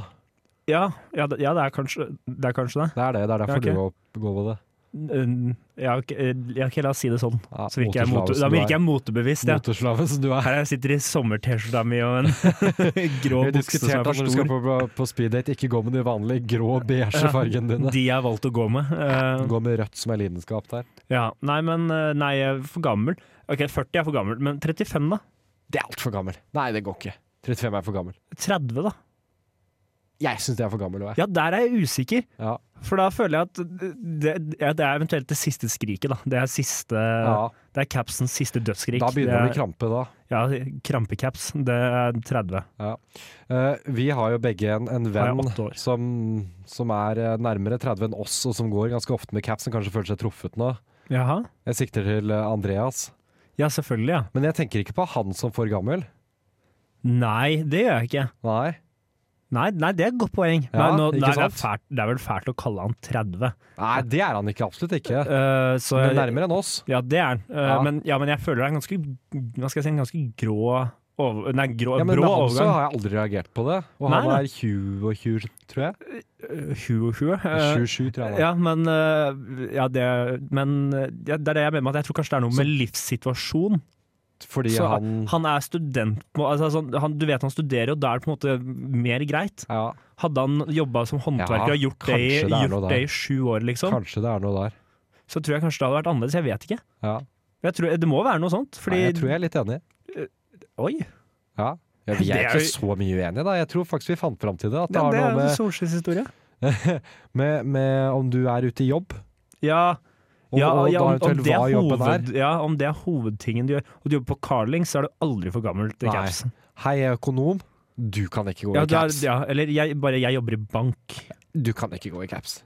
Speaker 5: Ja, ja, det, ja det, er kanskje, det er kanskje det.
Speaker 4: Det er det, det er derfor
Speaker 5: Ja, ok.
Speaker 4: du går- går på det.
Speaker 5: Uh, ja, ok, eh, ja, ok, la oss si det sånn.
Speaker 4: Ja,
Speaker 5: Så virker jeg mote,
Speaker 4: moteslaven
Speaker 5: da
Speaker 4: du
Speaker 5: virker
Speaker 4: er.
Speaker 5: jeg motebevisst. Ja.
Speaker 4: Motorslaven som du
Speaker 5: [laughs]
Speaker 4: er.
Speaker 5: Her jeg sitter i sommer-T-skjorta mi
Speaker 4: [laughs]
Speaker 5: og en grå
Speaker 4: Vi har
Speaker 5: bukse som
Speaker 4: diskutert
Speaker 5: er
Speaker 4: at
Speaker 5: for
Speaker 4: når du skal
Speaker 5: stor.
Speaker 4: på, på, på speeddate, ikke gå med de vanlige grå beige fargene dine.
Speaker 5: [laughs] De jeg har valgt å gå med. Eh,
Speaker 4: Gå med rødt som er lidenskap der.
Speaker 5: ja. Nei, men eh, Nei, jeg er for gammel. OK, 40 er for gammel, men 35, da?
Speaker 4: Det er altfor gammel. Nei, det går ikke. 35 er for gammel.
Speaker 5: 30, da?
Speaker 4: Jeg syns det er for gammel å være.
Speaker 5: Ja, der er jeg usikker.
Speaker 4: Ja.
Speaker 5: For da føler jeg at det, ja, det er eventuelt det siste skriket, da. Det er, siste,
Speaker 4: Ja.
Speaker 5: det er capsens siste dødsskrik.
Speaker 4: Da begynner det å
Speaker 5: det er,
Speaker 4: krampe, da.
Speaker 5: Ja, krampecaps. Det er 30.
Speaker 4: Eh, vi har jo begge en, en
Speaker 5: Da er jeg
Speaker 4: venn
Speaker 5: åtte år.
Speaker 4: som, som er eh, nærmere 30 enn oss, og som går ganske ofte med caps, som kanskje føler seg truffet nå.
Speaker 5: Jaha?
Speaker 4: Jeg sikter til eh, Andreas.
Speaker 5: Ja, selvfølgelig, ja.
Speaker 4: Men jeg tenker ikke på han som for gammel.
Speaker 5: Nei, det gjør jeg ikke.
Speaker 4: Nei.
Speaker 5: Nei, nei det er et godt poeng.
Speaker 4: Ja,
Speaker 5: nei, nå,
Speaker 4: ikke
Speaker 5: nei, det,
Speaker 4: sant?
Speaker 5: er fælt, det er vel fælt å kalle han
Speaker 4: [laughs]
Speaker 5: 30.
Speaker 4: Nei, det er han ikke. Absolutt ikke.
Speaker 5: Eh, så
Speaker 4: Men
Speaker 5: jeg-
Speaker 4: nærmere enn oss.
Speaker 5: Ja, det er han. Eh,
Speaker 4: Ja.
Speaker 5: Men, ja, men jeg føler det er en ganske, hva skal jeg si, en ganske grå over, Nei, grå,
Speaker 4: Ja, men med
Speaker 5: brå
Speaker 4: han så
Speaker 5: overgang.
Speaker 4: har jeg aldri reagert på det. Og han
Speaker 5: Nei,
Speaker 4: er 27, tror jeg.
Speaker 5: Eh, Hue og hue. Eh,
Speaker 4: 27, tror jeg. han er.
Speaker 5: Ja, men, øh, ja, det, men øh, ja, det er det jeg mener med at jeg tror kanskje det er noe med livssituasjon.
Speaker 4: Fordi
Speaker 5: Så
Speaker 4: han
Speaker 5: Han er student, må- altså, sånn, han, du vet han studerer, og da er det på en måte mer greit.
Speaker 4: Ja,
Speaker 5: Hadde han jobba som håndverker
Speaker 4: Ja,
Speaker 5: og gjort det, i,
Speaker 4: kanskje det er noe
Speaker 5: gjort
Speaker 4: der.
Speaker 5: det i sju år, liksom,
Speaker 4: kanskje det er noe der.
Speaker 5: så tror jeg kanskje det hadde vært annerledes. Jeg vet ikke.
Speaker 4: Ja.
Speaker 5: Men Jeg tror, det må være noe sånt. Fordi,
Speaker 4: Nei, jeg tror jeg er litt enig.
Speaker 5: Oi!
Speaker 4: Ja. Ja, vi
Speaker 5: Det
Speaker 4: er
Speaker 5: er
Speaker 4: ikke
Speaker 5: jo-
Speaker 4: så mye uenige, da. Jeg tror faktisk vi fant fram til det. At det
Speaker 5: Ja,
Speaker 4: har
Speaker 5: det
Speaker 4: noe
Speaker 5: er altså
Speaker 4: med,
Speaker 5: solskinnshistorie.
Speaker 4: med, med om du er ute i jobb,
Speaker 5: Ja,
Speaker 4: og,
Speaker 5: ja,
Speaker 4: og
Speaker 5: ja,
Speaker 4: da
Speaker 5: om, om,
Speaker 4: eventuelt
Speaker 5: det
Speaker 4: hva
Speaker 5: er
Speaker 4: jobben
Speaker 5: hoved, ja, om det er hovedtingen du gjør. Og du jobber på Carling, så er du aldri for gammel til
Speaker 4: Nei.
Speaker 5: capsen.
Speaker 4: er. Hei, jeg er økonom. Du kan ikke gå
Speaker 5: Ja,
Speaker 4: i
Speaker 5: du er,
Speaker 4: caps.
Speaker 5: ja, eller jeg, bare jeg jobber i bank.
Speaker 4: Du kan ikke gå i caps.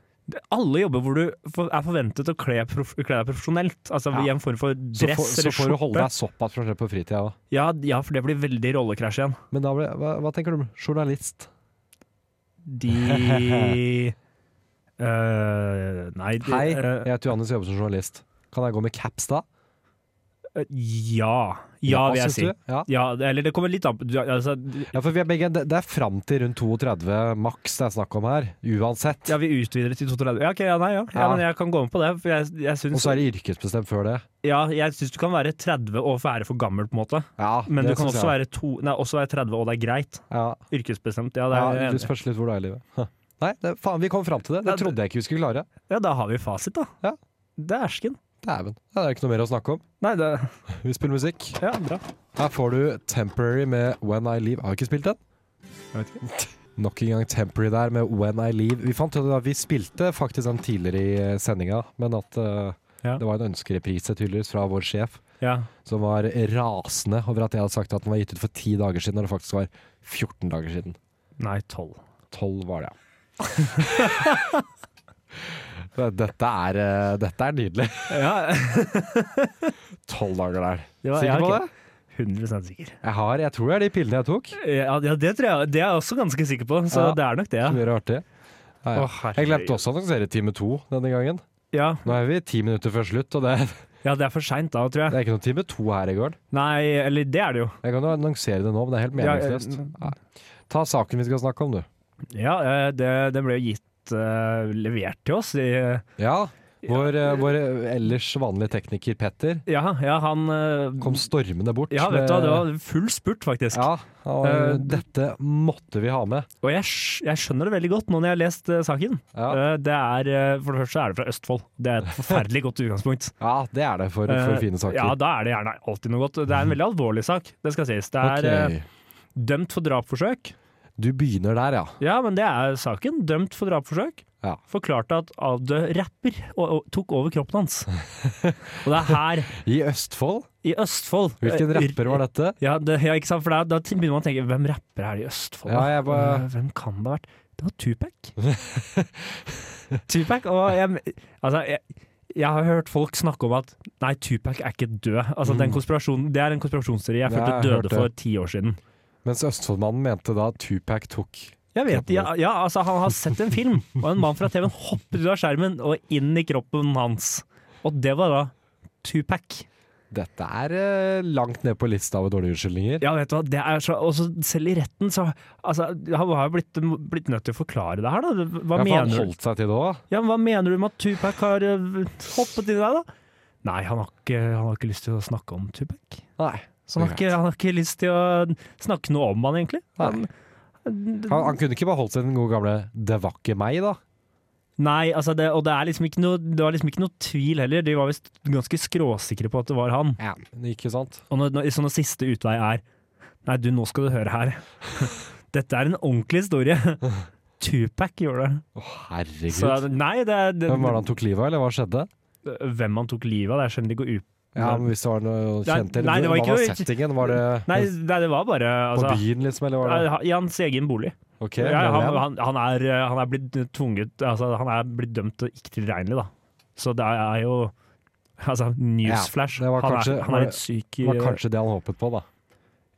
Speaker 5: Alle jobber hvor du for- er forventet å kle, prof kle deg profesjonelt. Altså
Speaker 4: Ja.
Speaker 5: I en form for
Speaker 4: Så,
Speaker 5: dress
Speaker 4: får- så
Speaker 5: eller
Speaker 4: får du holde
Speaker 5: skjorte.
Speaker 4: deg såpass for eksempel på fritida òg.
Speaker 5: Ja, ja, for det blir veldig rollekrasj igjen.
Speaker 4: Men da ble, hva, hva tenker du om journalist? [laughs]
Speaker 5: De Øh, Nei de,
Speaker 4: Hei,
Speaker 5: øh,
Speaker 4: jeg heter Johannes og jobber som journalist. Kan jeg gå med caps da?
Speaker 5: Ja. Ja, vil jeg
Speaker 4: syns
Speaker 5: si.
Speaker 4: du? Ja.
Speaker 5: Ja, eller det kommer litt an på du- altså,
Speaker 4: Ja, for vi er begge, det det er fram til rundt 32 maks det er snakk om her, uansett.
Speaker 5: Ja, vi utvider det til 32. Ja, ok, ja, nei, ja. ja,
Speaker 4: Ja.
Speaker 5: men jeg kan gå med på det. For jeg, jeg
Speaker 4: Og
Speaker 5: syns
Speaker 4: så er det yrkesbestemt før det.
Speaker 5: ja, jeg syns du kan være 30 og være for gammel, på en måte.
Speaker 4: Ja,
Speaker 5: Men du
Speaker 4: det
Speaker 5: kan
Speaker 4: syns
Speaker 5: også
Speaker 4: jeg.
Speaker 5: være, to, nei, også være 30 og det er greit.
Speaker 4: ja.
Speaker 5: Yrkesbestemt. Ja, det er, jeg
Speaker 4: ja,
Speaker 5: enig i.
Speaker 4: Du spørs litt hvor du er i livet. Huh. Nei, det, faen, vi kom fram til det. Det
Speaker 5: Ja,
Speaker 4: trodde jeg ikke vi skulle klare.
Speaker 5: Ja, da har vi fasit, da.
Speaker 4: Ja.
Speaker 5: Det er ersken.
Speaker 4: Dæven. Ja, det er ikke noe mer å snakke om.
Speaker 5: Nei, det
Speaker 4: Vi spiller musikk.
Speaker 5: Ja, bra.
Speaker 4: Her får du Temporary med When I Leave. Har jeg ikke spilt den?
Speaker 5: Jeg vet ikke.
Speaker 4: [laughs] Nok en gang Temporary der med When I Leave. Vi fant ut at vi spilte faktisk den tidligere i sendinga, men at eh,
Speaker 5: Ja.
Speaker 4: det var en ønskereprise tydeligvis fra vår sjef.
Speaker 5: Ja.
Speaker 4: som var rasende over at jeg hadde sagt at den var gitt ut for ti dager siden, når det faktisk var 14 dager siden.
Speaker 5: Nei, tolv.
Speaker 4: Tolv var det, [laughs] ja. dette, er, eh, dette er nydelig.
Speaker 5: Ja,
Speaker 4: Tolv dager der.
Speaker 5: det var,
Speaker 4: Sikker
Speaker 5: ja,
Speaker 4: på
Speaker 5: ok.
Speaker 4: det?
Speaker 5: 100 sikker.
Speaker 4: Jeg, har, jeg tror det er de pillene jeg tok.
Speaker 5: Ja, ja, det tror jeg. Det er jeg også ganske sikker på, så
Speaker 4: Ja.
Speaker 5: det er nok det.
Speaker 4: Som
Speaker 5: Ja.
Speaker 4: gjør det artig. Ja, ja.
Speaker 5: Å, herregud.
Speaker 4: Jeg glemte også å annonsere time to denne gangen.
Speaker 5: Ja.
Speaker 4: Nå er vi ti minutter før slutt, og det,
Speaker 5: ja, det er for seint da, tror
Speaker 4: det
Speaker 5: jeg.
Speaker 4: er ikke noe time to her i går.
Speaker 5: Nei, eller det er det jo.
Speaker 4: Jeg kan jo annonsere det nå, men det er helt
Speaker 5: Ja, eh,
Speaker 4: meningsløst. Nei. Ta saken vi skal snakke om, du.
Speaker 5: Ja, eh, det, det ble jo gitt eh, levert til oss. I,
Speaker 4: Ja, vår, eh, vår ellers vanlige tekniker Petter
Speaker 5: ja, ja, han eh,
Speaker 4: kom stormende bort.
Speaker 5: Ja, vet du hva,
Speaker 4: med-
Speaker 5: det var full spurt, faktisk.
Speaker 4: Ja, og
Speaker 5: Eh,
Speaker 4: dette måtte vi ha med.
Speaker 5: Og jeg, skj- jeg skjønner det veldig godt nå når jeg har lest eh, saken.
Speaker 4: Ja,
Speaker 5: Eh, Det er, eh, for det første er det fra Østfold. Det er et forferdelig godt utgangspunkt.
Speaker 4: ja det er det [laughs] for, for
Speaker 5: Eh,
Speaker 4: fine saker.
Speaker 5: Ja, da er det gjerne alltid noe godt. Det er en veldig alvorlig sak, det skal sies. Det er eh,
Speaker 4: Ok.
Speaker 5: dømt for drapsforsøk.
Speaker 4: Du begynner der, ja.
Speaker 5: Ja, men det er saken. Dømt for drapsforsøk.
Speaker 4: Ja.
Speaker 5: Forklarte at avdød rapper og, og tok over
Speaker 4: [laughs]
Speaker 5: kroppen hans. Og det er her,
Speaker 4: I Østfold?
Speaker 5: i Østfold Eh,
Speaker 4: Hvilken rapper var dette?
Speaker 5: Ja, det, ja ikke sant? For da, da begynner man å tenke hvem rapper er det i Østfold? da?
Speaker 4: Ja, jeg bare-
Speaker 5: Eh, Hvem kan det ha vært? Det var
Speaker 4: [laughs]
Speaker 5: Tupac. Tupac og jeg, altså, jeg, jeg har hørt folk snakke om at nei, Tupac er ikke død. Altså, den konspirasjonen, det er en konspirasjonsteori jeg
Speaker 4: Ja,
Speaker 5: følte
Speaker 4: jeg har hørt
Speaker 5: døde
Speaker 4: Mm. det.
Speaker 5: for ti år siden.
Speaker 4: Mens Østfoldmannen mente da Tupac tok
Speaker 5: Jeg vet, ja, ja, altså Han har sett en film, og en mann fra TV-en hopper ut av skjermen og inn i kroppen hans. Og det var da Tupac.
Speaker 4: Dette er eh, langt ned på lista over dårlige unnskyldninger.
Speaker 5: Ja, vet du hva, det er så Og så selv i retten, så altså, Han har jo blitt, blitt nødt til å forklare det her, da. Hva,
Speaker 4: Ja, for han
Speaker 5: mener, du?
Speaker 4: holdt seg til det òg.
Speaker 5: ja, men hva mener du med at Tupac har eh, hoppet inn der, da? Nei, han har, ikke, han har ikke lyst til å snakke om Tupac.
Speaker 4: Nei.
Speaker 5: Så han, har ikke, han har ikke lyst til å snakke noe om han, egentlig.
Speaker 4: Nei. Han, han kunne ikke bare holdt seg til den gode gamle 'det var ikke meg', da.
Speaker 5: Nei, altså det, og det, er liksom ikke noe, det var liksom ikke noe tvil heller. De var visst ganske skråsikre på at det var han.
Speaker 4: Ja. Ikke sant?
Speaker 5: Og når, når, så når siste utvei er Nei, du, nå skal du høre her. [laughs] Dette er en ordentlig
Speaker 4: [laughs]
Speaker 5: historie. Tupac gjorde det.
Speaker 4: Å,
Speaker 5: Så
Speaker 4: herregud.
Speaker 5: nei, det er det,
Speaker 4: Hvem var det han tok livet av, eller hva skjedde?
Speaker 5: Hvem han tok livet av, det er skjønner ikke ut...
Speaker 4: Ja, men Hvis det var noe
Speaker 5: Nei,
Speaker 4: kjent eller
Speaker 5: nei, det var
Speaker 4: Hva
Speaker 5: ikke
Speaker 4: var
Speaker 5: noe-
Speaker 4: settingen? Var det
Speaker 5: Nei, nei, det var bare
Speaker 4: på
Speaker 5: altså,
Speaker 4: byen, liksom? Eller var det
Speaker 5: eh, I hans egen bolig.
Speaker 4: Ok,
Speaker 5: Ja,
Speaker 4: men
Speaker 5: han,
Speaker 4: igjen.
Speaker 5: han, han, er, eh, han er blitt tvunget altså, Han er blitt dømt til ikke tilregnelig, da. Så det er jo Altså, newsflash.
Speaker 4: det var kanskje-
Speaker 5: han, er, han er litt syk i
Speaker 4: det var kanskje det han håpet på, da.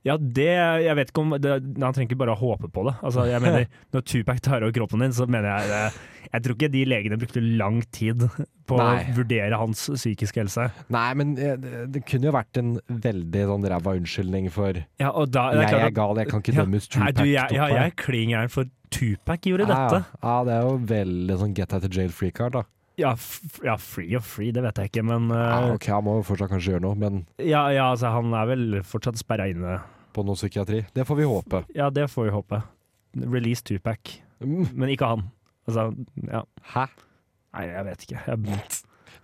Speaker 5: Ja, det Jeg vet ikke om det, Han trenger ikke bare å håpe på det. Altså, jeg
Speaker 4: [laughs]
Speaker 5: mener, når Tupac tar over kroppen din, så mener jeg det Jeg tror ikke de legene brukte lang tid på
Speaker 4: Nei.
Speaker 5: å vurdere hans psykiske helse.
Speaker 4: Nei, men eh, det, det kunne jo vært en veldig sånn ræva unnskyldning for
Speaker 5: Ja, og da, det er
Speaker 4: Jeg
Speaker 5: klart
Speaker 4: er
Speaker 5: at-
Speaker 4: gal, jeg kan ikke
Speaker 5: Ja.
Speaker 4: dømmes.
Speaker 5: Nei,
Speaker 4: Tupac
Speaker 5: du, jeg, ja,
Speaker 4: tok meg.
Speaker 5: jeg er klin gæren, for Tupac gjorde
Speaker 4: Ja,
Speaker 5: dette.
Speaker 4: Ja, ja, det er jo veldig sånn get out of jail free card, da.
Speaker 5: Ja, f ja, free og free, det vet jeg ikke, men
Speaker 4: Ja,
Speaker 5: uh,
Speaker 4: Ah, ok, han må jo fortsatt kanskje gjøre noe, men
Speaker 5: ja, ja, altså, han er vel fortsatt sperra inne.
Speaker 4: på noe psykiatri. Det får vi håpe.
Speaker 5: Ja, det får vi håpe. Release Tupac,
Speaker 4: Mm.
Speaker 5: men ikke han. Altså, ja.
Speaker 4: Hæ?
Speaker 5: Nei, jeg vet ikke. Jeg,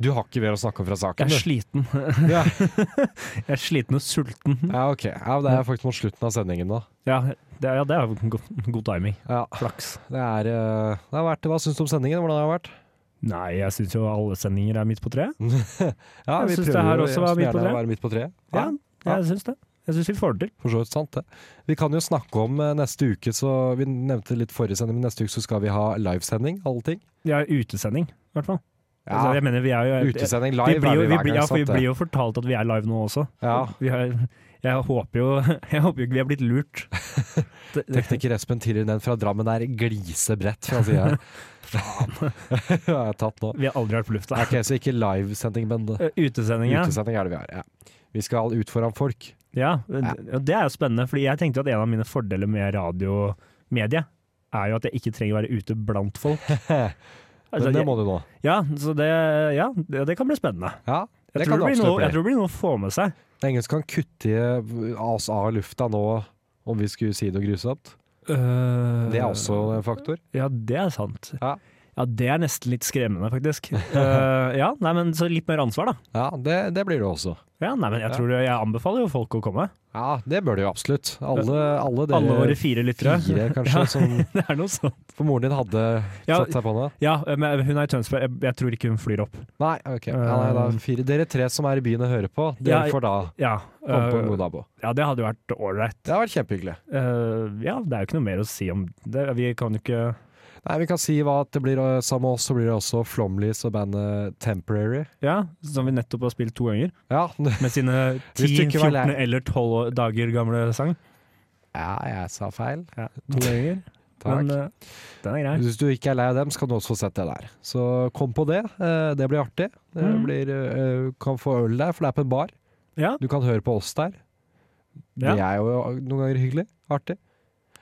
Speaker 4: Du har ikke mer å snakke om fra
Speaker 5: jeg
Speaker 4: saken,
Speaker 5: er
Speaker 4: du?
Speaker 5: sliten. [laughs]
Speaker 4: Ja.
Speaker 5: Jeg er sliten og sulten.
Speaker 4: Ja, ok. Ja, det er faktisk mot slutten av sendingen, da.
Speaker 5: Ja, det, ja, det er jo god, god timing.
Speaker 4: Ja,
Speaker 5: Flaks.
Speaker 4: det er, eh, det har vært, Hva syns du om sendingen? Hvordan har det vært?
Speaker 5: Nei, jeg syns jo alle sendinger er midt på treet.
Speaker 4: Ja,
Speaker 5: Jeg synes det her
Speaker 4: jo
Speaker 5: også var
Speaker 4: som
Speaker 5: midt
Speaker 4: gjerne
Speaker 5: på treet.
Speaker 4: å være midt på treet. Ja,
Speaker 5: Ja, jeg syns det. Jeg syns vi får det til.
Speaker 4: for så vidt sant, det. Vi kan jo snakke om eh, neste uke, så vi nevnte litt forrige sending, men neste uke så skal vi ha livesending, alle ting.
Speaker 5: Ja, utesending, i hvert fall. Altså,
Speaker 4: Ja,
Speaker 5: jeg mener, vi er jo
Speaker 4: utesending
Speaker 5: Vi
Speaker 4: live
Speaker 5: blir jo,
Speaker 4: er vi
Speaker 5: vi
Speaker 4: hver
Speaker 5: blir,
Speaker 4: gang,
Speaker 5: ja, for vi
Speaker 4: sant det?
Speaker 5: blir jo fortalt at vi er live nå også.
Speaker 4: Ja.
Speaker 5: Vi har, jeg håper jo [laughs] jeg håper jo ikke vi har
Speaker 4: [laughs]
Speaker 5: blitt lurt. Det, det,
Speaker 4: Tekniker Espen Tirinen fra Drammen er glisebrett fra sida
Speaker 5: [laughs]
Speaker 4: [laughs] her. Faen. Jeg er tatt nå.
Speaker 5: vi har aldri vært på lufta.
Speaker 4: Ok, så ikke livesending, men
Speaker 5: Eh, Utesending, ja.
Speaker 4: utesending er det vi har. Ja. Vi skal ut foran folk. [laughs]
Speaker 5: ja. det- og Det er jo spennende, fordi jeg tenkte at en av mine fordeler med radiomedie er jo at jeg ikke trenger å være ute
Speaker 4: [laughs]
Speaker 5: blant folk. Altså,
Speaker 4: Men det
Speaker 5: jeg-
Speaker 4: må du nå.
Speaker 5: Ja, så det, ja, det, det kan bli spennende.
Speaker 4: Ja,
Speaker 5: Jeg
Speaker 4: det
Speaker 5: tror
Speaker 4: kan
Speaker 5: det,
Speaker 4: du
Speaker 5: blir noe,
Speaker 4: absolutt
Speaker 5: jeg
Speaker 4: bli.
Speaker 5: tror det blir noe å få med seg.
Speaker 4: Det er ingen som kan kutte i oss av lufta nå om vi skulle si noe grusomt. Det er
Speaker 5: Eh.
Speaker 4: også en faktor.
Speaker 5: Ja, det er sant.
Speaker 4: Eh, Ja.
Speaker 5: Ja, det er nesten litt skremmende, faktisk. Eh,
Speaker 4: [laughs]
Speaker 5: ja, nei, men så litt mer ansvar, da.
Speaker 4: Ja, det, det blir det også.
Speaker 5: Ja, nei, men jeg, tror, jeg anbefaler jo folk å komme.
Speaker 4: Ja, det bør det jo absolutt. Alle, alle dere
Speaker 5: Alle våre fire lyttere. [laughs]
Speaker 4: fire, kanskje, som
Speaker 5: Det er noe sånt.
Speaker 4: For moren din hadde
Speaker 5: Ja.
Speaker 4: satt seg på det?
Speaker 5: Ja, men hun er i Tønsberg. Jeg, jeg tror ikke hun flyr opp.
Speaker 4: Nei, ok. Ja, nei, da, fire. Dere tre som er i byen og hører på, dere
Speaker 5: Um. Ja,
Speaker 4: får da
Speaker 5: Ja,
Speaker 4: komme på en
Speaker 5: eh,
Speaker 4: god nabo.
Speaker 5: ja det hadde jo vært ålreit.
Speaker 4: Det har vært kjempehyggelig.
Speaker 5: Eh, ja, det er jo ikke noe mer å si om det. Vi kan jo ikke
Speaker 4: Nei, Vi kan si hva at det blir eh, sammen med oss, så blir det også Flomlys og bandet Temporary.
Speaker 5: Ja, som vi nettopp har spilt to ganger.
Speaker 4: Ja, [laughs]
Speaker 5: Med sine
Speaker 4: Hvis du
Speaker 5: 10,
Speaker 4: ikke var
Speaker 5: 14
Speaker 4: lei-
Speaker 5: eller 12 dager gamle sang.
Speaker 4: ja jeg sa feil.
Speaker 5: Ja,
Speaker 4: [laughs]
Speaker 5: to ganger.
Speaker 4: Takk.
Speaker 5: Men eh, den er grei.
Speaker 4: Hvis du ikke er lei av dem, så kan du også få sett det der. Så kom på det. eh, Det blir artig. Det
Speaker 5: Mm.
Speaker 4: blir, eh, kan få øl der, for det er på en bar.
Speaker 5: Ja.
Speaker 4: Du kan høre på oss der. Det
Speaker 5: Ja.
Speaker 4: er jo noen ganger hyggelig. Artig.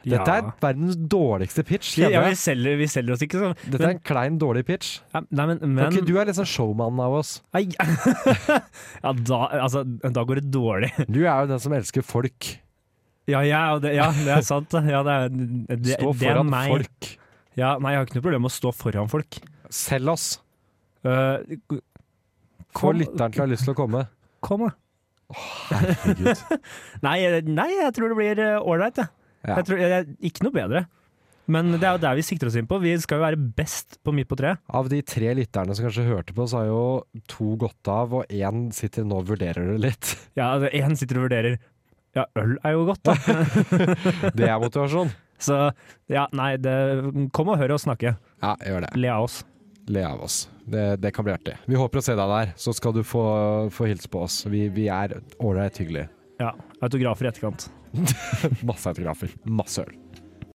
Speaker 4: Dette er
Speaker 5: Ja.
Speaker 4: verdens dårligste pitch. kjenner
Speaker 5: ja,
Speaker 4: jeg.
Speaker 5: vi selger, vi selger oss ikke sånn.
Speaker 4: Dette er en klein, dårlig pitch.
Speaker 5: Ja, Nei, men,
Speaker 4: Men,
Speaker 5: men
Speaker 4: du er liksom showmannen av oss.
Speaker 5: Ai. [laughs] Ja, da, altså, da går det dårlig.
Speaker 4: Du er jo den som elsker folk.
Speaker 5: Ja, ja, og det, ja det er sant. Ja, det er, det,
Speaker 4: Stå
Speaker 5: det er
Speaker 4: foran
Speaker 5: meg.
Speaker 4: folk.
Speaker 5: Ja, nei, jeg har ikke noe problem med å stå foran folk.
Speaker 4: Selg oss.
Speaker 5: Eh,
Speaker 4: Få
Speaker 5: Kom-
Speaker 4: lytteren til å ha lyst til å komme.
Speaker 5: kom, da.
Speaker 4: Herregud.
Speaker 5: [laughs] Nei, eh, nei, jeg tror det blir eh, ålreit, jeg.
Speaker 4: Ja.
Speaker 5: Jeg tror, jeg, ikke noe bedre. Men det er jo der vi sikter oss inn på. Vi skal jo være best på Midt på treet.
Speaker 4: Av de tre lytterne som kanskje hørte på, så har jo to gått av, og én sitter nå og vurderer det litt. [laughs]
Speaker 5: Ja, altså, én sitter og vurderer. Ja, øl er jo godt,
Speaker 4: [laughs]
Speaker 5: da.
Speaker 4: Det er motivasjon.
Speaker 5: Så ja, nei, det, kom og hør oss snakke.
Speaker 4: Ja, gjør det.
Speaker 5: Le av oss.
Speaker 4: Le av oss. Det, det kan bli artig. Vi håper å se deg der, så skal du få, få hilse på oss. Vi, vi er ålreit hyggelige.
Speaker 5: Ja, autografer i etterkant.
Speaker 4: Masse autografer. Masse øl.